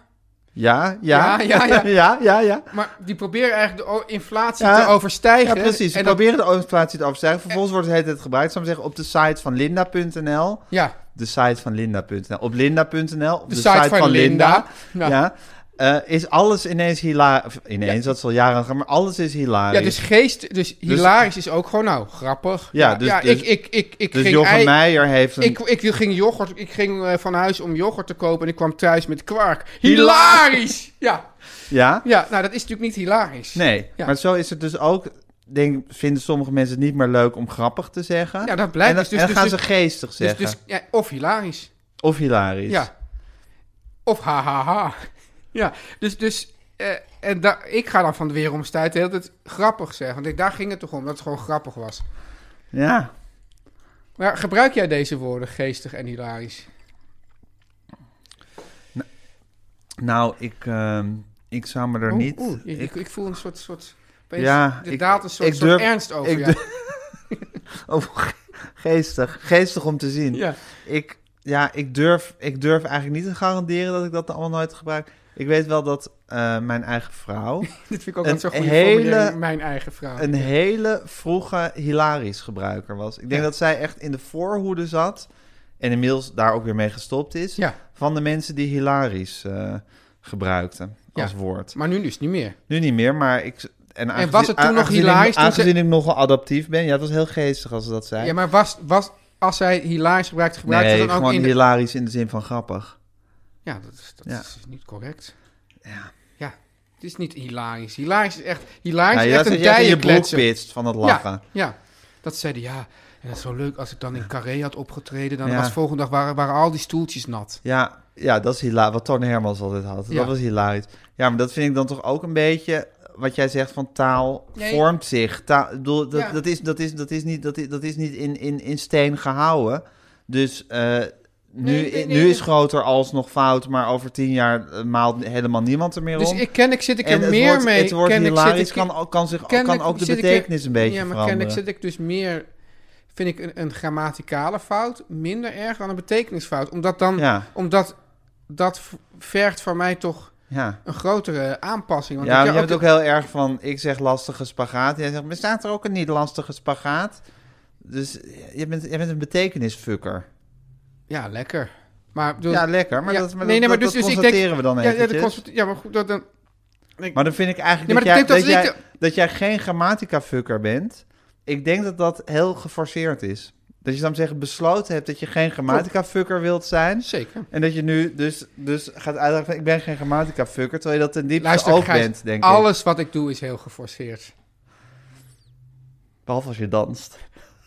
Speaker 2: Ja, ja,
Speaker 3: Ja, ja, ja.
Speaker 2: <laughs> ja, ja, ja.
Speaker 3: Maar die proberen eigenlijk de o- inflatie
Speaker 2: Ja,
Speaker 3: te overstijgen.
Speaker 2: Ja, precies. Ze
Speaker 3: En dat- Eh.
Speaker 2: proberen de inflatie te overstijgen. Vervolgens wordt het hele tijd gebruikt. Zou ik maar zeggen, op de site van linda.nl.
Speaker 3: ja,
Speaker 2: De site van linda.nl. Op linda.nl. Op
Speaker 3: de, site, van, Linda.
Speaker 2: Ja.
Speaker 3: Nou, ja.
Speaker 2: Eh, is alles ineens hilarisch. Ineens, dat is al jaren gaan, maar alles is hilarisch.
Speaker 3: dus geest, dus hilarisch is ook gewoon, nou, grappig.
Speaker 2: Ja, dus-
Speaker 3: ja
Speaker 2: dus-
Speaker 3: ik, ik, ik, ik
Speaker 2: Dus
Speaker 3: ging
Speaker 2: Jochem
Speaker 3: ei-
Speaker 2: Meijer heeft een...
Speaker 3: Ik, ik ging yoghurt, ik ging eh, van huis om yoghurt te kopen en ik kwam thuis met kwark. Hilarisch! Ja,
Speaker 2: Ja?
Speaker 3: ja, nou dat is natuurlijk niet hilarisch.
Speaker 2: Nee.
Speaker 3: Ja.
Speaker 2: Maar zo is het dus ook... Denk, vinden sommige mensen het niet meer leuk om grappig te zeggen.
Speaker 3: Ja, dat blijkt
Speaker 2: En dan,
Speaker 3: dus- dus-
Speaker 2: en dan
Speaker 3: dus-
Speaker 2: gaan ze geestig
Speaker 3: Dus,
Speaker 2: zeggen.
Speaker 3: dus ja, of hilarisch.
Speaker 2: Of hilarisch.
Speaker 3: Ja. Of hahaha. Ja, dus, dus eh, en daar ik ga dan van de weeromstuit de hele tijd grappig zeggen. Want ik- daar ging het toch om, dat het gewoon grappig was.
Speaker 2: Ja.
Speaker 3: Maar gebruik jij deze woorden, geestig en hilarisch?
Speaker 2: Nou, ik, ehm, ik zou me er
Speaker 3: Oeh,
Speaker 2: niet...
Speaker 3: Oh, oeh,
Speaker 2: ik-
Speaker 3: ik, ik, ik voel een soort, soort opeens-
Speaker 2: Ja,
Speaker 3: er
Speaker 2: ik-
Speaker 3: daalt een soort,
Speaker 2: ik
Speaker 3: soort
Speaker 2: durf-
Speaker 3: ernst over
Speaker 2: ik
Speaker 3: jou.
Speaker 2: <laughs> Oh, geestig. Geestig om te zien.
Speaker 3: <laughs> Ja.
Speaker 2: Ik, ja, ik durf, ik durf eigenlijk niet te garanderen dat ik dat allemaal nooit gebruik. Ik weet wel dat eh, mijn eigen
Speaker 3: <laughs>
Speaker 2: vrouw...
Speaker 3: Dit vind ik ook
Speaker 2: Een
Speaker 3: een, zo'n goede
Speaker 2: hele-
Speaker 3: formulering, mijn eigen vrouw.
Speaker 2: een hele vroege hilarisch gebruiker was. Ik denk
Speaker 3: Ja.
Speaker 2: dat zij echt in de voorhoede zat en inmiddels daar ook weer mee gestopt is
Speaker 3: Ja.
Speaker 2: van de mensen die hilarisch eh, gebruikten
Speaker 3: Ja.
Speaker 2: als woord.
Speaker 3: Maar nu dus niet meer.
Speaker 2: Nu niet meer, maar ik en, aangezien-
Speaker 3: was het toen nog
Speaker 2: aangezien ik-
Speaker 3: hilarisch toen ze-
Speaker 2: Aangezien ik nogal adaptief ben, ja, het was heel geestig als ze dat zei.
Speaker 3: Ja, maar was, was als zij hilarisch gebruikte, gebruikte
Speaker 2: nee,
Speaker 3: ze dan ook
Speaker 2: gewoon
Speaker 3: in de...
Speaker 2: hilarisch in de zin van grappig.
Speaker 3: Ja, dat, is, dat
Speaker 2: Ja.
Speaker 3: is niet correct.
Speaker 2: Ja.
Speaker 3: Ja, het is niet hilarisch. Hilarisch is echt, hilarisch
Speaker 2: Nou,
Speaker 3: is
Speaker 2: je
Speaker 3: echt
Speaker 2: dat
Speaker 3: een
Speaker 2: je in je
Speaker 3: dijen
Speaker 2: broek
Speaker 3: kletsen.
Speaker 2: pitst van het lachen.
Speaker 3: Ja, ja, dat zeiden ja. En dat is zo leuk als ik dan in Carré had opgetreden. Dan
Speaker 2: Ja.
Speaker 3: was volgende dag waren, waren al die stoeltjes nat.
Speaker 2: Ja, ja dat is hilarisch. Wat Toon Hermans altijd had.
Speaker 3: Ja.
Speaker 2: Dat was hilarisch. Ja, maar dat vind ik dan toch ook een beetje... Wat jij zegt van taal
Speaker 3: Nee.
Speaker 2: vormt zich. Taal, ik bedoel, dat,
Speaker 3: Ja.
Speaker 2: dat, is, dat, is, dat is niet, dat is, dat is niet in, in, in steen gehouden. Dus eh, nu,
Speaker 3: Nee, nee, nee,
Speaker 2: nu
Speaker 3: nee.
Speaker 2: is groter alsnog fout, maar over tien jaar eh, maalt helemaal niemand er meer
Speaker 3: Dus
Speaker 2: om.
Speaker 3: ik ken ik zit ik er
Speaker 2: en het
Speaker 3: meer
Speaker 2: woord,
Speaker 3: mee.
Speaker 2: Het woord
Speaker 3: ken ik, zit
Speaker 2: hilarisch
Speaker 3: ik-
Speaker 2: kan, ook- kan, zich,
Speaker 3: Kennelijk
Speaker 2: kan ook de
Speaker 3: zit ik
Speaker 2: betekenis
Speaker 3: er-
Speaker 2: een beetje
Speaker 3: Ja, maar
Speaker 2: veranderen.
Speaker 3: kennelijk zit ik dus meer... Vind ik een, een grammaticale fout minder erg dan een betekenisfout. Omdat dan...
Speaker 2: Ja,
Speaker 3: Omdat dat v- vergt van mij toch
Speaker 2: ja.
Speaker 3: een grotere aanpassing. Want
Speaker 2: Ja,
Speaker 3: ik-
Speaker 2: je hebt ook heel erg van, ik zeg lastige spagaat. Jij zegt, bestaat er ook een niet lastige spagaat? Dus je bent, je bent een betekenisfucker.
Speaker 3: ja, lekker. Maar ik bedoel,
Speaker 2: Ja, lekker, maar
Speaker 3: ja,
Speaker 2: dat, maar
Speaker 3: nee, nee,
Speaker 2: dat,
Speaker 3: maar
Speaker 2: dat
Speaker 3: dus- dus ik
Speaker 2: constateren we dan
Speaker 3: ja, ja,
Speaker 2: eventjes.
Speaker 3: dat kost, ja, maar goed, dat dan... ik-
Speaker 2: Maar dan vind ik eigenlijk
Speaker 3: Nee, maar
Speaker 2: dat, jij, dat,
Speaker 3: dat betekent
Speaker 2: jij,
Speaker 3: dat
Speaker 2: dat jij geen grammatica-fucker bent. Ik denk dat dat heel geforceerd is. Dat je dan zeggen besloten hebt dat je geen grammatica-fucker wilt zijn.
Speaker 3: Zeker.
Speaker 2: En dat je nu dus, dus gaat uitleggen van, ik ben geen grammatica-fucker. Terwijl je dat ten diepste
Speaker 3: Luister,
Speaker 2: ook
Speaker 3: Gijs,
Speaker 2: bent, denk ik.
Speaker 3: alles wat ik doe is heel geforceerd.
Speaker 2: Behalve als je danst. <laughs>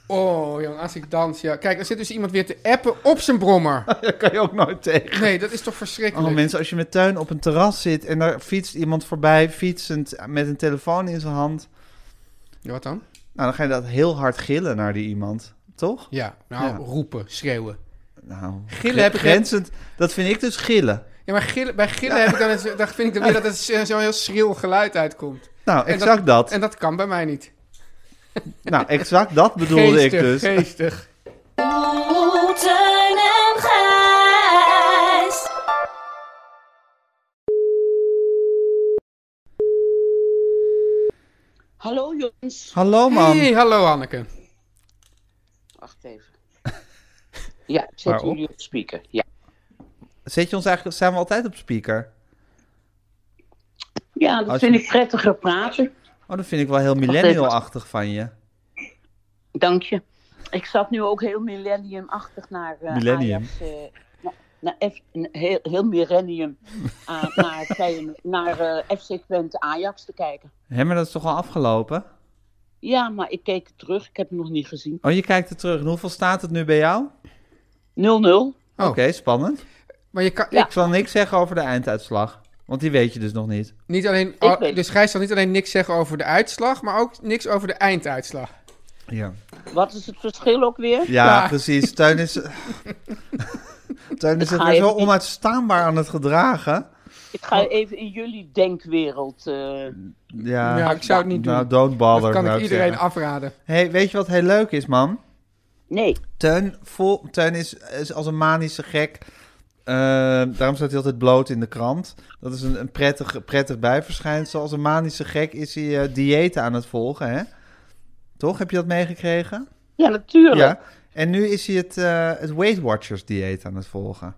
Speaker 3: Oh, jong, als ik dans, ja. Kijk, er zit dus iemand weer te appen op zijn
Speaker 2: <laughs>
Speaker 3: brommer.
Speaker 2: Daar kan je ook nooit tegen.
Speaker 3: Nee, dat is toch verschrikkelijk.
Speaker 2: Oh mensen, als je met tuin op een terras zit en daar fietst iemand voorbij, fietsend met een telefoon in zijn hand,
Speaker 3: Ja, wat dan?
Speaker 2: nou dan ga je dat heel hard gillen naar die iemand, toch?
Speaker 3: Ja, nou,
Speaker 2: Ja.
Speaker 3: roepen, schreeuwen.
Speaker 2: Nou,
Speaker 3: Gillen heb ik-
Speaker 2: grenzend, dat vind ik dus gillen.
Speaker 3: Ja, maar gillen, bij gillen heb ik dan,
Speaker 2: <laughs>
Speaker 3: eens- dan vind ik dan weer dat het zo- zo'n heel schril geluid uitkomt.
Speaker 2: Nou,
Speaker 3: En
Speaker 2: exact dat.
Speaker 3: En dat kan bij mij niet. <laughs>
Speaker 2: Nou, exact dat bedoelde ik
Speaker 3: geestig,
Speaker 2: dus.
Speaker 3: geestig.
Speaker 7: Hallo jongens.
Speaker 2: Hallo man.
Speaker 3: Hey, hallo Hanneke.
Speaker 7: Wacht even. <laughs> Ja, ik zet
Speaker 2: Waarop?
Speaker 7: jullie op speaker. Ja.
Speaker 2: Zet je ons eigenlijk, zijn we altijd op speaker?
Speaker 7: ja, dat
Speaker 2: Als-
Speaker 7: vind ik prettiger praten.
Speaker 2: Oh, dat vind ik wel heel millennial-achtig van je.
Speaker 7: Dank je. Ik zat nu ook heel millenniumachtig naar eh
Speaker 2: Millennium.
Speaker 7: Ajax, eh, na- naar F- n- heel, heel
Speaker 2: <laughs>
Speaker 7: millennium ah, naar, Feyenoord- naar eh, FC Twente Ajax te kijken.
Speaker 2: Hé, maar dat is toch al afgelopen?
Speaker 7: Ja, maar ik keek terug. Ik heb het nog niet gezien. 0-0.
Speaker 2: Oh, je kijkt er terug. En hoeveel staat het nu bij jou?
Speaker 3: Oh.
Speaker 2: Oké, spannend.
Speaker 3: Maar je kan,
Speaker 7: Ja.
Speaker 2: Ik zal niks zeggen over de einduitslag. Want die weet je dus nog niet.
Speaker 3: niet alleen,
Speaker 7: Ik weet-
Speaker 3: dus Gijs zal niet alleen niks zeggen over de uitslag, maar ook niks over de einduitslag.
Speaker 2: Ja,
Speaker 7: Wat is het verschil ook weer?
Speaker 2: ja,
Speaker 3: Ja.
Speaker 2: precies. Teun
Speaker 3: <laughs>
Speaker 2: is... Teun is zich
Speaker 7: ga
Speaker 2: weer zo
Speaker 7: even niet-
Speaker 2: onuitstaanbaar aan het gedragen.
Speaker 7: Ik ga even in jullie denkwereld. eh,
Speaker 2: Mm. Ja,
Speaker 3: Ja, ik zou het niet
Speaker 2: Nou,
Speaker 3: doen.
Speaker 2: don't bother.
Speaker 3: dat kan
Speaker 2: zou
Speaker 3: ik
Speaker 2: ik
Speaker 3: iedereen
Speaker 2: zeggen.
Speaker 3: afraden.
Speaker 2: Hey, weet je wat heel leuk is, man?
Speaker 7: nee.
Speaker 2: Teun, vol, Teun is, is als een manische gek. Eh, daarom staat hij altijd bloot in de krant. Dat is een, een prettig, prettig bijverschijnsel. Als een manische gek is hij eh diëten aan het volgen, hè? Toch? Heb je dat meegekregen?
Speaker 7: Ja, natuurlijk.
Speaker 2: Ja. En nu is hij het, eh, het Weight Watchers dieet aan het volgen.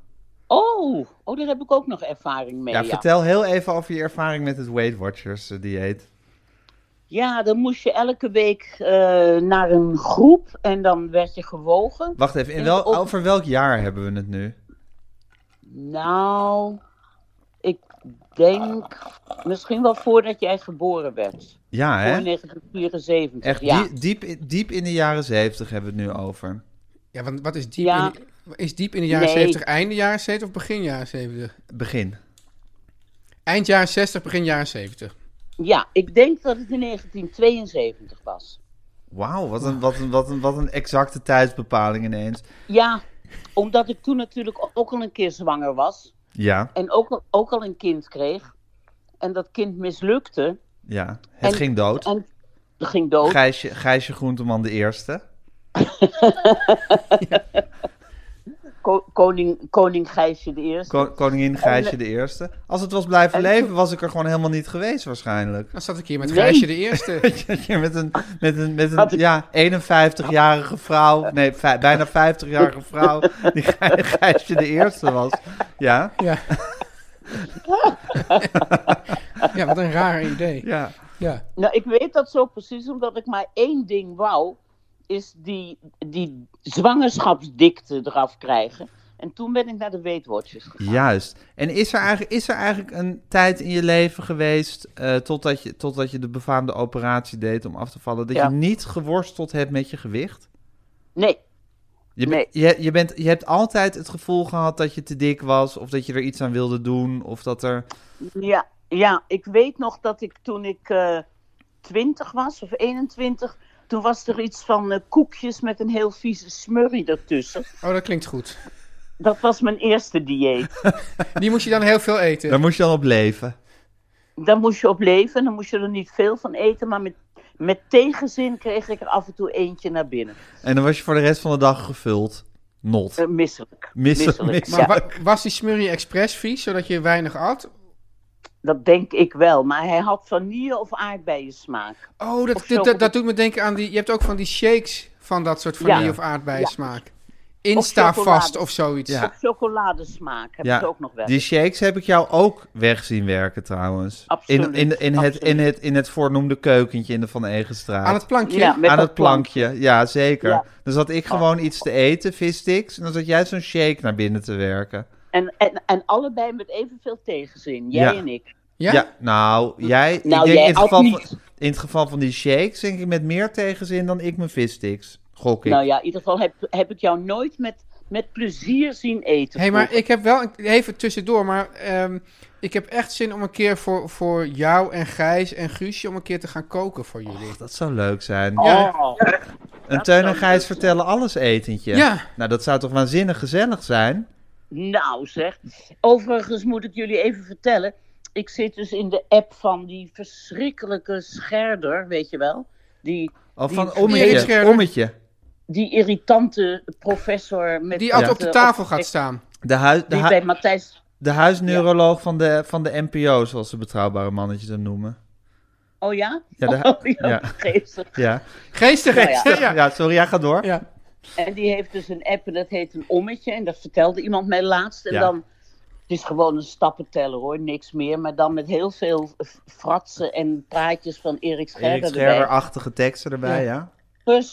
Speaker 7: Oh, oh, daar heb ik ook nog ervaring mee.
Speaker 2: ja,
Speaker 7: Ja, ja.
Speaker 2: vertel heel even over je ervaring met het Weight Watchers eh, dieet.
Speaker 7: dan moest je elke week eh, naar een groep en dan werd je gewogen.
Speaker 2: Wacht even, in
Speaker 7: Ja,
Speaker 2: wel,
Speaker 7: op-
Speaker 2: over welk jaar hebben we het nu?
Speaker 7: Nou, ik denk misschien wel voordat jij geboren werd.
Speaker 2: Ja, hè?
Speaker 7: Voor 1974.
Speaker 2: Echt
Speaker 7: ja.
Speaker 2: die- diep, in- diep in de jaren zeventig hebben we het nu over.
Speaker 3: Ja, want wat is diep,
Speaker 7: Ja.
Speaker 3: in, is diep in de jaren
Speaker 7: Nee.
Speaker 3: 70? Einde jaren 70 of begin jaren 70?
Speaker 2: Begin.
Speaker 3: Eind jaren 60, begin jaren 70.
Speaker 7: ja, ik denk dat het in 1972 was.
Speaker 2: Wauw, wat een, wat, een, wat, een, wat een exacte tijdsbepaling ineens.
Speaker 7: Ja, omdat ik toen natuurlijk ook al een keer zwanger was.
Speaker 2: Ja,
Speaker 7: En ook, al- ook al een kind kreeg. En dat kind mislukte.
Speaker 2: ja. Het
Speaker 7: En-
Speaker 2: ging dood.
Speaker 7: En ging dood.
Speaker 2: Gijsje, Gijsje Groenteman de eerste.
Speaker 7: Ko- koning, koning Gijsje de Eerste.
Speaker 2: Ko- koningin Gijsje de eerste. Als het was blijven
Speaker 7: En-
Speaker 2: leven, was ik er gewoon helemaal niet geweest waarschijnlijk.
Speaker 3: Dan zat ik hier met
Speaker 7: Nee.
Speaker 3: Gijsje de
Speaker 2: <laughs>
Speaker 3: Eerste.
Speaker 2: Dat je met een, met een, met
Speaker 7: Had
Speaker 2: een
Speaker 7: ik-
Speaker 2: ja, 51-jarige vrouw, nee, vij- bijna 50-jarige
Speaker 7: <laughs>
Speaker 2: vrouw, die Gij- Gijsje de eerste was. Ja, <laughs>
Speaker 3: ja. ja, wat een raar idee.
Speaker 2: ja.
Speaker 3: Ja.
Speaker 7: Nou, ik weet dat zo precies omdat ik maar één ding wou. Is die, die zwangerschapsdikte eraf krijgen. En toen ben ik naar de weetwoordjes gegaan.
Speaker 2: Juist. En is er eigenlijk, is er eigenlijk een tijd in je leven geweest, eh, totdat, je, totdat je de befaamde operatie deed om af te vallen, dat
Speaker 7: Ja.
Speaker 2: je niet geworsteld hebt met je gewicht?
Speaker 7: Nee,
Speaker 2: Je,
Speaker 7: Nee.
Speaker 2: je, je, bent, je hebt altijd het gevoel gehad dat je te dik was, of dat je er iets aan wilde doen, of dat er...
Speaker 7: ja, ja, ik weet nog dat ik toen ik eh 20 was of 21. Toen was er iets van eh, koekjes met een heel vieze smurrie ertussen.
Speaker 3: Oh, dat klinkt goed.
Speaker 7: Dat was mijn eerste dieet.
Speaker 3: Die moest je dan heel veel eten.
Speaker 2: Daar moest je dan op leven.
Speaker 7: Daar moest je op leven. Dan moest je er niet veel van eten. Maar met, met tegenzin kreeg ik er af en toe eentje naar binnen.
Speaker 2: En dan was je voor de rest van de dag gevuld. Not.
Speaker 7: Eh, misselijk.
Speaker 2: Misselijk,
Speaker 3: Maar
Speaker 7: ja.
Speaker 3: wa- was die smurrie express vies, zodat je weinig at?
Speaker 7: Dat denk ik wel, maar hij had vanille of aardbeien smaak.
Speaker 3: Oh, dat,
Speaker 7: Of
Speaker 3: dat,
Speaker 7: zo-
Speaker 3: dat, dat doet me denken aan die... Je hebt ook van die shakes van dat soort vanille
Speaker 7: Ja.
Speaker 3: of aardbeiensmaak. Insta-vast
Speaker 7: chocolade.
Speaker 3: of zoiets.
Speaker 2: Ja.
Speaker 7: Of chocoladesmaak heb ik ook nog wel.
Speaker 2: die shakes heb ik jou ook weg zien werken trouwens. In,
Speaker 7: Absoluut,
Speaker 2: in, in, het, in,
Speaker 7: absoluut.
Speaker 2: het, in het voornoemde keukentje in de Van Egenstraat.
Speaker 3: Aan het plankje.
Speaker 7: Ja, met
Speaker 2: aan
Speaker 7: dat
Speaker 2: het plankje, ja zeker.
Speaker 7: Ja. Oh.
Speaker 2: Dan zat ik gewoon iets te eten, vissticks, en dan zat jij zo'n shake naar binnen te werken.
Speaker 7: En, en, en allebei met evenveel tegenzin, jij
Speaker 2: Ja.
Speaker 7: en ik.
Speaker 3: Ja?
Speaker 2: nou, jij,
Speaker 7: Nou,
Speaker 2: ik denk
Speaker 7: jij
Speaker 2: in, het
Speaker 7: ook
Speaker 2: geval van,
Speaker 7: niet.
Speaker 2: in het geval van die shakes, denk ik met meer tegenzin dan ik mijn vissticks. Gok ik.
Speaker 7: Nou ja, in ieder geval heb, heb ik jou nooit met, met plezier zien eten.
Speaker 3: Hé, hey, maar
Speaker 7: vroeger.
Speaker 3: ik heb wel een- even tussendoor, maar ehm, ik heb echt zin om een keer voor, voor jou en Gijs en Guusje om een keer te gaan koken voor jullie.
Speaker 2: Dat zou leuk zijn.
Speaker 3: Ja.
Speaker 7: Oh,
Speaker 2: een Teun en
Speaker 7: zou
Speaker 2: Gijs
Speaker 7: leuk
Speaker 2: vertellen alles etentje.
Speaker 3: Ja.
Speaker 2: Nou, dat zou toch waanzinnig gezellig zijn?
Speaker 7: nou zeg. Overigens moet ik jullie even vertellen. Ik zit dus in de app van die verschrikkelijke scherder, weet je wel. Die,
Speaker 2: Of van
Speaker 7: Die-
Speaker 3: Erik
Speaker 2: ommetje,
Speaker 3: Scherder.
Speaker 2: ommetje.
Speaker 7: die irritante professor met...
Speaker 3: Die altijd
Speaker 7: dat,
Speaker 3: op de
Speaker 7: eh,
Speaker 3: tafel gaat staan.
Speaker 2: De, hui- de,
Speaker 7: Die
Speaker 2: hu-
Speaker 7: bij Matthijs
Speaker 2: de huisneuroloog van, de, van de NPO, zoals de betrouwbare mannetjes hem noemen.
Speaker 7: Oh ja?
Speaker 2: Ja, daar-
Speaker 7: Oh, ja,
Speaker 2: ja.
Speaker 7: geestig.
Speaker 2: Ja.
Speaker 3: Geestig,
Speaker 7: Nou ja.
Speaker 3: geestig, ja.
Speaker 2: ja, sorry, ja, ga door.
Speaker 3: Ja.
Speaker 7: En die heeft dus een app en dat heet een ommetje. En dat vertelde iemand mij laatst. En
Speaker 2: Ja.
Speaker 7: dan, het is gewoon een stappenteller hoor, niks meer. Maar dan met heel veel f- fratsen en praatjes van Erik
Speaker 2: Erik ah.
Speaker 7: Scherder erbij.
Speaker 2: Scherder-achtige teksten erbij, ja.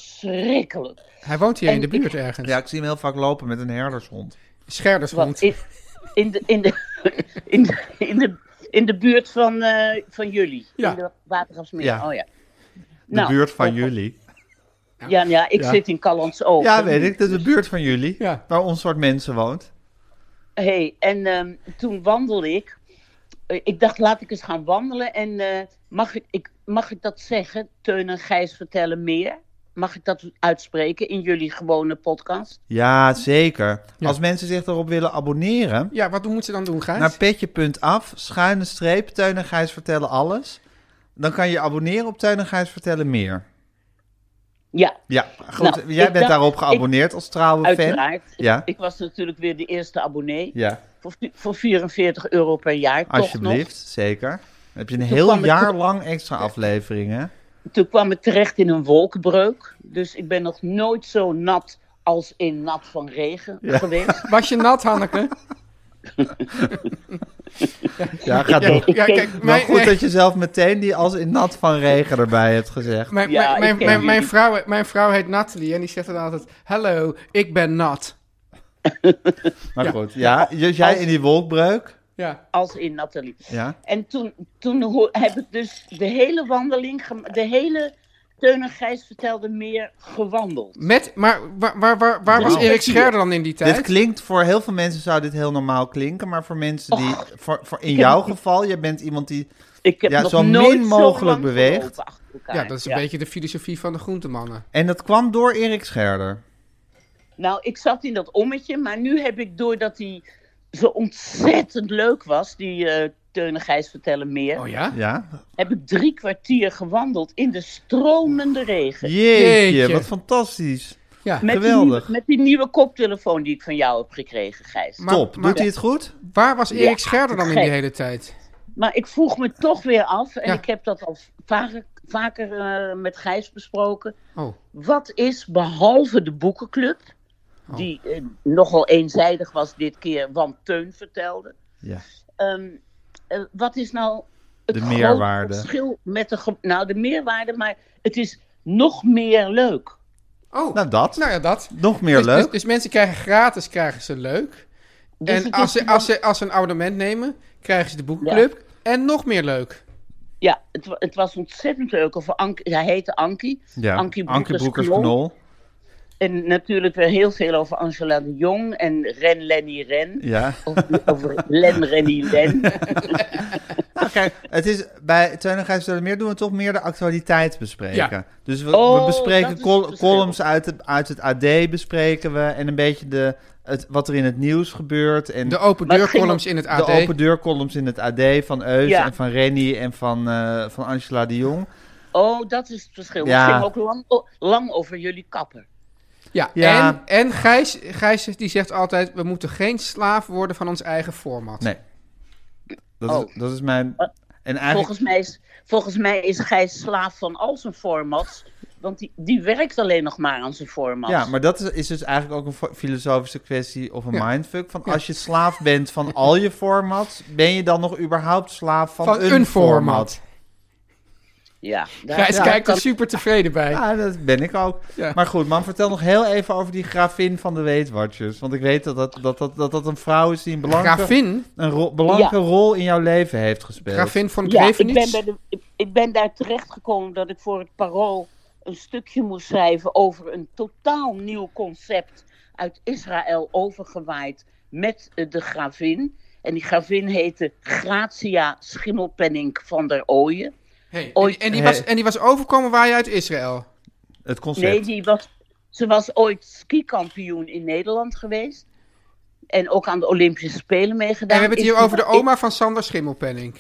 Speaker 7: Verschrikkelijk.
Speaker 3: Hij woont hier in de
Speaker 7: En ik-
Speaker 3: buurt ergens.
Speaker 2: Ja, ik zie hem heel vaak lopen met een herdershond.
Speaker 3: Scherdershond.
Speaker 7: Wat, in, in, de, in, de, in, de, in, de, in de buurt van, eh, van jullie.
Speaker 3: Ja.
Speaker 7: In de Watergraafsmeer.
Speaker 2: Ja.
Speaker 7: Oh ja.
Speaker 2: De buurt van jullie.
Speaker 7: Ja, ja ik
Speaker 3: Ja.
Speaker 7: zit in Callans Oog.
Speaker 2: Ja, weet ik. Dat is de buurt van jullie,
Speaker 3: Ja.
Speaker 2: waar ons soort mensen woont.
Speaker 7: hey, en ehm, toen wandelde ik. Eh, Ik dacht, laat ik eens gaan wandelen. En eh, mag, ik, ik, mag ik dat zeggen? Teun en Gijs vertellen meer. Mag ik dat uitspreken in jullie gewone podcast?
Speaker 2: Ja, zeker.
Speaker 3: Ja.
Speaker 2: Als mensen zich erop willen abonneren,
Speaker 3: Ja, wat moet ze dan doen, Gijs?
Speaker 2: naar petje.af, schuine streep, Teun en Gijs vertellen alles. Dan kan je je abonneren op Teun en Gijs vertellen meer.
Speaker 7: Ja,
Speaker 2: Ja, goed.
Speaker 7: Nou, ik
Speaker 2: Jij bent
Speaker 7: dacht-
Speaker 2: daarop geabonneerd als trouwe fan.
Speaker 7: uiteraard.
Speaker 2: Ja.
Speaker 7: Ik was natuurlijk weer de eerste abonnee.
Speaker 2: Ja,
Speaker 7: Voor, voor 44 euro per jaar. Toch nog.
Speaker 2: alsjeblieft, zeker. Dan heb je een
Speaker 7: Toen
Speaker 2: heel
Speaker 7: kwam ik
Speaker 2: jaar
Speaker 7: op-
Speaker 2: lang extra afleveringen.
Speaker 7: Toen kwam ik terecht in een wolkenbreuk. Dus ik ben nog nooit zo nat als in nat van regen geweest.
Speaker 3: Was je nat, Hanneke?
Speaker 2: Ja, gaat
Speaker 3: Ja,
Speaker 2: door.
Speaker 3: ja, kijk,
Speaker 7: nou,
Speaker 2: Maar
Speaker 3: mijn,
Speaker 2: goed
Speaker 3: mijn,
Speaker 2: dat je zelf meteen die als in nat van regen erbij hebt gezegd.
Speaker 3: mijn,
Speaker 7: Ja,
Speaker 3: mijn,
Speaker 7: ik
Speaker 3: mijn,
Speaker 7: ken
Speaker 3: mijn,
Speaker 7: jullie.
Speaker 3: mijn vrouw, mijn vrouw heet Natalie en die zegt dan altijd... Hallo, ik ben nat.
Speaker 2: Maar goed, ja. Dus jij in die wolkbreuk.
Speaker 3: Ja.
Speaker 7: Als in Nathalie.
Speaker 2: Ja.
Speaker 7: En toen, toen ho- heb ik dus de hele wandeling, gema- de hele Teun en Gijs vertelde meer gewandeld.
Speaker 3: Met, maar waar, waar, waar, waar was
Speaker 2: Wauw.
Speaker 3: Erik Scherder dan in die tijd?
Speaker 2: Dit klinkt voor heel veel mensen zou dit heel normaal klinken, maar voor mensen die, voor, voor in
Speaker 7: heb-
Speaker 2: jouw geval, jij bent iemand die,
Speaker 7: Ik heb
Speaker 2: Ja,
Speaker 7: nog
Speaker 2: zo min
Speaker 7: nooit zo
Speaker 2: mogelijk
Speaker 7: lang
Speaker 2: beweegt.
Speaker 7: gelopen achter elkaar.
Speaker 3: ja, dat is een beetje de filosofie van de groentemannen.
Speaker 2: en dat kwam door Erik Scherder.
Speaker 7: Nou, ik zat in dat ommetje, maar nu heb ik doordat hij zo ontzettend leuk was, die eh Teun en Gijs vertellen meer,
Speaker 3: Oh ja?
Speaker 2: Ja.
Speaker 7: heb ik drie kwartier gewandeld in de stromende regen.
Speaker 2: Jeetje,
Speaker 3: Jeetje.
Speaker 2: wat fantastisch.
Speaker 3: Ja.
Speaker 7: Met Die,
Speaker 2: Geweldig.
Speaker 7: nieuwe- met die nieuwe koptelefoon die ik van jou heb gekregen, Gijs.
Speaker 3: Maar-
Speaker 2: Top.
Speaker 3: maar-
Speaker 2: Doet hij het goed?
Speaker 3: Waar was Erik
Speaker 7: Ja,
Speaker 3: Scherder dan in
Speaker 7: gek.
Speaker 3: die hele tijd?
Speaker 7: Maar ik vroeg me toch weer af, en
Speaker 3: Ja.
Speaker 7: ik heb dat al vaker, vaker eh, met Gijs besproken.
Speaker 3: Oh,
Speaker 7: Wat is behalve de boekenclub,
Speaker 2: Oh.
Speaker 7: die eh, nogal eenzijdig was dit keer, want Teun vertelde.
Speaker 2: Ja.
Speaker 7: ehm, eh, wat is nou het
Speaker 2: De
Speaker 7: grote
Speaker 2: meerwaarde.
Speaker 7: verschil met de. ge- Nou, de meerwaarde, maar het is nog meer leuk.
Speaker 3: oh.
Speaker 2: Nou, dat.
Speaker 3: nou ja, dat.
Speaker 2: Nog meer
Speaker 3: dus,
Speaker 2: leuk.
Speaker 3: Dus, dus mensen krijgen gratis, krijgen ze leuk.
Speaker 7: Dus
Speaker 3: en
Speaker 7: het
Speaker 3: als
Speaker 7: is
Speaker 3: ze,
Speaker 7: gewoon-
Speaker 3: als, ze, als ze een abonnement nemen, krijgen ze de boekenclub. En nog meer leuk.
Speaker 7: Ja, het, wa- het was ontzettend leuk. Over Ankie, hij heette Ankie.
Speaker 2: ja.
Speaker 7: Ankie
Speaker 2: Broekers-Knol.
Speaker 7: Broekers-Knol. En natuurlijk weer heel veel over Angela de Jong en Ren Lenny Ren.
Speaker 2: Ja.
Speaker 7: Of, of Len Renny Len.
Speaker 2: <laughs> Nou, kijk, het is bij Teun en Gijs Meer doen we toch meer de actualiteit bespreken.
Speaker 3: Ja.
Speaker 2: Dus we,
Speaker 7: Oh,
Speaker 2: we
Speaker 7: dat
Speaker 2: bespreken
Speaker 7: is
Speaker 2: col-
Speaker 7: het verschil.
Speaker 2: columns uit, de- uit het AD bespreken we en een beetje de, het, wat er in het nieuws gebeurt en
Speaker 3: De open
Speaker 7: Maar het ging
Speaker 3: deurcolumns in het AD.
Speaker 2: de open deur columns in het AD van Eus
Speaker 7: Ja.
Speaker 2: en van Rennie en van, eh, van Angela de Jong.
Speaker 7: Oh, dat is het verschil.
Speaker 2: Ja.
Speaker 7: Het ging ook lang, o- lang over jullie kapper.
Speaker 3: Ja,
Speaker 2: Ja.
Speaker 3: en, en Gijs, Gijs die zegt altijd, we moeten geen slaaf worden van ons eigen format.
Speaker 2: Nee. Dat, is,
Speaker 7: Oh.
Speaker 2: dat is mijn. En eigenlijk.
Speaker 7: Volgens mij, is, volgens mij is Gijs slaaf van al zijn formats. Want die, die werkt alleen nog maar aan zijn formats.
Speaker 2: Ja, maar dat is, is dus eigenlijk ook een fo- filosofische kwestie of een
Speaker 3: Ja.
Speaker 2: mindfuck. Van als je slaaf bent van al je formats, ben je dan nog überhaupt slaaf van,
Speaker 3: Van een, format.
Speaker 7: Ja, daar-
Speaker 3: Gijs
Speaker 7: daar
Speaker 3: kijkt
Speaker 7: kan-
Speaker 3: er super tevreden
Speaker 2: <laughs>
Speaker 3: bij.
Speaker 2: Ja, dat ben ik ook.
Speaker 3: Ja.
Speaker 2: Maar goed, man, vertel nog heel even over die gravin van de Weetwatchers. Want ik weet dat dat, dat, dat, dat, dat een vrouw is die een belangrijke,
Speaker 3: Gravin,
Speaker 2: een ro- belangrijke
Speaker 7: Ja.
Speaker 2: rol in jouw leven heeft gespeeld.
Speaker 3: Gravin van
Speaker 7: Ja, ik ben,
Speaker 3: Grevenitz.
Speaker 7: bij de- ik- ik ben daar terechtgekomen dat ik voor het parool een stukje moest schrijven over een totaal nieuw concept uit Israël overgewaaid met eh, de gravin. En die gravin heette Gratia Schimmelpenning van der Ooyen.
Speaker 3: Hey, en,
Speaker 7: Ooit-
Speaker 3: en die was,
Speaker 2: Hey.
Speaker 3: en die was overkomen waar je uit Israël.
Speaker 2: Het concept.
Speaker 7: Nee, die was, ze was ooit skikampioen in Nederland geweest. En ook aan de Olympische Spelen meegedaan.
Speaker 3: En we hebben het
Speaker 7: Is
Speaker 3: hier
Speaker 7: toen-
Speaker 3: over de oma van Sander Schimmelpenning.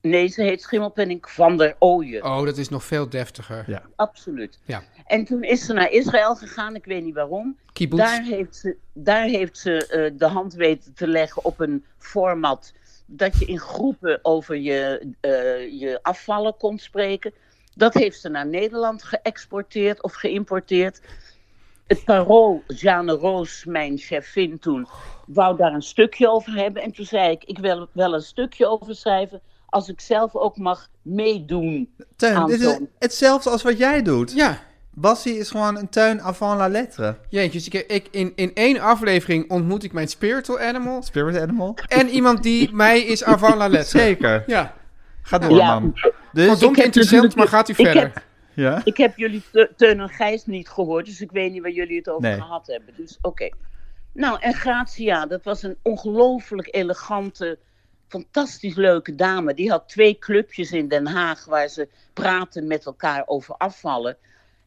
Speaker 7: nee, ze heet Schimmelpenning van der Ooyen.
Speaker 3: Oh, dat is nog veel deftiger.
Speaker 2: Ja.
Speaker 7: Absoluut.
Speaker 3: Ja.
Speaker 7: En toen is ze naar Israël gegaan, ik weet niet waarom.
Speaker 3: Kibbutz.
Speaker 7: Daar heeft ze, daar heeft ze eh, de hand weten te leggen op een format dat je in groepen over je, eh, je afvallen kon spreken. Dat heeft ze naar Nederland geëxporteerd of geïmporteerd. Het parool, Jeanne Roos, mijn chefin toen, wou daar een stukje over hebben. En toen zei ik, ik wil wel een stukje over schrijven als ik zelf ook mag meedoen.
Speaker 2: Teun, dit is
Speaker 7: Anton.
Speaker 2: hetzelfde als wat jij doet.
Speaker 3: Ja,
Speaker 2: Bassie is gewoon een tuin avant la lettre.
Speaker 3: jeetjes. Ik, ik, in, in één aflevering ontmoet ik mijn spiritual animal.
Speaker 2: Spirit animal.
Speaker 3: En iemand
Speaker 7: <laughs>
Speaker 3: die mij is avant la lettre.
Speaker 2: Zeker.
Speaker 3: Ja,
Speaker 2: Ga door,
Speaker 7: Ja.
Speaker 2: man. Dus,
Speaker 3: verdomd
Speaker 7: Dus heb
Speaker 3: interessant,
Speaker 7: natuurlijk-
Speaker 3: maar gaat u
Speaker 7: ik
Speaker 3: verder.
Speaker 7: heb-
Speaker 2: ja?
Speaker 7: Ik heb jullie Te- Teun en Gijs niet gehoord, dus ik weet niet waar jullie het over
Speaker 2: Nee.
Speaker 7: gehad hebben. Dus oké. Nou, en Gratia, dat was een ongelooflijk elegante, fantastisch leuke dame. Die had twee clubjes in Den Haag waar ze praten met elkaar over afvallen.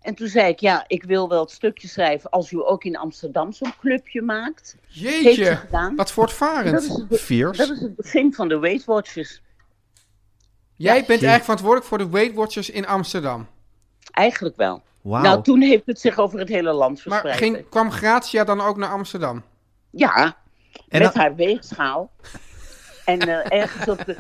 Speaker 7: En toen zei ik, ja, ik wil wel het stukje schrijven als u ook in Amsterdam zo'n clubje maakt. Heeft ze
Speaker 3: Jeetje,
Speaker 7: gedaan.
Speaker 3: wat
Speaker 7: Dat is
Speaker 3: voortvarend.
Speaker 7: het, be- dat
Speaker 2: Fierce.
Speaker 7: is het begin van de Weight Watchers.
Speaker 3: Jij bent eigenlijk verantwoordelijk voor de Weight Watchers in Amsterdam.
Speaker 7: Eigenlijk wel.
Speaker 2: Wauw.
Speaker 7: Nou, toen heeft het zich over het hele land
Speaker 3: Maar
Speaker 7: verspreid.
Speaker 3: ging, kwam Gratia dan ook naar Amsterdam?
Speaker 7: Ja,
Speaker 2: En
Speaker 7: met
Speaker 2: dan-
Speaker 7: haar weegschaal. En eh, ergens, op de,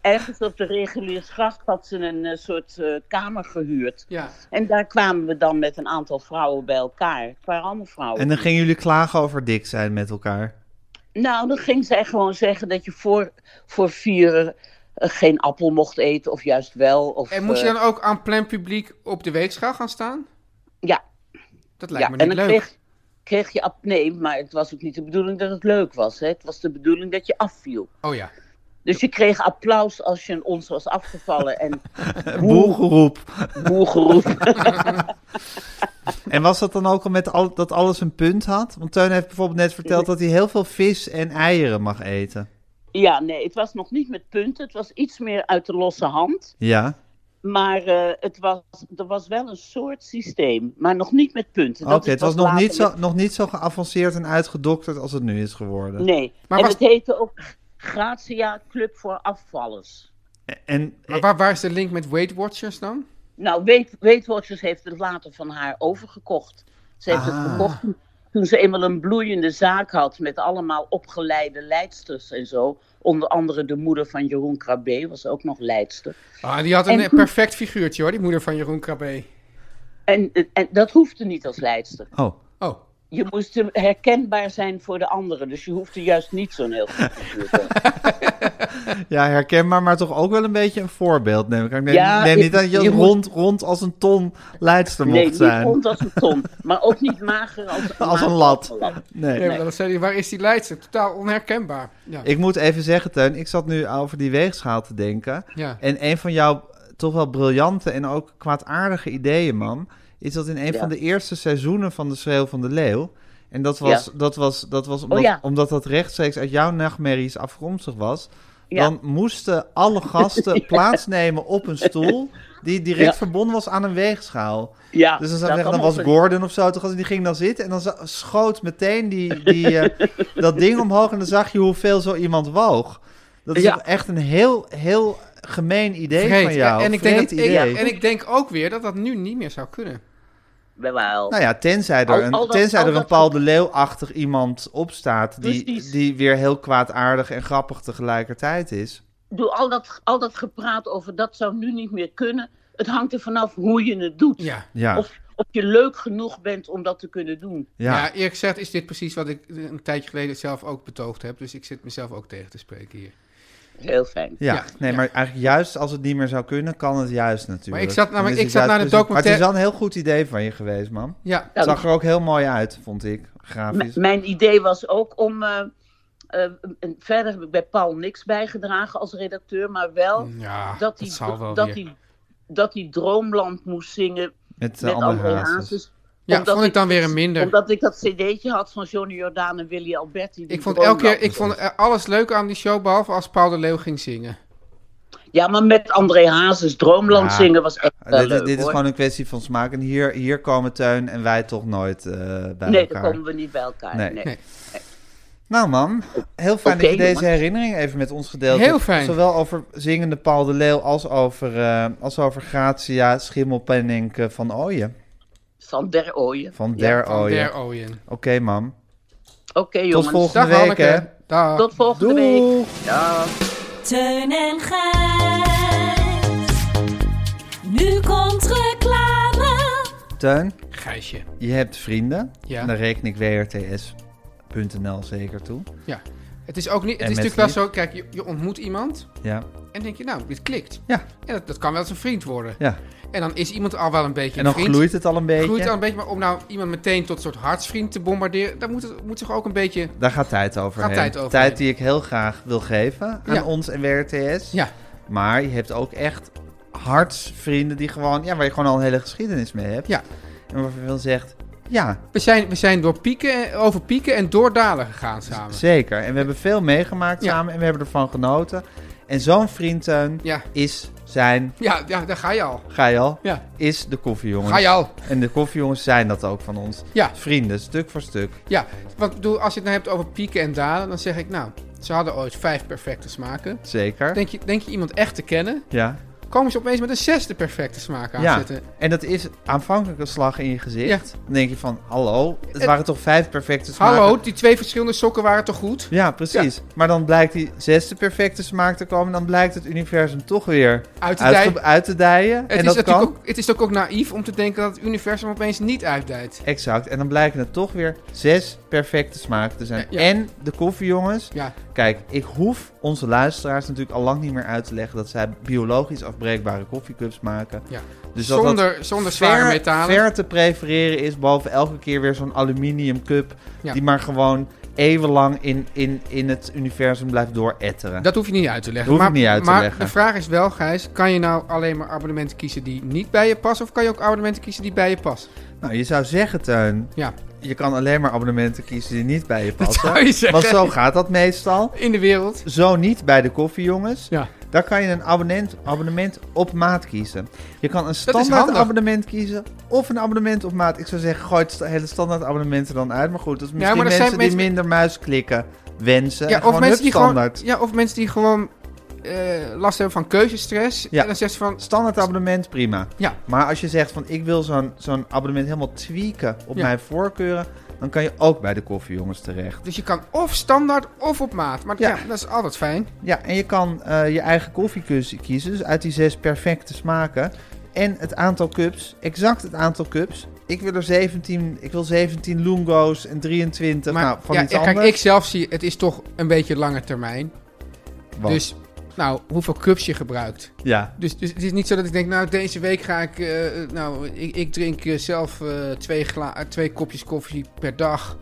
Speaker 7: ergens op de reguliersgracht had ze een eh, soort eh, kamer gehuurd.
Speaker 3: Ja.
Speaker 7: En daar kwamen we dan met een aantal vrouwen bij elkaar. Het waren allemaal vrouwen.
Speaker 2: En dan gingen jullie klagen over dik zijn met elkaar.
Speaker 7: Nou, dan ging zij gewoon zeggen dat je voor, voor vieren eh, geen appel mocht eten. Of juist wel. Of,
Speaker 3: En moest je
Speaker 7: eh,
Speaker 3: dan ook aan plein publiek op de weegschaal gaan staan?
Speaker 7: Ja,
Speaker 3: Dat lijkt
Speaker 7: ja.
Speaker 3: me
Speaker 7: en
Speaker 3: niet
Speaker 7: dan
Speaker 3: leuk.
Speaker 7: kreeg, kreeg je... ap- Nee, maar het was ook niet de bedoeling dat het leuk was. Hè? Het was de bedoeling dat je afviel.
Speaker 3: Oh ja.
Speaker 7: Dus je kreeg applaus als je een ons was afgevallen.
Speaker 2: <laughs>
Speaker 7: En
Speaker 2: Boelgeroep.
Speaker 7: boer geroepen.
Speaker 2: En was dat dan ook al met al, dat alles een punt had? Want Teun heeft bijvoorbeeld net verteld dat hij heel veel vis en eieren mag eten.
Speaker 7: <laughs> Ja, nee, het was nog niet met punten. Het was iets meer uit de losse hand.
Speaker 2: Ja.
Speaker 7: Maar eh, het was, er was wel een soort systeem. Maar nog niet met punten.
Speaker 2: Oké,
Speaker 7: Dat
Speaker 2: het
Speaker 7: pas
Speaker 2: was nog
Speaker 7: later
Speaker 2: niet, zo,
Speaker 7: met-
Speaker 2: nog niet zo geavanceerd en uitgedokterd als het nu is geworden.
Speaker 7: Nee,
Speaker 3: Maar
Speaker 7: en
Speaker 3: was-
Speaker 7: het heette ook Gratia Club voor Afvallers.
Speaker 2: En,
Speaker 3: Maar waar, waar is de link met Weight Watchers dan?
Speaker 7: Nou, Weight, Weight Watchers heeft het later van haar overgekocht. Ze heeft
Speaker 2: Ah.
Speaker 7: het verkocht toen- toen ze eenmaal een bloeiende zaak had met allemaal opgeleide leidsters en zo. Onder andere de moeder van Jeroen Krabbe was ook nog leidster.
Speaker 3: Ah, die had een
Speaker 7: En-
Speaker 3: eh, perfect figuurtje hoor, die moeder van Jeroen Krabbe.
Speaker 7: En, en dat hoefde niet als leidster.
Speaker 2: oh,
Speaker 3: Oh,
Speaker 7: Je moest herkenbaar zijn voor de anderen. Dus je hoefde juist niet zo'n heel goed figuur
Speaker 2: <laughs>
Speaker 7: te hebben.
Speaker 2: ja, herkenbaar, maar toch ook wel een beetje een voorbeeld, neem ik aan. Ik neem,
Speaker 7: Ja,
Speaker 2: neem
Speaker 7: je-
Speaker 2: niet dat je,
Speaker 7: je moet-
Speaker 2: rond, rond als een ton leidster
Speaker 7: Nee,
Speaker 2: mocht
Speaker 7: niet
Speaker 2: zijn.
Speaker 7: rond als een ton. Maar ook niet mager
Speaker 2: <laughs>
Speaker 7: als,
Speaker 2: Als
Speaker 7: mager
Speaker 2: een lat. Nee.
Speaker 3: nee, maar dat zei hij, waar is die leidster? Totaal onherkenbaar. Ja.
Speaker 2: Ik moet even zeggen, Teun, ik zat nu over die weegschaal te denken.
Speaker 3: Ja.
Speaker 2: En een van jouw toch wel briljante en ook kwaadaardige ideeën, man, is dat in een
Speaker 7: Ja.
Speaker 2: van de eerste seizoenen van De Schreeuw van de Leeuw. En dat was,
Speaker 7: Ja. Oh
Speaker 2: dat was, dat was omdat,
Speaker 7: ja.
Speaker 2: omdat dat rechtstreeks uit jouw nachtmerries afkomstig was.
Speaker 7: Ja.
Speaker 2: Dan moesten alle
Speaker 7: <laughs>
Speaker 2: gasten plaatsnemen op een stoel die direct
Speaker 7: Ja.
Speaker 2: verbonden was aan een weegschaal.
Speaker 7: Ja,
Speaker 2: Dus dan, zou ik
Speaker 7: Ah, dat
Speaker 2: zeggen,
Speaker 7: kan
Speaker 2: dan was
Speaker 7: ook.
Speaker 2: Gordon of zo, toch, die ging dan zitten en dan za- schoot meteen die, die,
Speaker 7: <laughs>
Speaker 2: eh, dat ding omhoog en dan zag je hoeveel zo iemand woog. Dat is
Speaker 7: Ja.
Speaker 2: toch echt een heel, heel gemeen idee
Speaker 3: Vreed.
Speaker 2: van jou.
Speaker 3: en, ik denk dat,
Speaker 2: Vreed
Speaker 3: ik-
Speaker 2: idee.
Speaker 3: en ik denk ook weer dat dat nu niet meer zou kunnen.
Speaker 7: Wel.
Speaker 2: Nou ja, tenzij er
Speaker 7: Al-
Speaker 2: een,
Speaker 7: al dat-
Speaker 2: tenzij
Speaker 7: al
Speaker 2: er een
Speaker 7: dat-
Speaker 2: Paul de Leeuw-achtig iemand opstaat die,
Speaker 7: Precies.
Speaker 2: die weer heel kwaadaardig en grappig tegelijkertijd is.
Speaker 7: Doe al dat, al dat gepraat over dat zou nu niet meer kunnen. Het hangt er vanaf hoe je het doet.
Speaker 3: Ja.
Speaker 2: Ja,
Speaker 7: Of, of je leuk genoeg bent om dat te kunnen doen.
Speaker 3: Ja.
Speaker 2: ja.
Speaker 3: eerlijk gezegd is dit precies wat ik een tijdje geleden zelf ook betoogd heb. Dus ik zit mezelf ook tegen te spreken hier.
Speaker 7: Heel fijn.
Speaker 2: Ja,
Speaker 3: Ja,
Speaker 2: nee,
Speaker 3: ja.
Speaker 2: maar eigenlijk juist als het niet meer zou kunnen, kan het juist natuurlijk.
Speaker 3: ik zat
Speaker 2: Dan
Speaker 3: namelijk-
Speaker 2: is het
Speaker 3: ik
Speaker 2: juist
Speaker 3: zat naar de
Speaker 2: precies- Maar het is
Speaker 3: documentaire-
Speaker 2: wel een heel goed idee van je geweest, man.
Speaker 3: Ja,
Speaker 7: Ja,
Speaker 2: zag er ook heel mooi uit, vond ik, grafisch.
Speaker 7: M- mijn idee was ook om. eh, eh, en verder heb ik bij Paul niks bijgedragen als redacteur, maar wel
Speaker 3: Mm, ja
Speaker 7: dat
Speaker 3: dat
Speaker 7: hij,
Speaker 3: zal wel
Speaker 7: dat,
Speaker 3: weer.
Speaker 7: hij, dat hij Droomland moest zingen
Speaker 2: met de
Speaker 7: met
Speaker 2: andere
Speaker 7: André
Speaker 2: hazes.
Speaker 7: Hazes.
Speaker 3: Ja, vond ik dan weer een minder.
Speaker 7: Omdat ik dat cd'tje had van Johnny Jordaan en Willy Alberti. die
Speaker 3: Ik vond elke
Speaker 7: Droomland-
Speaker 3: keer, ik vond eh, alles leuk aan die show, behalve als Paul de Leeuw ging zingen.
Speaker 7: Ja, maar met André Hazes Droomland
Speaker 2: Ja.
Speaker 7: zingen was echt wel
Speaker 2: Ah, dit is,
Speaker 7: leuk,
Speaker 2: dit is
Speaker 7: hoor.
Speaker 2: gewoon een kwestie van smaak. En hier, hier komen Teun en wij toch nooit eh, bij
Speaker 7: Nee, daar
Speaker 2: elkaar.
Speaker 7: komen we niet bij elkaar.
Speaker 2: Nee.
Speaker 7: Nee.
Speaker 3: Nee.
Speaker 2: Nou man, heel fijn dat je
Speaker 7: Oké,
Speaker 2: deze
Speaker 7: jongens.
Speaker 2: herinnering even met ons gedeeld
Speaker 3: Heel
Speaker 2: hebt.
Speaker 3: fijn.
Speaker 2: Zowel over zingende Paul de Leeuw als over, eh als over Gratia Schimmelpenninck eh, van Ooyen.
Speaker 7: Van der Ooyen.
Speaker 2: Van der
Speaker 3: Van
Speaker 2: Ooyen.
Speaker 3: Der
Speaker 2: Oké
Speaker 3: Ooyen.
Speaker 2: man,
Speaker 7: Oké, jongens.
Speaker 2: tot volgende
Speaker 3: Dag
Speaker 2: week hè.
Speaker 3: Hanneke. Dag.
Speaker 7: Tot volgende
Speaker 2: Doeg!
Speaker 7: week. Dag.
Speaker 6: Teun en Gijs. Nu komt reclame.
Speaker 2: Teun,
Speaker 3: Gijsje.
Speaker 2: je hebt vrienden.
Speaker 3: Ja.
Speaker 2: En daar reken ik WRTS.nl zeker toe.
Speaker 3: Ja. Het is ook niet. Het
Speaker 2: En
Speaker 3: is
Speaker 2: met
Speaker 3: natuurlijk wel
Speaker 2: wie?
Speaker 3: zo. Kijk, je, je ontmoet iemand
Speaker 2: Ja,
Speaker 3: en denk je, nou, dit klikt.
Speaker 2: ja,
Speaker 3: En dat, dat kan wel eens een vriend worden.
Speaker 2: ja.
Speaker 3: En dan is iemand al wel een beetje
Speaker 2: En dan
Speaker 3: een vriend.
Speaker 2: gloeit het al een beetje.
Speaker 3: Groeit al een beetje, maar om nou iemand meteen tot een soort hartsvriend te bombarderen, daar moet, het, moet zich ook een beetje.
Speaker 2: Daar gaat tijd over.
Speaker 3: Gaat tijd overheen.
Speaker 2: Tijd die ik heel graag wil geven aan
Speaker 3: Ja.
Speaker 2: ons en WRTS.
Speaker 3: Ja,
Speaker 2: Maar je hebt ook echt hartsvrienden die gewoon, ja, waar je gewoon al een hele geschiedenis mee hebt.
Speaker 3: Ja.
Speaker 2: En waarvan je wel zegt, ja,
Speaker 3: we zijn, we zijn door pieken, eh, over pieken en door dalen gegaan samen.
Speaker 2: zeker. En we hebben veel meegemaakt
Speaker 3: Ja.
Speaker 2: samen en we hebben ervan genoten. En zo'n vriend, Teun,
Speaker 3: Ja.
Speaker 2: is zijn,
Speaker 3: Ja, ja, daar ga je al.
Speaker 2: ga je al,
Speaker 3: Ja,
Speaker 2: is de koffiejongens.
Speaker 3: ga je al.
Speaker 2: En de koffiejongens zijn dat ook van ons.
Speaker 3: Ja.
Speaker 2: Vrienden, stuk voor stuk.
Speaker 3: Ja, want ik bedoel, als je het nou hebt over pieken en dalen, dan zeg ik nou, ze hadden ooit vijf perfecte smaken.
Speaker 2: Zeker.
Speaker 3: Denk je, denk je iemand echt te kennen?
Speaker 2: Ja.
Speaker 3: Komen ze opeens met een zesde perfecte smaak aan
Speaker 2: Ja,
Speaker 3: zitten?
Speaker 2: en dat is aanvankelijk een slag in je gezicht. Dan denk je van, hallo, het
Speaker 3: Eh,
Speaker 2: waren toch vijf perfecte smaken?
Speaker 3: Hallo, die twee verschillende sokken waren toch goed?
Speaker 2: Ja, precies. Maar dan blijkt die zesde perfecte smaak te komen. Dan blijkt het universum toch weer
Speaker 3: Uit de
Speaker 2: uitge-
Speaker 3: dij.
Speaker 2: uit te dijen.
Speaker 3: Het
Speaker 2: en
Speaker 3: is,
Speaker 2: dat kan.
Speaker 3: natuurlijk ook, het is ook, ook naïef om te denken dat het universum opeens niet uitdijt.
Speaker 2: Exact. En dan blijken er toch weer zes perfecte smaken te zijn.
Speaker 3: Ja, ja.
Speaker 2: En de koffiejongens.
Speaker 3: Ja,
Speaker 2: Kijk, ik hoef onze luisteraars natuurlijk al lang niet meer uit te leggen dat zij biologisch afbreekbare koffiecups maken.
Speaker 3: Ja.
Speaker 2: Dus dat dat
Speaker 3: zonder, zonder zware
Speaker 2: ver,
Speaker 3: metalen.
Speaker 2: ver te prefereren is boven elke keer weer zo'n aluminium cup.
Speaker 3: Ja.
Speaker 2: Die maar gewoon eeuwenlang in, in, in het universum blijft dooretteren.
Speaker 3: Dat hoef je niet uit te leggen.
Speaker 2: Dat hoef ik
Speaker 3: maar,
Speaker 2: niet uit te
Speaker 3: maar
Speaker 2: leggen.
Speaker 3: de vraag is wel, Gijs, kan je nou alleen maar abonnementen kiezen die niet bij je passen? Of kan je ook abonnementen kiezen die bij je passen?
Speaker 2: Nou, je zou zeggen, Teun,
Speaker 3: Ja,
Speaker 2: je kan alleen maar abonnementen kiezen die niet bij je
Speaker 3: dat
Speaker 2: passen.
Speaker 3: zou je zeggen.
Speaker 2: Want zo gaat dat meestal.
Speaker 3: In de wereld.
Speaker 2: Zo niet bij de koffiejongens.
Speaker 3: Ja.
Speaker 2: Daar kan je een abonnement, abonnement op maat kiezen. Je kan een standaard
Speaker 3: handig.
Speaker 2: abonnement kiezen of een abonnement op maat. Ik zou zeggen, gooi het sta- hele standaard abonnement er dan uit. Maar goed, dat is misschien
Speaker 3: maar er zijn
Speaker 2: mensen, die
Speaker 3: mensen-
Speaker 2: minder muisklikken wensen. en
Speaker 3: Ja,
Speaker 2: gewoon
Speaker 3: of mensen die
Speaker 2: hup,
Speaker 3: gewoon,
Speaker 2: standaard.
Speaker 3: ja, of mensen die gewoon eh, last hebben van keuzestress.
Speaker 2: Ja.
Speaker 3: En dan zegt ze van,
Speaker 2: Standaard abonnement, prima.
Speaker 3: Ja.
Speaker 2: Maar als je zegt van ik wil zo'n zo'n abonnement helemaal tweaken op
Speaker 3: Ja.
Speaker 2: mijn voorkeuren, dan kan je ook bij de koffiejongens terecht.
Speaker 3: dus je kan of standaard of op maat. Maar
Speaker 2: Ja.
Speaker 3: ja, dat is altijd fijn.
Speaker 2: Ja, en je kan eh, je eigen koffiekeus kiezen. Dus uit die zes perfecte smaken. En het aantal cups, exact het aantal cups. Ik wil er 17, ik wil 17 Lungo's en 23
Speaker 3: Maar
Speaker 2: nou, van
Speaker 3: ja,
Speaker 2: iets
Speaker 3: ja, kijk,
Speaker 2: anders.
Speaker 3: ik zelf zie, het is toch een beetje lange termijn.
Speaker 2: Want-
Speaker 3: Dus, nou, hoeveel cups je gebruikt.
Speaker 2: ja,
Speaker 3: Dus, dus het is niet zo dat ik denk, nou, deze week ga ik, eh, nou, ik, ik drink eh, zelf eh, twee, gla- eh, twee kopjes koffie per dag.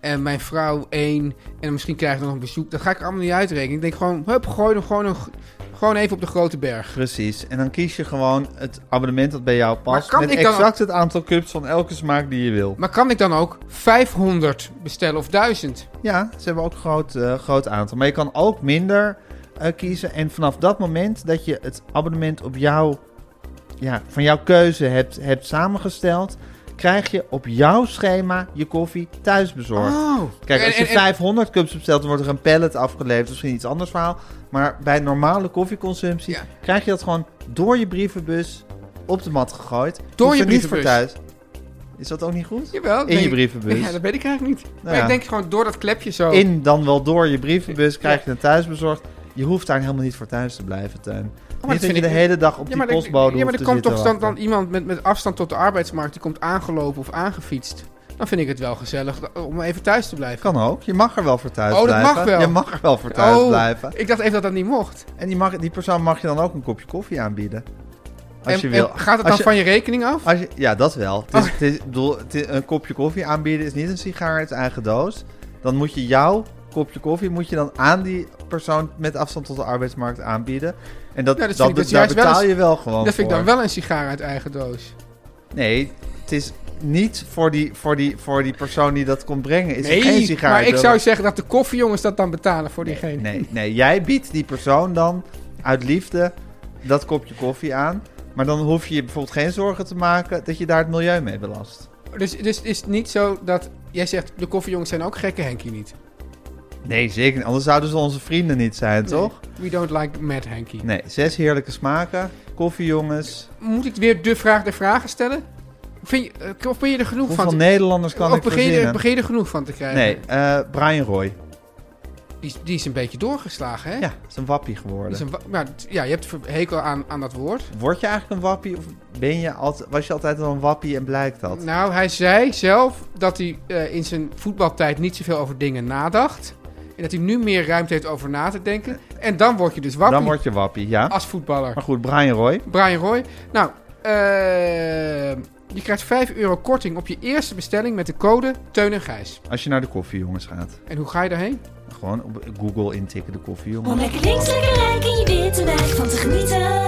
Speaker 3: En mijn vrouw één. En misschien krijg ik nog een bezoek. Dat ga ik allemaal niet uitrekenen. Ik denk gewoon, hup, gooi hem gewoon, een, gewoon even op de grote berg.
Speaker 2: precies. En dan kies je gewoon het abonnement dat bij jou past.
Speaker 3: kan
Speaker 2: met
Speaker 3: ik dan ook-
Speaker 2: exact het aantal cups van elke smaak die je wil.
Speaker 3: Maar kan ik dan ook 500 bestellen of 1000?
Speaker 2: Ja, ze hebben ook een groot, eh, groot aantal. Maar je kan ook minder eh, kiezen. En vanaf dat moment dat je het abonnement op jouw, ja, van jouw keuze hebt, hebt samengesteld, krijg je op jouw schema je koffie thuis bezorgd. Kijk, als je
Speaker 3: Oh. En- en- en-
Speaker 2: 500 cups bestelt, dan wordt er een pallet afgeleverd. Misschien iets anders verhaal. Maar bij normale koffieconsumptie
Speaker 3: Ja.
Speaker 2: krijg je dat gewoon door je brievenbus op de mat gegooid.
Speaker 3: Door
Speaker 2: Hoeft
Speaker 3: je
Speaker 2: er niet voor
Speaker 3: brievenbus.
Speaker 2: thuis. Is dat ook niet goed?
Speaker 3: Jawel.
Speaker 2: In
Speaker 3: denk
Speaker 2: je
Speaker 3: ik-
Speaker 2: brievenbus. Nou
Speaker 3: Ja, dat weet ik eigenlijk niet. maar
Speaker 2: ja.
Speaker 3: ik denk gewoon door dat klepje zo.
Speaker 2: in dan wel door je brievenbus krijg je het thuis bezorgd. Je hoeft daar helemaal niet voor thuis te blijven, Teun.
Speaker 3: Oh, dat
Speaker 2: niet dat
Speaker 3: vind
Speaker 2: je de
Speaker 3: ik-
Speaker 2: hele dag op
Speaker 3: ja,
Speaker 2: die
Speaker 3: maar, dat-
Speaker 2: postbode
Speaker 3: ja, maar
Speaker 2: hoeft
Speaker 3: er
Speaker 2: te
Speaker 3: komt
Speaker 2: zitten
Speaker 3: toch dan,
Speaker 2: wachten.
Speaker 3: dan iemand met, met afstand tot de arbeidsmarkt. Die komt aangelopen of aangefietst. Dan vind ik het wel gezellig om even thuis te blijven.
Speaker 2: Kan ook. Je mag er wel voor thuis
Speaker 3: Oh, dat
Speaker 2: blijven.
Speaker 3: mag wel. Oh.
Speaker 2: Je mag er wel voor thuis blijven.
Speaker 3: Ik dacht even dat dat niet mocht.
Speaker 2: En die, mag, die persoon mag je dan ook een kopje koffie aanbieden. Als
Speaker 3: En-
Speaker 2: je
Speaker 3: en
Speaker 2: wil.
Speaker 3: Oh. gaat het
Speaker 2: Als
Speaker 3: dan
Speaker 2: je-
Speaker 3: van je rekening af?
Speaker 2: Als je, ja, dat wel. Het is, het is- ik bedoel, het is- een kopje koffie aanbieden is niet een sigaar uit eigen doos. Dan moet je jouw kopje koffie moet je dan aan die persoon met afstand tot de arbeidsmarkt aanbieden. En dat,
Speaker 3: Ja, dat vind
Speaker 2: dat,
Speaker 3: ik dus
Speaker 2: daar
Speaker 3: juist wel
Speaker 2: betaal
Speaker 3: eens-
Speaker 2: je wel gewoon
Speaker 3: dat vind ik
Speaker 2: voor.
Speaker 3: dan wel een sigaar uit eigen doos.
Speaker 2: Nee, het is niet voor die, voor die, voor die persoon die dat komt brengen. Is er geen sigaar.
Speaker 3: maar ik
Speaker 2: door-
Speaker 3: zou zeggen dat de koffiejongens dat dan betalen voor diegene.
Speaker 2: Nee, nee, jij biedt die persoon dan uit liefde dat kopje koffie aan. Maar dan hoef je je bijvoorbeeld geen zorgen te maken dat je daar het milieu mee belast.
Speaker 3: Dus, dus het is niet zo dat... Jij zegt, de koffiejongens zijn ook gekke Henkie niet.
Speaker 2: Nee, zeker niet. Anders zouden ze onze vrienden niet zijn, toch?
Speaker 3: We don't like mad Henkie.
Speaker 2: Nee, zes heerlijke smaken. Koffie, jongens.
Speaker 3: Moet ik weer de vraag der vragen stellen? Vind je, eh, of ben je er genoeg
Speaker 2: Hoeveel
Speaker 3: van? te-
Speaker 2: Nederlanders kan
Speaker 3: ook
Speaker 2: ik
Speaker 3: begin je,
Speaker 2: verzinnen?
Speaker 3: begin je er genoeg van te krijgen?
Speaker 2: Nee, eh Brian Roy.
Speaker 3: die, is- die is een beetje doorgeslagen, hè?
Speaker 2: Ja, het is een wappie
Speaker 3: Die
Speaker 2: geworden.
Speaker 3: is een wa- maar, t- ja, je hebt ver- hekel aan, aan dat woord.
Speaker 2: Word je eigenlijk een wappie of ben je altijd, was je altijd al een wappie en blijkt dat?
Speaker 3: Nou, hij zei zelf dat hij eh, in zijn voetbaltijd niet zoveel over dingen nadacht. En dat hij nu meer ruimte heeft over na te denken. En dan word je dus wakker
Speaker 2: Dan word je wappie, ja.
Speaker 3: als voetballer.
Speaker 2: Maar goed, Brian Roy.
Speaker 3: Brian Roy. Nou, eh, je krijgt 5 euro korting op je eerste bestelling met de code Teun en Gijs.
Speaker 2: Als je naar de koffiejongens gaat.
Speaker 3: En hoe ga je daarheen?
Speaker 2: Gewoon op Google intikken de
Speaker 6: Om
Speaker 2: koffiejongens.
Speaker 6: lekker links, lekker rijk in je witte wijk van te genieten.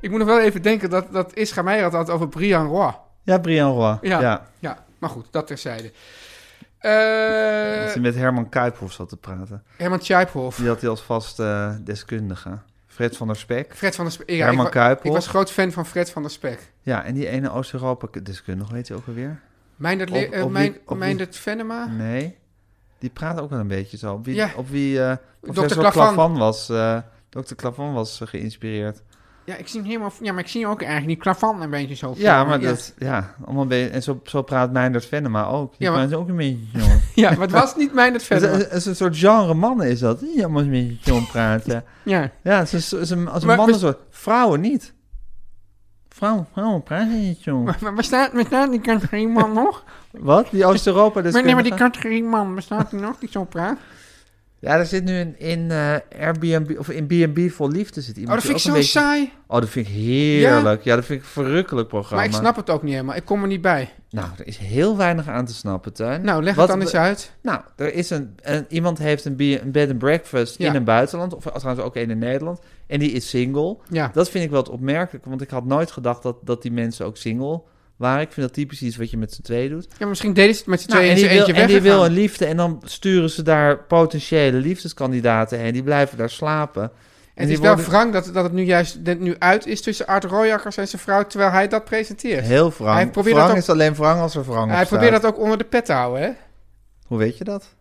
Speaker 3: Ik moet nog wel even denken dat, dat Isra Meijer had het over Brian Roy.
Speaker 2: Ja, Brian Roy.
Speaker 3: Ja.
Speaker 2: Ja.
Speaker 3: Ja, maar goed, dat terzijde. Eh,
Speaker 2: Dat hij met Herman Kuiphoff zat te praten.
Speaker 3: Herman Tjijphoff.
Speaker 2: Die had hij als vast eh, deskundige. Fred van der Spek.
Speaker 3: Fred van der Spek. Ja,
Speaker 2: Herman
Speaker 3: ik wa-
Speaker 2: Kuiphoff.
Speaker 3: Ik was groot fan van Fred van der Spek.
Speaker 2: Ja, en die ene Oost-Europa-deskundige, weet je ook alweer?
Speaker 3: Meindert, Le-
Speaker 2: Op-
Speaker 3: eh,
Speaker 2: op
Speaker 3: Mijn-
Speaker 2: wie- op wie-
Speaker 3: Meindert Venema.
Speaker 2: Nee. Die praat ook wel een beetje zo. Op wie,
Speaker 3: Ja.
Speaker 2: op wie eh professor
Speaker 3: Klavan.
Speaker 2: Klavan was, eh Dr. Klavan was eh, geïnspireerd.
Speaker 3: Ja, ik zie hem helemaal... Ja, maar ik zie hem ook eigenlijk die klavan een beetje zo.
Speaker 2: Ja, maar dat... Ja, allemaal een beetje... En zo, zo praat Meindert Venema ook. Die
Speaker 3: Ja, maar-
Speaker 2: praat ook een beetje zo.
Speaker 3: Ja, maar het was niet
Speaker 2: <laughs>
Speaker 3: Meindert
Speaker 2: Het is-
Speaker 3: Venema.
Speaker 2: het is een soort genre mannen is dat. Die allemaal een beetje zo
Speaker 3: <laughs>
Speaker 2: praten.
Speaker 3: Ja.
Speaker 2: Ja, het is, het is een, als een
Speaker 3: Maar-
Speaker 2: mannen soort. Vrouwen niet. Vrouwen, vrouwen praten niet zo.
Speaker 3: Maar, maar bestaat, bestaat die categorie man
Speaker 2: <laughs>
Speaker 3: nog?
Speaker 2: Wat? Die Oost-Europa dus.
Speaker 3: Maar nee, maar die categorie man, bestaat die nog die zo praat? Oh,
Speaker 2: Ja, er zit nu in, in eh, Airbnb of in B&B voor liefde zit
Speaker 3: Oh,
Speaker 2: iemand.
Speaker 3: dat
Speaker 2: die
Speaker 3: vind ik zo
Speaker 2: ook een beetje-
Speaker 3: saai.
Speaker 2: Oh, dat vind ik heerlijk. Ja, dat vind ik een verrukkelijk programma.
Speaker 3: Maar ik snap het ook niet helemaal. Ik kom er niet bij.
Speaker 2: Nou, er is heel weinig aan te snappen, Tuin.
Speaker 3: Nou, leg
Speaker 2: Wat
Speaker 3: het dan
Speaker 2: we-
Speaker 3: eens uit.
Speaker 2: Nou, er is een, een- iemand heeft een, be- een bed and breakfast
Speaker 3: Ja.
Speaker 2: in een buitenland, of trouwens ook één in Nederland, en die is single.
Speaker 3: Ja.
Speaker 2: Dat vind ik wel het opmerkelijk, want ik had nooit gedacht dat, dat die mensen ook single waren. Ik vind dat typisch iets wat je met z'n twee doet.
Speaker 3: ja, maar misschien deden ze het met z'n
Speaker 2: Nou,
Speaker 3: tweeën
Speaker 2: en, die
Speaker 3: Nou, en
Speaker 2: wil,
Speaker 3: eentje
Speaker 2: en die wil
Speaker 3: weggegaan.
Speaker 2: een liefde en dan sturen ze daar potentiële liefdeskandidaten heen. Die blijven daar slapen. En,
Speaker 3: En het
Speaker 2: die
Speaker 3: is wel
Speaker 2: worden
Speaker 3: wrang dat, dat het nu juist dat het nu uit is tussen Art Royakkers en zijn vrouw, terwijl hij dat presenteert.
Speaker 2: heel wrang.
Speaker 3: Hij probeert
Speaker 2: wrang
Speaker 3: dat ook-
Speaker 2: is alleen wrang als er wrang
Speaker 3: hij
Speaker 2: op
Speaker 3: probeert
Speaker 2: staat.
Speaker 3: dat ook onder de pet te houden, hè?
Speaker 2: Hoe weet je dat?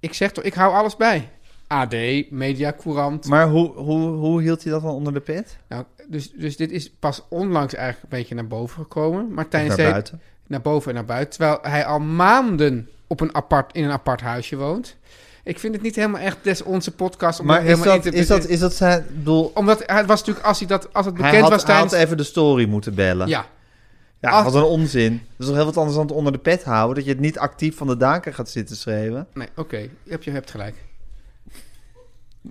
Speaker 3: Ik zeg toch, ik hou alles bij. AD, Media, Courant.
Speaker 2: Maar hoe, hoe, hoe hield hij dat dan onder de pet?
Speaker 3: Nou, dus, dus dit is pas onlangs eigenlijk een beetje naar boven gekomen. Maar tijdens
Speaker 2: Naar
Speaker 3: de,
Speaker 2: buiten.
Speaker 3: naar boven en naar buiten. Terwijl hij al maanden op een apart, in een apart huisje woont. Ik vind het niet helemaal echt des onze podcast om
Speaker 2: Maar
Speaker 3: er
Speaker 2: is
Speaker 3: helemaal
Speaker 2: dat,
Speaker 3: in te...
Speaker 2: is, dat, is dat zijn... ik bedoel,
Speaker 3: Omdat hij- het was natuurlijk, als, hij dat, als het bekend
Speaker 2: hij had,
Speaker 3: was
Speaker 2: hij had
Speaker 3: tijdens...
Speaker 2: even de story moeten bellen.
Speaker 3: ja,
Speaker 2: Ja,
Speaker 3: Als-
Speaker 2: wat een onzin. Dat is toch heel wat anders dan het onder de pet houden. Dat je het niet actief van de daken gaat zitten <laughs> schreeuwen.
Speaker 3: nee, oké, je, hebt, je hebt gelijk.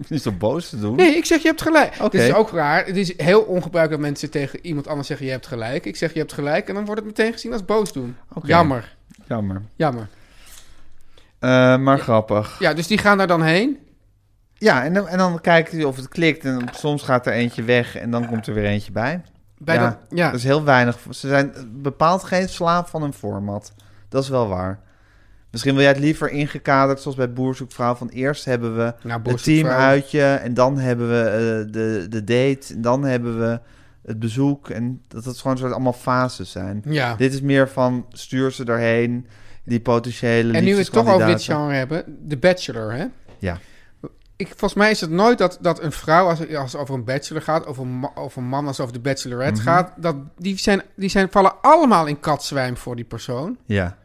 Speaker 2: Niet zo boos te doen.
Speaker 3: Nee, ik zeg je hebt gelijk.
Speaker 2: Hm? Oké.
Speaker 3: Dit is ook raar. Het is heel ongebruikelijk dat mensen tegen iemand anders zeggen je hebt gelijk. Ik zeg je hebt gelijk en dan wordt het meteen gezien als boos doen.
Speaker 2: Oké.
Speaker 3: Jammer,
Speaker 2: Jammer.
Speaker 3: jammer.
Speaker 2: Eh, maar grappig.
Speaker 3: Ja, dus die gaan daar dan heen.
Speaker 2: Ja, en dan, en dan kijken ze of het klikt. En soms gaat er eentje weg en dan komt er weer eentje bij.
Speaker 3: Bij
Speaker 2: ja,
Speaker 3: dat, ja.
Speaker 2: Dat is heel weinig. Ze zijn bepaald geen slaaf van een format. Dat is wel waar. Misschien wil jij het liever ingekaderd, zoals bij Boerzoekvrouw. Van eerst hebben we
Speaker 3: Nou, Boer
Speaker 2: het
Speaker 3: Zoekt Vrouw.
Speaker 2: teamuitje. En dan hebben we eh, de, de date. En dan hebben we het bezoek. En dat het gewoon soort allemaal fases zijn.
Speaker 3: Ja.
Speaker 2: Dit is meer van stuur ze daarheen. Die potentiële
Speaker 3: En nu we het toch over dit
Speaker 2: liefdeskandidaten.
Speaker 3: genre hebben, The Bachelor, hè?
Speaker 2: Ja.
Speaker 3: Ik, volgens mij is het nooit dat, dat een vrouw, als, als het over een bachelor gaat, of een, ma- of een man als het over de bachelorette
Speaker 2: Mhm.
Speaker 3: gaat, dat die, zijn, die zijn, vallen allemaal in katzwijm voor die persoon.
Speaker 2: Ja.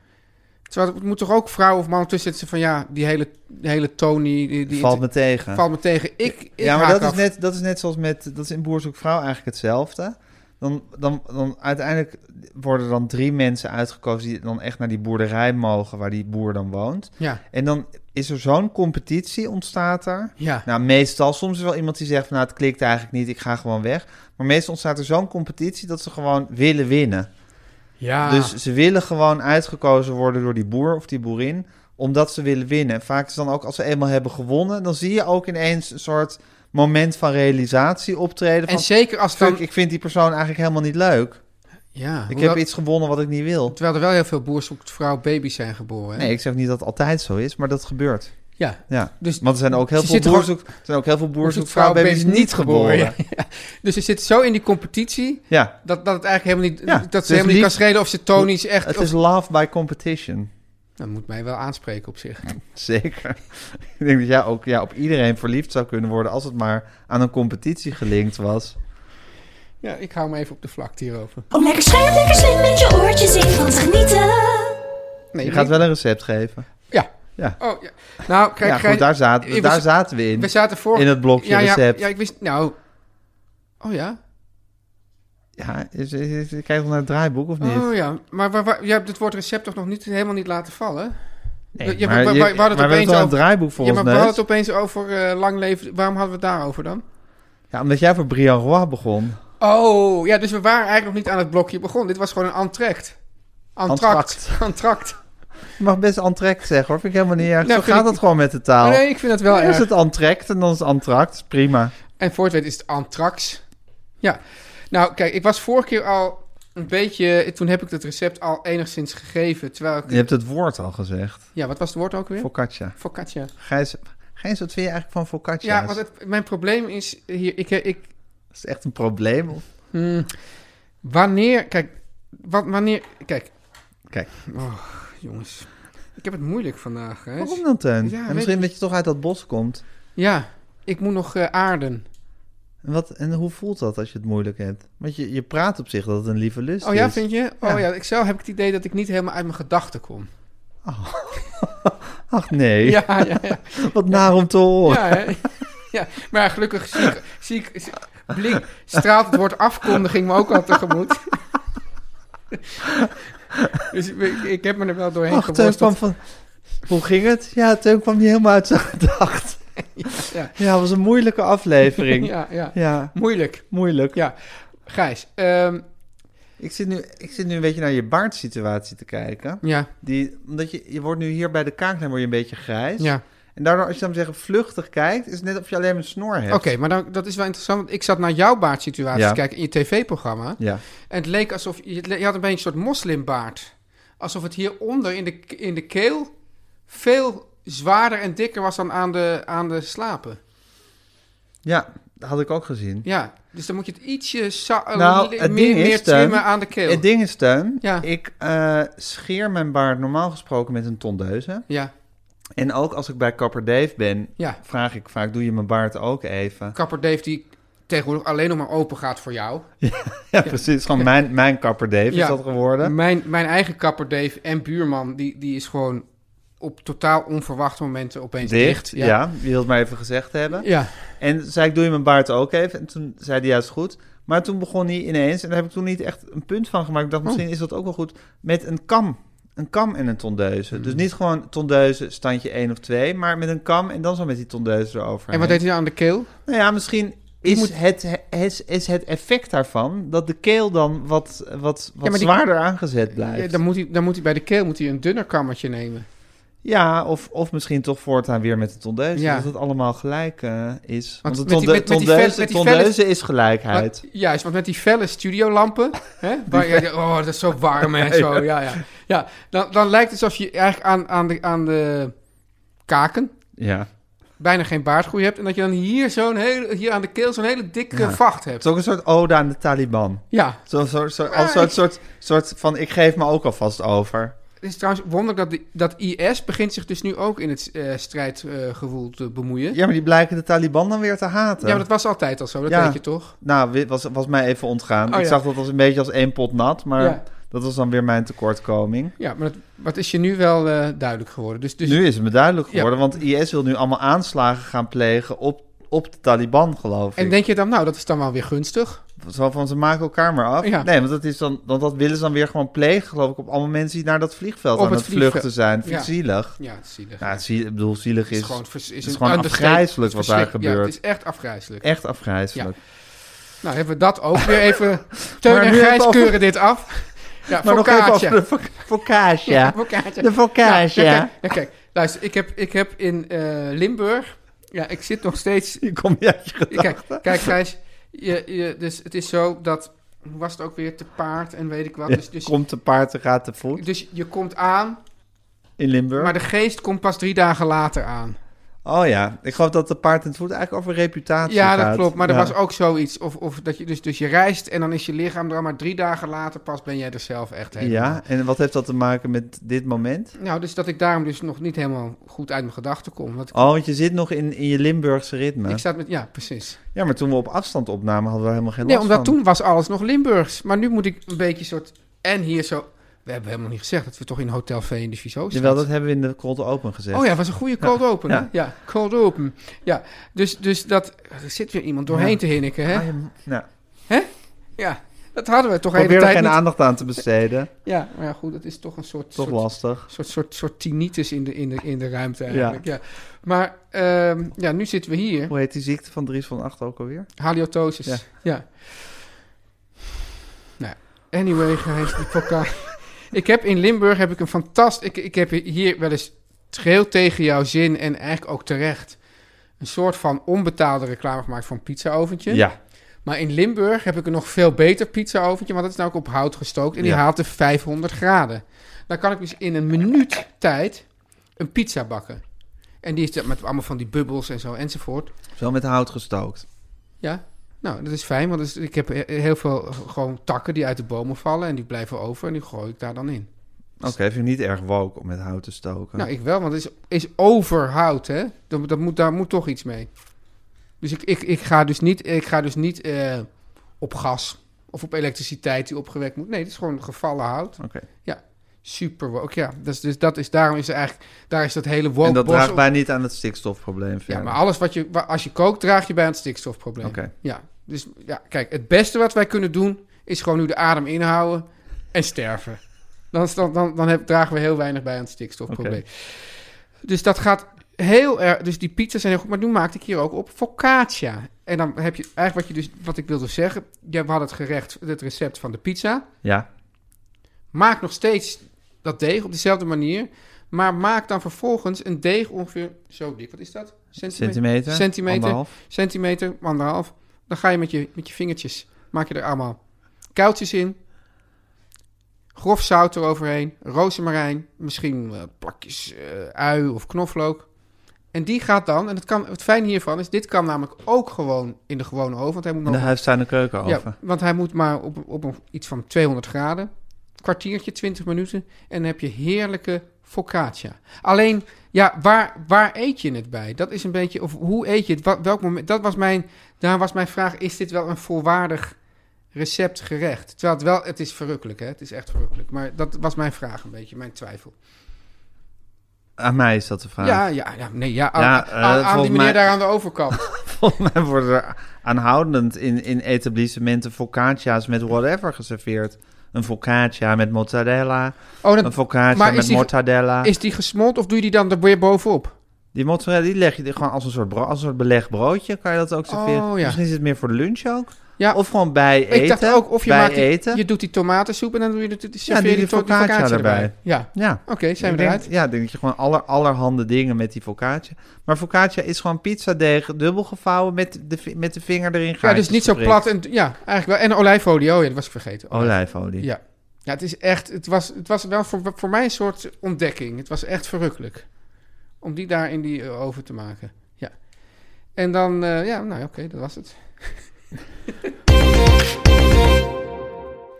Speaker 3: Terwijl het moet toch ook vrouw of man tussen zitten van ja, die hele, die hele Tony, die, die
Speaker 2: Valt me tegen.
Speaker 3: valt me tegen. Ik, ik
Speaker 2: ja, maar
Speaker 3: haak
Speaker 2: dat is,
Speaker 3: af.
Speaker 2: net, dat is net zoals met... Dat is in Boer Zoekt Vrouw eigenlijk hetzelfde. Dan, dan, dan uiteindelijk worden dan drie mensen uitgekozen... die dan echt naar die boerderij mogen waar die boer dan woont.
Speaker 3: Ja,
Speaker 2: En dan is er zo'n competitie ontstaat er.
Speaker 3: ja.
Speaker 2: Nou, meestal. Soms is er wel iemand die zegt van... nou, het klikt eigenlijk niet, ik ga gewoon weg. Maar meestal ontstaat er zo'n competitie dat ze gewoon willen winnen.
Speaker 3: ja.
Speaker 2: Dus ze willen gewoon uitgekozen worden door die boer of die boerin, omdat ze willen winnen. En Vaak is dan ook als ze eenmaal hebben gewonnen, dan zie je ook ineens een soort moment van realisatie optreden.
Speaker 3: en
Speaker 2: Van,
Speaker 3: zeker als
Speaker 2: fuck,
Speaker 3: dan...
Speaker 2: ik vind die persoon eigenlijk helemaal niet leuk.
Speaker 3: ja,
Speaker 2: Ik
Speaker 3: hoewel-
Speaker 2: heb iets gewonnen wat ik niet wil.
Speaker 3: Terwijl er wel heel veel boerzoekvrouw baby's zijn geboren, hè?
Speaker 2: Nee, ik zeg niet dat het altijd zo is, maar dat gebeurt.
Speaker 3: Ja,
Speaker 2: Ja.
Speaker 3: dus
Speaker 2: Want er zijn ook heel
Speaker 3: Ze
Speaker 2: veel
Speaker 3: zitten gewoon-
Speaker 2: boerzoek, er zijn ook heel veel
Speaker 3: boerzoekvrouw
Speaker 2: boerzoekvrouwbaby's niet geboren.
Speaker 3: <laughs>
Speaker 2: Ja,
Speaker 3: Dus ze zit zo in die competitie dat, dat het eigenlijk helemaal niet,
Speaker 2: Ja,
Speaker 3: dat ze
Speaker 2: dus
Speaker 3: helemaal niet
Speaker 2: lief-
Speaker 3: kan schelen of ze Tony's echt.
Speaker 2: het
Speaker 3: of-
Speaker 2: is love by competition.
Speaker 3: Dat moet mij wel aanspreken op zich.
Speaker 2: <laughs> Zeker. ik denk dat jij ook ja, op iedereen verliefd zou kunnen worden als het maar aan een competitie gelinkt was.
Speaker 3: Ja, ik hou me even op de vlakte hierover.
Speaker 6: Om lekker scherp, lekker slim met je oortjes in van te genieten.
Speaker 3: Nee,
Speaker 2: Je gaat wel een recept geven.
Speaker 3: Ja.
Speaker 2: Ja.
Speaker 3: Oh, ja. Nou, kijk,
Speaker 2: Ja, goed, daar zaten,
Speaker 3: Ik
Speaker 2: daar
Speaker 3: was-
Speaker 2: zaten we in.
Speaker 3: We zaten voor...
Speaker 2: In het blokje
Speaker 3: ja, ja,
Speaker 2: recept.
Speaker 3: Ja, ik wist... Nou... Oh ja?
Speaker 2: Ja, is, is, is- kijk nog naar het draaiboek of niet?
Speaker 3: Oh ja. Maar waar, waar, je hebt het woord recept toch nog niet, helemaal niet laten vallen?
Speaker 2: Nee,
Speaker 3: je-
Speaker 2: maar
Speaker 3: we- we-
Speaker 2: je-
Speaker 3: we hadden
Speaker 2: maar
Speaker 3: het
Speaker 2: we hebben
Speaker 3: opeens
Speaker 2: wel een
Speaker 3: over-
Speaker 2: draaiboek voor
Speaker 3: ja,
Speaker 2: ons
Speaker 3: maar we hadden
Speaker 2: neus.
Speaker 3: het opeens over eh, lang leven... Waarom hadden we het daarover dan?
Speaker 2: Ja, omdat jij voor Brian Roy begon.
Speaker 3: Oh, ja, dus we waren eigenlijk nog niet aan het blokje begonnen. Dit was gewoon een antract. Antract.
Speaker 2: Entracte.
Speaker 3: Antract.
Speaker 2: Je mag best antrekt zeggen hoor, vind ik helemaal niet erg.
Speaker 3: Nou,
Speaker 2: Zo
Speaker 3: vind
Speaker 2: gaat
Speaker 3: ik-
Speaker 2: dat gewoon met de taal.
Speaker 3: Nee, ik vind dat wel
Speaker 2: Dan
Speaker 3: erg.
Speaker 2: Nou, is het antrekt en dan is het antract. Prima.
Speaker 3: En voor het weet is het antrax. Ja. Nou, kijk, ik was vorige keer al een beetje... Toen heb ik het recept al enigszins gegeven, terwijl ik...
Speaker 2: Je hebt het woord al gezegd.
Speaker 3: Ja, wat was het woord ook weer?
Speaker 2: Focaccia.
Speaker 3: Focaccia.
Speaker 2: Gijs, Gijs, wat vind je eigenlijk van focaccia?
Speaker 3: Ja, want het, mijn probleem is hier... Ik, ik,
Speaker 2: Is het echt een probleem? of-
Speaker 3: hmm, wanneer... Kijk, wat, wanneer... Kijk.
Speaker 2: Kijk.
Speaker 3: Oh, jongens. Ik heb het moeilijk vandaag, hè.
Speaker 2: Waarom dan, Teun?
Speaker 3: Ja,
Speaker 2: en
Speaker 3: weet
Speaker 2: misschien
Speaker 3: ik-
Speaker 2: dat je toch uit dat bos komt.
Speaker 3: Ja, ik moet nog eh, aarden.
Speaker 2: En, wat, en hoe voelt dat als je het moeilijk hebt? Want je, je praat op zich dat het een lieve lust
Speaker 3: Oh
Speaker 2: is.
Speaker 3: ja, vind je?
Speaker 2: Ja.
Speaker 3: Oh ja, ik zelf heb ik het idee dat ik niet helemaal uit mijn gedachten kom.
Speaker 2: Ach nee,
Speaker 3: Ja, ja, ja.
Speaker 2: <laughs> wat naar om te horen.
Speaker 3: Ja, hè? ja, maar gelukkig zie ik, zie ik zie- blink, straalt het woord afkondiging me ook al tegemoet. <laughs> dus ik, ik heb me er wel doorheen
Speaker 2: Ach, Teun
Speaker 3: geworsteld.
Speaker 2: kwam eh, van... Hoe ging het? Ja, Teun kwam niet helemaal uit zijn <laughs> gedacht.
Speaker 3: ja.
Speaker 2: Ja, het was een moeilijke aflevering. <laughs> Ja,
Speaker 3: Ja, ja. Moeilijk.
Speaker 2: moeilijk.
Speaker 3: Ja. Gijs, ehm,
Speaker 2: Ik, zit nu, ik zit nu een beetje naar je baardsituatie te kijken.
Speaker 3: ja,
Speaker 2: Die, omdat je, je wordt nu hier bij de kaaklijn word je een beetje grijs.
Speaker 3: ja.
Speaker 2: En daardoor, als je dan zeggen vluchtig kijkt, is het net of je alleen een snor hebt.
Speaker 3: Oké, maar dan, dat is wel interessant, want ik zat naar jouw baardsituatie
Speaker 2: Ja.
Speaker 3: te kijken in je tv-programma.
Speaker 2: Ja.
Speaker 3: En het leek alsof je, je had een beetje een soort moslimbaard. Alsof het hieronder in de, in de keel veel zwaarder en dikker was dan aan de, aan de slapen.
Speaker 2: ja, dat had ik ook gezien.
Speaker 3: Ja, dus dan moet je het ietsje sa- eh,
Speaker 2: Nou,
Speaker 3: li-
Speaker 2: het
Speaker 3: meer,
Speaker 2: ding is,
Speaker 3: meer
Speaker 2: Teun,
Speaker 3: trimmen aan de keel.
Speaker 2: Het ding is, Teun,
Speaker 3: Ja.
Speaker 2: ik eh, scheer mijn baard normaal gesproken met een tondeuze.
Speaker 3: Ja,
Speaker 2: En ook als ik bij Kapper Dave ben,
Speaker 3: ja.
Speaker 2: vraag ik vaak, doe je mijn baard ook
Speaker 3: <laughs>
Speaker 2: even?
Speaker 3: Kapper Dave die tegenwoordig alleen nog maar open gaat voor jou.
Speaker 2: Ja, precies. Gewoon mijn, mijn Kapper Dave
Speaker 3: Ja.
Speaker 2: is dat geworden.
Speaker 3: Mijn, mijn eigen Kapper Dave en buurman, die, die is gewoon op totaal onverwachte momenten opeens dicht.
Speaker 2: Dicht, ja. Je wilt maar even gezegd hebben.
Speaker 3: Ja.
Speaker 2: En toen zei ik, doe je mijn baard ook even? En toen zei hij, ja, is goed. Maar toen begon hij ineens, en daar heb ik toen niet echt een punt van gemaakt. Ik
Speaker 3: Oh.
Speaker 2: dacht, misschien is dat ook wel goed, met een kam. Een kam en een tondeuze.
Speaker 3: Hmm.
Speaker 2: Dus niet gewoon tondeuze, standje 1 of 2, maar met een kam en dan zo met die tondeuze erover.
Speaker 3: En wat deed hij nou aan de keel?
Speaker 2: Nou ja, misschien is, het, is, is het effect daarvan dat de keel dan wat, wat, wat
Speaker 3: maar die-
Speaker 2: zwaarder aangezet blijft.
Speaker 3: Ja,
Speaker 2: Ja,
Speaker 3: dan, moet hij, dan moet hij bij de keel moet hij een dunner kammetje nemen.
Speaker 2: of, of misschien toch voortaan weer met de tondeuze.
Speaker 3: Ja.
Speaker 2: Dat het allemaal gelijk eh, is.
Speaker 3: Want
Speaker 2: Want, de
Speaker 3: met die-
Speaker 2: tonde-
Speaker 3: met- met die
Speaker 2: tondeuze,
Speaker 3: vel- met die
Speaker 2: tondeuze
Speaker 3: vel
Speaker 2: is gelijkheid.
Speaker 3: Want- juist, want met die felle studiolampen. hè, waar je- oh, dat is zo warm en zo. Ja, ja. ja dan, dan lijkt het alsof je eigenlijk aan, aan, de, aan de kaken
Speaker 2: Ja.
Speaker 3: bijna geen baardgroei hebt. En dat je dan hier, zo'n hele, hier aan de keel zo'n hele dikke
Speaker 2: Ja. Het
Speaker 3: vacht hebt.
Speaker 2: is ook een soort ode aan de Taliban.
Speaker 3: Ja,
Speaker 2: Zo'n soort, soort, als soort, soort, soort van, ik geef me ook alvast over.
Speaker 3: het is trouwens wonderlijk dat, die- dat IS begint zich dus nu ook in het eh, strijdgevoel te bemoeien. Ja.
Speaker 2: Ja, maar die blijken de Taliban dan weer te haten.
Speaker 3: maar dat was altijd al zo, dat
Speaker 2: Ja.
Speaker 3: weet je toch?
Speaker 2: Nou, wi- was, was mij even ontgaan.
Speaker 3: Oh,
Speaker 2: ik
Speaker 3: ja.
Speaker 2: zag dat als een beetje als één pot nat, maar
Speaker 3: Ja.
Speaker 2: dat was dan weer mijn tekortkoming.
Speaker 3: Ja, maar dat, wat is je nu wel eh, duidelijk geworden? Dus, dus
Speaker 2: nu is het me duidelijk
Speaker 3: Ja.
Speaker 2: geworden, want IS wil nu allemaal aanslagen gaan plegen op, op de Taliban, geloof
Speaker 3: En
Speaker 2: ik.
Speaker 3: denk je dan, nou, dat is dan wel weer gunstig?
Speaker 2: Zo van, ze maken elkaar maar af.
Speaker 3: Ja.
Speaker 2: Nee, want dat, is dan, want dat willen ze dan weer gewoon plegen, geloof ik, op allemaal mensen die naar dat vliegveld
Speaker 3: Op
Speaker 2: aan
Speaker 3: het
Speaker 2: het, vluchten
Speaker 3: vliegveld.
Speaker 2: zijn. Vind ik
Speaker 3: Ja.
Speaker 2: zielig.
Speaker 3: Ja, het is zielig.
Speaker 2: Nou, zie, ik bedoel, zielig
Speaker 3: Het
Speaker 2: is,
Speaker 3: is gewoon, vers-
Speaker 2: is
Speaker 3: is een
Speaker 2: gewoon
Speaker 3: understatement.
Speaker 2: afgrijzelijk wat daar
Speaker 3: Verschrik- Ja,
Speaker 2: gebeurt.
Speaker 3: het is echt afgrijzelijk.
Speaker 2: echt afgrijzelijk.
Speaker 3: Nou, hebben we dat ook weer even... Teun
Speaker 2: <laughs> Maar
Speaker 3: en
Speaker 2: nu hebben
Speaker 3: Gijs
Speaker 2: we over-
Speaker 3: keuren dit
Speaker 2: <laughs>
Speaker 3: af. Ja,
Speaker 2: Maar nog even over
Speaker 3: focaccia.
Speaker 2: de fo-
Speaker 3: <laughs>
Speaker 2: focaccia.
Speaker 3: Focaccia.
Speaker 2: De focaccia.
Speaker 3: Ja, kijk, ja, kijk, luister, ik heb, ik heb in eh, Limburg... Ja, ik zit nog
Speaker 2: <laughs>
Speaker 3: steeds...
Speaker 2: Hier kom je uit je gedachten.
Speaker 3: Kijk, kijk Gijs, je, je, dus het is zo dat... Hoe was het ook weer? Te paard en weet ik wat.
Speaker 2: Ja,
Speaker 3: Dus, dus,
Speaker 2: Komt de paard en gaat te voet
Speaker 3: dus je komt aan,
Speaker 2: in Limburg.
Speaker 3: maar de geest komt pas drie dagen later aan.
Speaker 2: Oh ja, ik geloof dat de paard en het voet eigenlijk over reputatie
Speaker 3: Ja,
Speaker 2: gaat.
Speaker 3: dat klopt. Maar
Speaker 2: Ja.
Speaker 3: er was ook zoiets. Of, of dat je dus, dus je reist en dan is je lichaam er al maar drie dagen later pas ben jij er zelf echt helemaal.
Speaker 2: Ja, en wat heeft dat te maken met dit moment?
Speaker 3: Nou, dus dat ik daarom dus nog niet helemaal goed uit mijn gedachten kom. Want ik,
Speaker 2: Oh, nou. want je zit nog in, in je Limburgse ritme.
Speaker 3: ik zat met, ja, precies.
Speaker 2: Ja, maar toen we op afstand opnamen hadden we helemaal geen
Speaker 3: Nee,
Speaker 2: last
Speaker 3: omdat
Speaker 2: van.
Speaker 3: toen was alles nog Limburgs. Maar nu moet ik een beetje soort, en hier zo, we hebben helemaal niet gezegd dat we toch in Hotel V in de Viso
Speaker 2: Jawel, dat
Speaker 3: zaten.
Speaker 2: hebben we in de cold open gezegd.
Speaker 3: Oh ja, was een goede cold open. hè?
Speaker 2: ja.
Speaker 3: Ja. cold open. Ja, dus, dus dat, er zit weer iemand doorheen
Speaker 2: Ja.
Speaker 3: te hinniken, hè?
Speaker 2: Ah, je- nou,
Speaker 3: Ja, dat hadden we toch de
Speaker 2: probeer
Speaker 3: hele
Speaker 2: er
Speaker 3: tijd
Speaker 2: geen
Speaker 3: niet.
Speaker 2: aandacht aan te
Speaker 3: <laughs>
Speaker 2: besteden.
Speaker 3: Ja, maar ja, goed, dat is toch een soort...
Speaker 2: Toch
Speaker 3: soort
Speaker 2: lastig.
Speaker 3: soort, soort, soort tinnitus in de, in, de, in de ruimte eigenlijk. Ja. Maar ehm, ja, nu zitten we hier.
Speaker 2: Hoe heet die ziekte van Dries van Acht ook alweer?
Speaker 3: Haliotosis.
Speaker 2: Ja.
Speaker 3: Ja. Nou, anyway, Gijs, die podcast. Ik heb in Limburg heb ik een fantastisch... Ik, ik heb hier wel eens heel tegen jouw zin en eigenlijk ook terecht... een soort van onbetaalde reclame gemaakt voor een pizzaoventje.
Speaker 2: Ja.
Speaker 3: Maar in Limburg heb ik een nog veel beter pizzaoventje, want dat is nou ook op hout gestookt en die
Speaker 2: Ja.
Speaker 3: haalt de 500 graden. Dan kan ik dus in een minuut tijd een pizza bakken. En die is dan met allemaal van die bubbels en zo enzovoort.
Speaker 2: Wel met hout gestookt.
Speaker 3: Ja, nou, dat is fijn, want dus ik heb he- heel veel gewoon takken die uit de bomen vallen en die blijven over en die gooi ik daar dan in.
Speaker 2: Oké, vind ik niet erg woke om met hout te stoken.
Speaker 3: Dus- Nou, ik wel, want het is, is overhout, hè? Dat, dat moet, daar moet toch iets mee. Dus ik, ik, ik ga dus niet, ik ga dus niet eh, op gas of op elektriciteit die opgewekt moet. Nee, het is gewoon gevallen hout.
Speaker 2: Oké.
Speaker 3: Super woke, ja. Dus, dus dat is, daarom is er eigenlijk, daar is dat hele woke
Speaker 2: En dat
Speaker 3: bos
Speaker 2: draagt
Speaker 3: op-
Speaker 2: bij niet aan het stikstofprobleem verder.
Speaker 3: Ja, maar alles wat je, wa- als je kookt, draag je bij aan het stikstofprobleem.
Speaker 2: Oké.
Speaker 3: Ja, dus ja, kijk, het beste wat wij kunnen doen is gewoon nu de adem inhouden en sterven. Dan, is- dan, dan, dan heb, dragen we heel weinig bij aan het stikstofprobleem. Dus dat gaat heel erg. Dus die pizza's zijn heel goed. Maar nu maakte ik hier ook op focaccia. En dan heb je eigenlijk wat, je dus, wat ik wilde zeggen. Ja, we hadden het gerecht, het recept van de pizza.
Speaker 2: Ja.
Speaker 3: Maak nog steeds dat deeg op dezelfde manier. Maar maak dan vervolgens een deeg ongeveer zo dik. Wat is dat?
Speaker 2: Centimeter.
Speaker 3: Centimeter.
Speaker 2: Anderhalf.
Speaker 3: Centimeter, anderhalf. Dan ga je met je, met je vingertjes, maak je er allemaal kuiltjes in. Grof zout eroverheen. Rozemarijn. Misschien eh, plakjes eh, ui of knoflook. En die gaat dan, en het, kan, het fijne hiervan is, dit kan namelijk ook gewoon in de gewone oven. Want hij moet
Speaker 2: In de
Speaker 3: nog
Speaker 2: huistuin en keuken
Speaker 3: ja,
Speaker 2: oven.
Speaker 3: want hij moet maar op, op een, iets van 200 graden. Kwartiertje, 20 minuten. En dan heb je heerlijke focaccia. Alleen, ja, waar, waar eet je het bij? Dat is een beetje, of hoe eet je het? Wat, welk moment? Dat was mijn, daar was mijn vraag. Is dit wel een volwaardig recept gerecht? Terwijl het wel, het is verrukkelijk, hè? Het is echt verrukkelijk. Maar dat was mijn vraag een beetje, mijn twijfel.
Speaker 2: Aan mij is dat de vraag.
Speaker 3: Ja, ja, ja. Nee, ja, aan,
Speaker 2: Ah. Ja, eh,
Speaker 3: aan- aan
Speaker 2: volgens
Speaker 3: die meneer
Speaker 2: mij-
Speaker 3: daar aan de overkant.
Speaker 2: <laughs>
Speaker 3: Oh,
Speaker 2: Volgens mij worden er aanhoudend in, in etablissementen focaccia's met whatever geserveerd. Een focaccia met mozzarella.
Speaker 3: Oh,
Speaker 2: Een
Speaker 3: dan,
Speaker 2: focaccia
Speaker 3: maar is
Speaker 2: met
Speaker 3: die-
Speaker 2: mortadella.
Speaker 3: is die gesmolten of doe je die dan er weer bovenop?
Speaker 2: Die mozzarella die leg je er gewoon als een soort, bro- als een soort beleg broodje. Kan je dat ook serveren?
Speaker 3: Oh, ja.
Speaker 2: Misschien is het meer voor lunch ook.
Speaker 3: Ja.
Speaker 2: Of gewoon bij
Speaker 3: Ik
Speaker 2: eten.
Speaker 3: dacht ook, of je,
Speaker 2: bij
Speaker 3: maakt die-
Speaker 2: eten.
Speaker 3: je doet die tomatensoep en dan doe je de, de,
Speaker 2: doe je
Speaker 3: serveer
Speaker 2: die
Speaker 3: die, to- die
Speaker 2: focaccia
Speaker 3: focaccia erbij.
Speaker 2: erbij.
Speaker 3: Ja, dus
Speaker 2: Ja.
Speaker 3: oké, zijn
Speaker 2: Ik
Speaker 3: we
Speaker 2: denk,
Speaker 3: eruit.
Speaker 2: ja, ik denk dat je gewoon aller, allerhande dingen met die focaccia. Maar focaccia is gewoon pizzadeeg dubbel gevouwen met de, vi- met de vinger erin
Speaker 3: Ja,
Speaker 2: gaatjes
Speaker 3: dus niet zo
Speaker 2: geprikt.
Speaker 3: plat en ja, eigenlijk wel. En olijfolie, oh ja, dat was ik vergeten.
Speaker 2: Olijfolie.
Speaker 3: Ja. ja, het is echt, het was, het was wel voor, voor mij een soort ontdekking. Het was echt verrukkelijk om die daar in die eh, oven te maken. Ja. En dan, eh, ja, nou ja, oké, dat was het.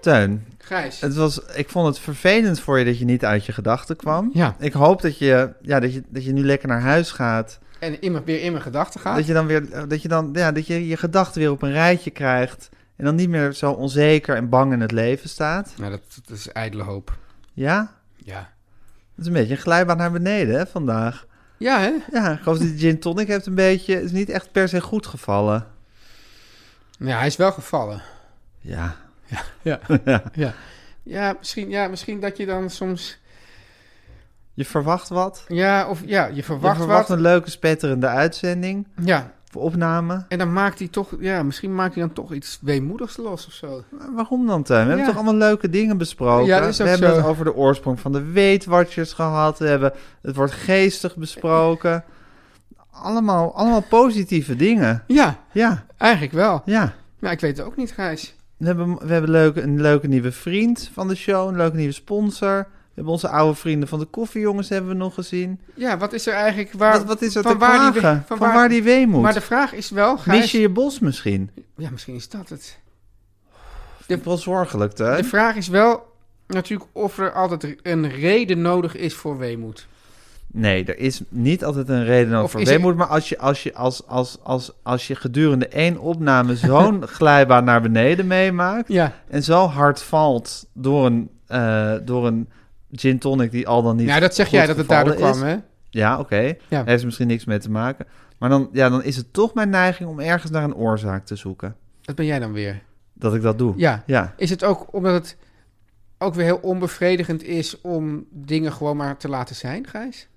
Speaker 2: Teun,
Speaker 3: Grijs.
Speaker 2: het was, ik vond het vervelend voor je dat je niet uit je gedachten kwam.
Speaker 3: Ja,
Speaker 2: Ik hoop dat je, ja, dat, je, dat je nu lekker naar huis gaat.
Speaker 3: en in mijn, weer in mijn gedachten gaat.
Speaker 2: Dat je dan weer dat je, dan, ja, dat je je gedachten weer op een rijtje krijgt. En dan niet meer zo onzeker en bang in het leven staat.
Speaker 3: Nou, dat, dat is ijdele hoop.
Speaker 2: Ja?
Speaker 3: Ja.
Speaker 2: Dat is een beetje een glijbaan naar beneden hè, vandaag.
Speaker 3: Ja, hè?
Speaker 2: Ja, ik geloof dat die gin tonic heeft een beetje... is niet echt per se goed gevallen.
Speaker 3: Ja, hij is wel gevallen.
Speaker 2: Ja.
Speaker 3: Ja.
Speaker 2: Ja.
Speaker 3: ja. Ja, misschien, ja, misschien dat je dan soms...
Speaker 2: Je verwacht wat.
Speaker 3: Ja, of ja, je
Speaker 2: Je
Speaker 3: verwacht,
Speaker 2: verwacht
Speaker 3: wat.
Speaker 2: een leuke, spetterende uitzending.
Speaker 3: Ja,
Speaker 2: Of opname.
Speaker 3: en dan maakt hij toch... Ja, misschien maakt hij dan toch iets weemoedigs los of zo.
Speaker 2: Maar waarom dan, Tuin? We hebben
Speaker 3: Ja.
Speaker 2: toch allemaal leuke dingen besproken?
Speaker 3: Ja, dat is
Speaker 2: we
Speaker 3: ook
Speaker 2: hebben
Speaker 3: zo.
Speaker 2: het over de oorsprong van de weetwatchers gehad. We hebben het woord geestig besproken. Allemaal, allemaal positieve dingen.
Speaker 3: Ja,
Speaker 2: Ja,
Speaker 3: eigenlijk wel.
Speaker 2: ja.
Speaker 3: Maar ik weet het ook niet, Gijs.
Speaker 2: We hebben, we hebben leuke, een leuke nieuwe vriend van de show. Een leuke nieuwe sponsor. We hebben onze oude vrienden van de koffiejongens hebben we nog gezien.
Speaker 3: Ja, wat is er eigenlijk... Waar,
Speaker 2: wat, wat is dat
Speaker 3: van
Speaker 2: te
Speaker 3: waar die
Speaker 2: klagen?
Speaker 3: we-
Speaker 2: van, waar, die weemoed?
Speaker 3: Maar de vraag is wel, Gijs...
Speaker 2: Mis je je bos misschien?
Speaker 3: Ja, misschien is dat het.
Speaker 2: Dit wel zorgelijk, hè?
Speaker 3: De vraag is wel natuurlijk of er altijd een reden nodig is voor weemoed.
Speaker 2: Nee, er is niet altijd een reden nodig
Speaker 3: Of
Speaker 2: voor
Speaker 3: is er-
Speaker 2: weemoed. Maar als je, als, je, als, als, als, als je gedurende één opname
Speaker 3: <laughs>
Speaker 2: zo'n glijbaan naar beneden meemaakt...
Speaker 3: Ja.
Speaker 2: en zo hard valt door een, eh, door een gin tonic die al dan niet
Speaker 3: Ja, dat zeg
Speaker 2: goed
Speaker 3: jij dat het
Speaker 2: gevallen
Speaker 3: daardoor kwam,
Speaker 2: is.
Speaker 3: hè?
Speaker 2: Ja, oké.
Speaker 3: Ja.
Speaker 2: Daar heeft misschien niks mee te maken. Maar dan, ja, dan is het toch mijn neiging om ergens naar een oorzaak te zoeken.
Speaker 3: Dat ben jij dan weer.
Speaker 2: Dat ik dat doe.
Speaker 3: Ja.
Speaker 2: Ja,
Speaker 3: Is het ook omdat het ook weer heel onbevredigend is om dingen gewoon maar te laten zijn, Gijs?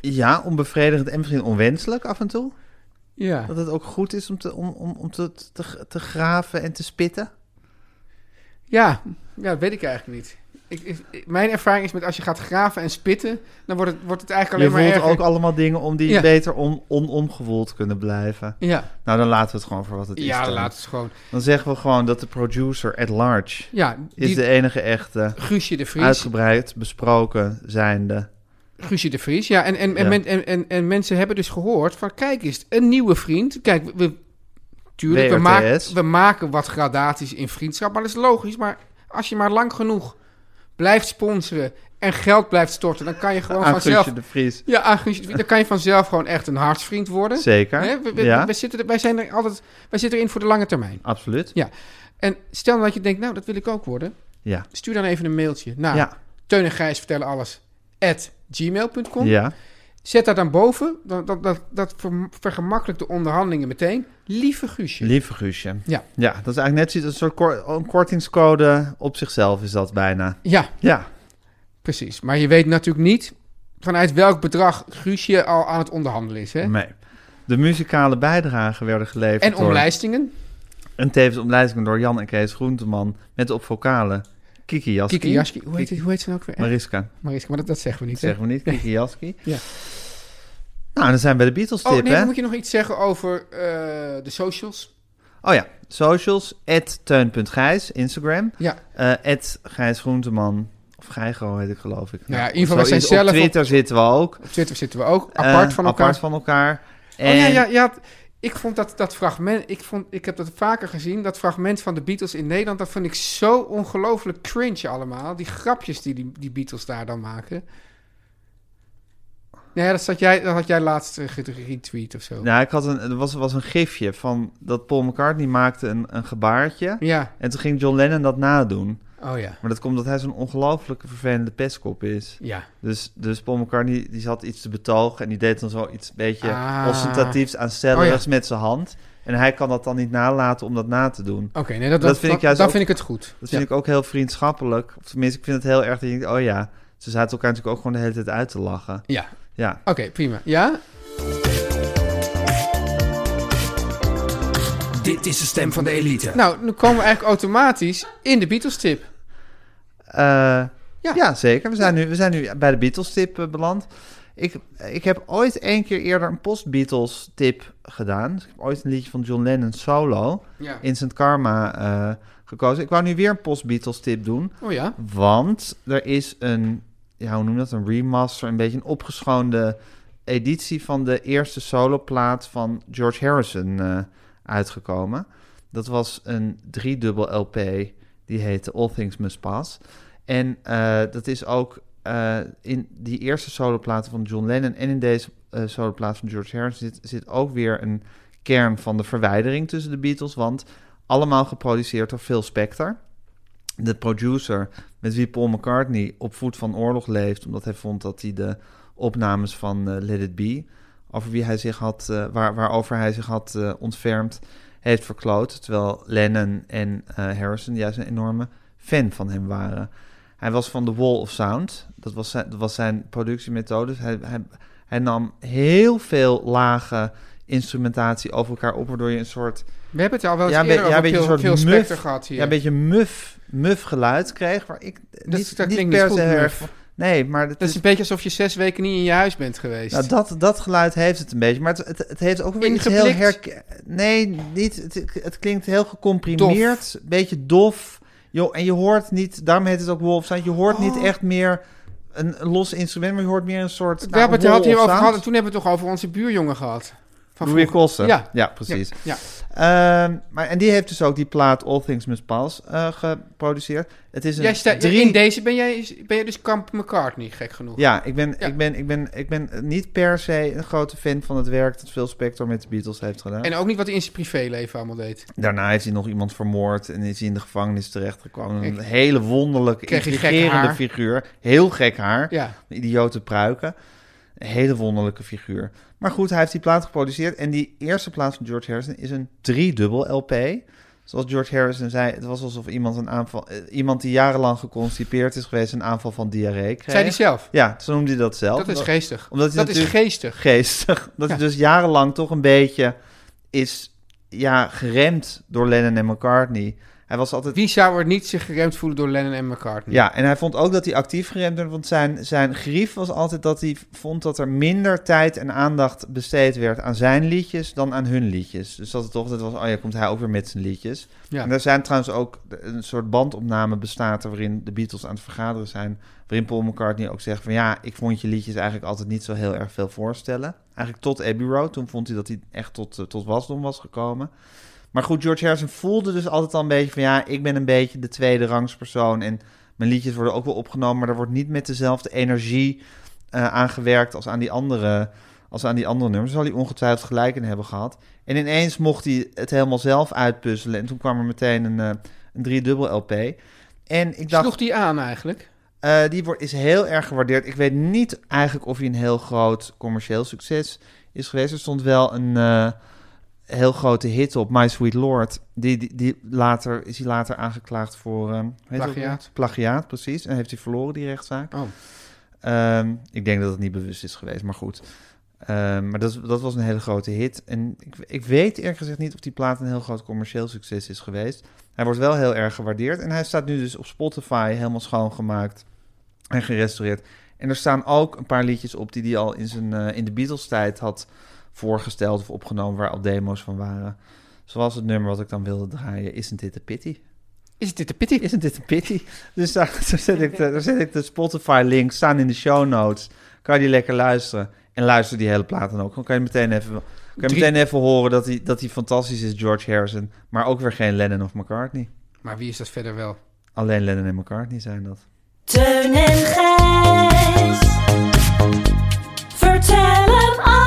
Speaker 2: ja onbevredigend en misschien onwenselijk af en toe.
Speaker 3: Ja.
Speaker 2: Dat het ook goed is om te, om, om, om te, te, te graven en te spitten.
Speaker 3: Ja, ja dat weet ik eigenlijk niet. Ik, ik- mijn ervaring is met als je gaat graven en spitten, dan wordt het, wordt het eigenlijk
Speaker 2: Je
Speaker 3: alleen
Speaker 2: voelt
Speaker 3: maar erger.
Speaker 2: ook allemaal dingen om die
Speaker 3: Ja.
Speaker 2: beter on, onomgevoeld kunnen blijven.
Speaker 3: Ja,
Speaker 2: Nou, dan laten we het gewoon voor wat het is.
Speaker 3: ja
Speaker 2: dan.
Speaker 3: laat het gewoon.
Speaker 2: dan zeggen we gewoon dat de producer at large
Speaker 3: Ja,
Speaker 2: is eh,
Speaker 3: die,
Speaker 2: de enige echte,
Speaker 3: Guusje de Vries.
Speaker 2: uitgebreid besproken zijnde.
Speaker 3: Guusje de Vries, ja. En, en, en,
Speaker 2: Ja.
Speaker 3: men- en, en, en mensen hebben dus gehoord van... kijk eens, een nieuwe vriend. Kijk, we, tuurlijk, we,
Speaker 2: WRTS.
Speaker 3: maken, we maken wat gradaties in vriendschap. Maar dat is logisch. Maar als je maar lang genoeg blijft sponsoren... en geld blijft storten, dan kan je gewoon
Speaker 2: Aan
Speaker 3: vanzelf...
Speaker 2: Guusje de Vries.
Speaker 3: Ja, aan Guusje de Vries. Dan kan je vanzelf gewoon echt een hartsvriend worden.
Speaker 2: Zeker.
Speaker 3: Hè? We, we-
Speaker 2: ja,
Speaker 3: we zitten er, wij, zijn er altijd, wij zitten erin voor de lange termijn.
Speaker 2: absoluut.
Speaker 3: En stel nou dat je denkt, nou, dat wil ik ook worden.
Speaker 2: Ja.
Speaker 3: Stuur dan even een mailtje naar
Speaker 2: Ja.
Speaker 3: Teun en Gijs vertellen alles... at gmail.com.
Speaker 2: Ja.
Speaker 3: Zet daar dan boven. Dat, dat, dat, dat ver- vergemakkelijkt de onderhandelingen meteen. Lieve Guusje.
Speaker 2: Lieve Guusje.
Speaker 3: Ja.
Speaker 2: Ja, dat is eigenlijk net zoiets, een soort kor- een kortingscode op zichzelf is dat bijna.
Speaker 3: ja,
Speaker 2: Ja,
Speaker 3: precies. Maar je weet natuurlijk niet vanuit welk bedrag Guusje al aan het onderhandelen is. Hè?
Speaker 2: nee. De muzikale bijdragen werden geleverd
Speaker 3: En
Speaker 2: door-
Speaker 3: omlijstingen.
Speaker 2: En tevens omlijstingen door Jan en Kees Groenteman met op vocalen Kiki Jaski.
Speaker 3: Kiki Jaski. Hoe heet, hoe heet ze nou ook weer? Mariska.
Speaker 2: Mariska, dat
Speaker 3: maar dat, dat zeggen we niet. hè?
Speaker 2: zeggen we niet, Kiki Jaski.
Speaker 3: Ja.
Speaker 2: Nou, dan zijn we bij de Beatles tip,
Speaker 3: Oh nee,
Speaker 2: hè?
Speaker 3: dan moet je nog iets zeggen over eh, de socials.
Speaker 2: Oh ja, socials, teun.gijs, Instagram. eh,
Speaker 3: Ja.
Speaker 2: at Gijs Groenteman, of Gijgo heet ik geloof ik.
Speaker 3: Nou ja, in ieder geval, wij zijn
Speaker 2: zoiets.
Speaker 3: zelf
Speaker 2: Op
Speaker 3: op-
Speaker 2: Twitter zitten we ook.
Speaker 3: Op Twitter zitten we ook. Apart
Speaker 2: Eh,
Speaker 3: van elkaar.
Speaker 2: Apart van elkaar. En,
Speaker 3: Oh ja, ja, ja. Ik vond dat, dat fragment, ik, vond, ik heb dat vaker gezien, dat fragment van de Beatles in Nederland, dat vond ik zo ongelooflijk cringe allemaal. Die grapjes die, die die Beatles daar dan maken. Nee, dat, zat jij, dat had jij laatst eh, ge- retweet of zo.
Speaker 2: Nou, ik had een, er was, was een gifje van dat Paul McCartney maakte een, een gebaartje.
Speaker 3: Ja,
Speaker 2: En toen ging John Lennon dat nadoen.
Speaker 3: oh ja.
Speaker 2: Maar dat komt omdat hij zo'n ongelooflijke vervelende pestkop is.
Speaker 3: Ja,
Speaker 2: Dus, dus Paul McCartney die zat iets te betogen en die deed dan zo iets een beetje
Speaker 3: Ah.
Speaker 2: ostentatiefs aanstellerigs
Speaker 3: Oh
Speaker 2: met zijn hand. En hij kan dat dan niet nalaten om dat na te doen.
Speaker 3: oké. nee, dat,
Speaker 2: Dat
Speaker 3: dat,
Speaker 2: vind
Speaker 3: vind,
Speaker 2: ik juist
Speaker 3: dat
Speaker 2: ook-
Speaker 3: vind ik het goed.
Speaker 2: Dat vind
Speaker 3: Oh, Ja.
Speaker 2: ik ook heel vriendschappelijk. Of tenminste, ik vind het heel erg dat je denkt, oh ja, ze zaten elkaar natuurlijk ook gewoon de hele tijd uit te lachen.
Speaker 3: Ja,
Speaker 2: Ja,
Speaker 3: oké, prima. Ja?
Speaker 5: Dit is de stem van de elite.
Speaker 3: Nou, nu komen we eigenlijk automatisch in de Beatles-tip.
Speaker 2: Eh, ja.
Speaker 3: Ja.
Speaker 2: zeker. We zijn, nu, we zijn nu bij de Beatles-tip eh, beland. Ik, ik heb ooit één keer eerder een post-Beatles-tip gedaan. Dus ik heb ooit een liedje van John Lennon solo,
Speaker 3: Ja.
Speaker 2: Instant Karma, eh, gekozen. Ik wou nu weer een post-Beatles-tip doen,
Speaker 3: Oh ja?
Speaker 2: want er is een, ja, hoe noem je dat, een remaster, een beetje een opgeschoonde editie van de eerste soloplaat van George Harrison eh, uitgekomen. Dat was een driedubbel LP, die heette All Things Must Pass. En eh, dat is ook eh, in die eerste soloplaten van John Lennon en in deze eh soloplaat van George Harrison zit, zit ook weer een kern van de verwijdering tussen de Beatles, want allemaal geproduceerd door Phil Spector. De producer met wie Paul McCartney op voet van oorlog leeft, omdat hij vond dat hij de opnames van eh, Let It Be, over wie hij zich had, eh, waar, waarover hij zich had eh, ontfermd, heeft verkloot. Terwijl Lennon en eh, Harrison juist een enorme fan van hem waren. Hij was van The Wall of Sound. Dat was zijn, dat was zijn productiemethode. Dus Hij, hij, hij nam heel veel lage instrumentatie over elkaar op, waardoor je een soort
Speaker 3: We hebben het al wel eens
Speaker 2: Ja, een be-
Speaker 3: eerder
Speaker 2: ja,
Speaker 3: over
Speaker 2: een beetje
Speaker 3: Phil-
Speaker 2: een soort
Speaker 3: Phil
Speaker 2: muf.
Speaker 3: Spector gehad hier.
Speaker 2: ja, een beetje muf, muf geluid kreeg. Waar ik
Speaker 3: dat,
Speaker 2: niet,
Speaker 3: dat
Speaker 2: niet
Speaker 3: klinkt
Speaker 2: per
Speaker 3: niet
Speaker 2: se
Speaker 3: goed,
Speaker 2: heel
Speaker 3: muf.
Speaker 2: erg- Nee, maar dat
Speaker 3: Dat
Speaker 2: is
Speaker 3: is een beetje alsof je zes weken niet in je huis bent geweest.
Speaker 2: Nou, dat, dat geluid heeft het een beetje. Maar het, het, het heeft ook weer iets heel
Speaker 3: Ingeblikt?
Speaker 2: herk... Nee, niet. Het, het klinkt heel gecomprimeerd. Een beetje dof. Joh, en je hoort niet, daarom heet het ook Wolfsound, je hoort
Speaker 3: Oh.
Speaker 2: niet echt meer een, een los instrument, maar je hoort meer een soort... nou,
Speaker 3: We hebben het er
Speaker 2: wol of
Speaker 3: had hierover
Speaker 2: sound.
Speaker 3: gehad en toen hebben we het toch over onze buurjongen gehad. Van
Speaker 2: Louis
Speaker 3: vroeger.
Speaker 2: Koster.
Speaker 3: Ja.
Speaker 2: ja precies.
Speaker 3: Ja.
Speaker 2: Ehm, maar, en die heeft dus ook die plaat All Things Must Pass eh, geproduceerd. Het is een
Speaker 3: Jij staat,
Speaker 2: drie...
Speaker 3: In deze ben jij, ben jij dus Kamp McCartney, gek genoeg.
Speaker 2: Ja, ik ben,
Speaker 3: Ja.
Speaker 2: Ik, ben, ik, ben, ik ben niet per se een grote fan van het werk dat Phil Spector met de Beatles heeft gedaan.
Speaker 3: En ook niet wat hij in zijn privéleven allemaal deed.
Speaker 2: Daarna heeft hij nog iemand vermoord en is hij in de gevangenis terechtgekomen. Een
Speaker 3: Kijk.
Speaker 2: hele wonderlijke,
Speaker 3: Kreeg hij gek
Speaker 2: intrigerende
Speaker 3: haar.
Speaker 2: figuur. Heel gek haar.
Speaker 3: Ja.
Speaker 2: Idiote pruiken. Een hele wonderlijke figuur. Maar goed, hij heeft die plaat geproduceerd. En die eerste plaat van George Harrison is een driedubbel LP. Zoals George Harrison zei, het was alsof iemand, een aanval, eh, iemand die jarenlang geconstipeerd is geweest... een aanval van diarree kreeg.
Speaker 3: Zei hij zelf.
Speaker 2: Ja, zo noemde hij dat zelf.
Speaker 3: Dat is geestig.
Speaker 2: omdat hij
Speaker 3: dat is
Speaker 2: natuurlijk-
Speaker 3: geestig.
Speaker 2: geestig. <laughs> Dat hij
Speaker 3: Ja.
Speaker 2: dus jarenlang toch een beetje is ja, geremd door Lennon en McCartney. Hij was altijd...
Speaker 3: Wie zou er niet zich geremd voelen door Lennon en McCartney?
Speaker 2: Ja, en hij vond ook dat hij actief geremd werd, want zijn, zijn grief was altijd dat hij vond dat er minder tijd en aandacht besteed werd aan zijn liedjes dan aan hun liedjes. Dus dat het toch altijd was, oh ja, komt hij ook weer met zijn liedjes.
Speaker 3: Ja.
Speaker 2: En er zijn trouwens ook een soort bandopname bestaat er waarin de Beatles aan het vergaderen zijn, waarin Paul McCartney ook zegt van ja, ik vond je liedjes eigenlijk altijd niet zo heel erg veel voorstellen. Eigenlijk tot Abbey Road, toen vond hij dat hij echt tot, eh, tot wasdom was gekomen. Maar goed, George Harrison voelde dus altijd al een beetje van ja, ik ben een beetje de tweede rangspersoon. En mijn liedjes worden ook wel opgenomen, maar er wordt niet met dezelfde energie eh aangewerkt als aan die andere. Als aan die andere nummers zal hij ongetwijfeld gelijk in hebben gehad. En ineens mocht hij het helemaal zelf uitpuzzelen. En toen kwam er meteen een, eh een driedubbel LP. En ik dacht,
Speaker 3: Sloeg die aan eigenlijk?
Speaker 2: eh, die wordt, is heel erg gewaardeerd. Ik weet niet eigenlijk of hij een heel groot commercieel succes is geweest. Er stond wel een eh, heel grote hit op, My Sweet Lord. Die, die, die later, is hij later aangeklaagd voor... ehm, hoe heet dat
Speaker 3: Plagiaat.
Speaker 2: weer? Plagiaat, precies. En heeft hij verloren, die rechtszaak.
Speaker 3: Oh.
Speaker 2: Ehm, ik denk dat het niet bewust is geweest, maar goed. Ehm, maar dat, is- dat was een hele grote hit. En ik, ik weet eerlijk gezegd niet of die plaat een heel groot commercieel succes is geweest. Hij wordt wel heel erg gewaardeerd. En hij staat nu dus op Spotify helemaal schoongemaakt en gerestaureerd. En er staan ook een paar liedjes op die hij al in, zijn, eh, in de Beatles-tijd had voorgesteld of opgenomen, waar al demo's van waren. Zoals het nummer wat ik dan wilde draaien, Isn't It a Pity?
Speaker 3: Is dit de pittig?
Speaker 2: Isn't It a Pity? Dus daar, <laughs> daar, zet, ik de, daar zet ik de Spotify-link, staan in de show notes. Kan je die lekker luisteren? En luister die hele plaat dan ook. Dan kan je meteen even, kan je
Speaker 3: Drie-
Speaker 2: meteen even horen dat hij, dat hij fantastisch is, George Harrison. Maar ook weer geen Lennon of McCartney.
Speaker 3: Maar wie is dat verder wel?
Speaker 2: Alleen Lennon en McCartney zijn dat.
Speaker 6: Teun en Gijs. Vertel hem alles.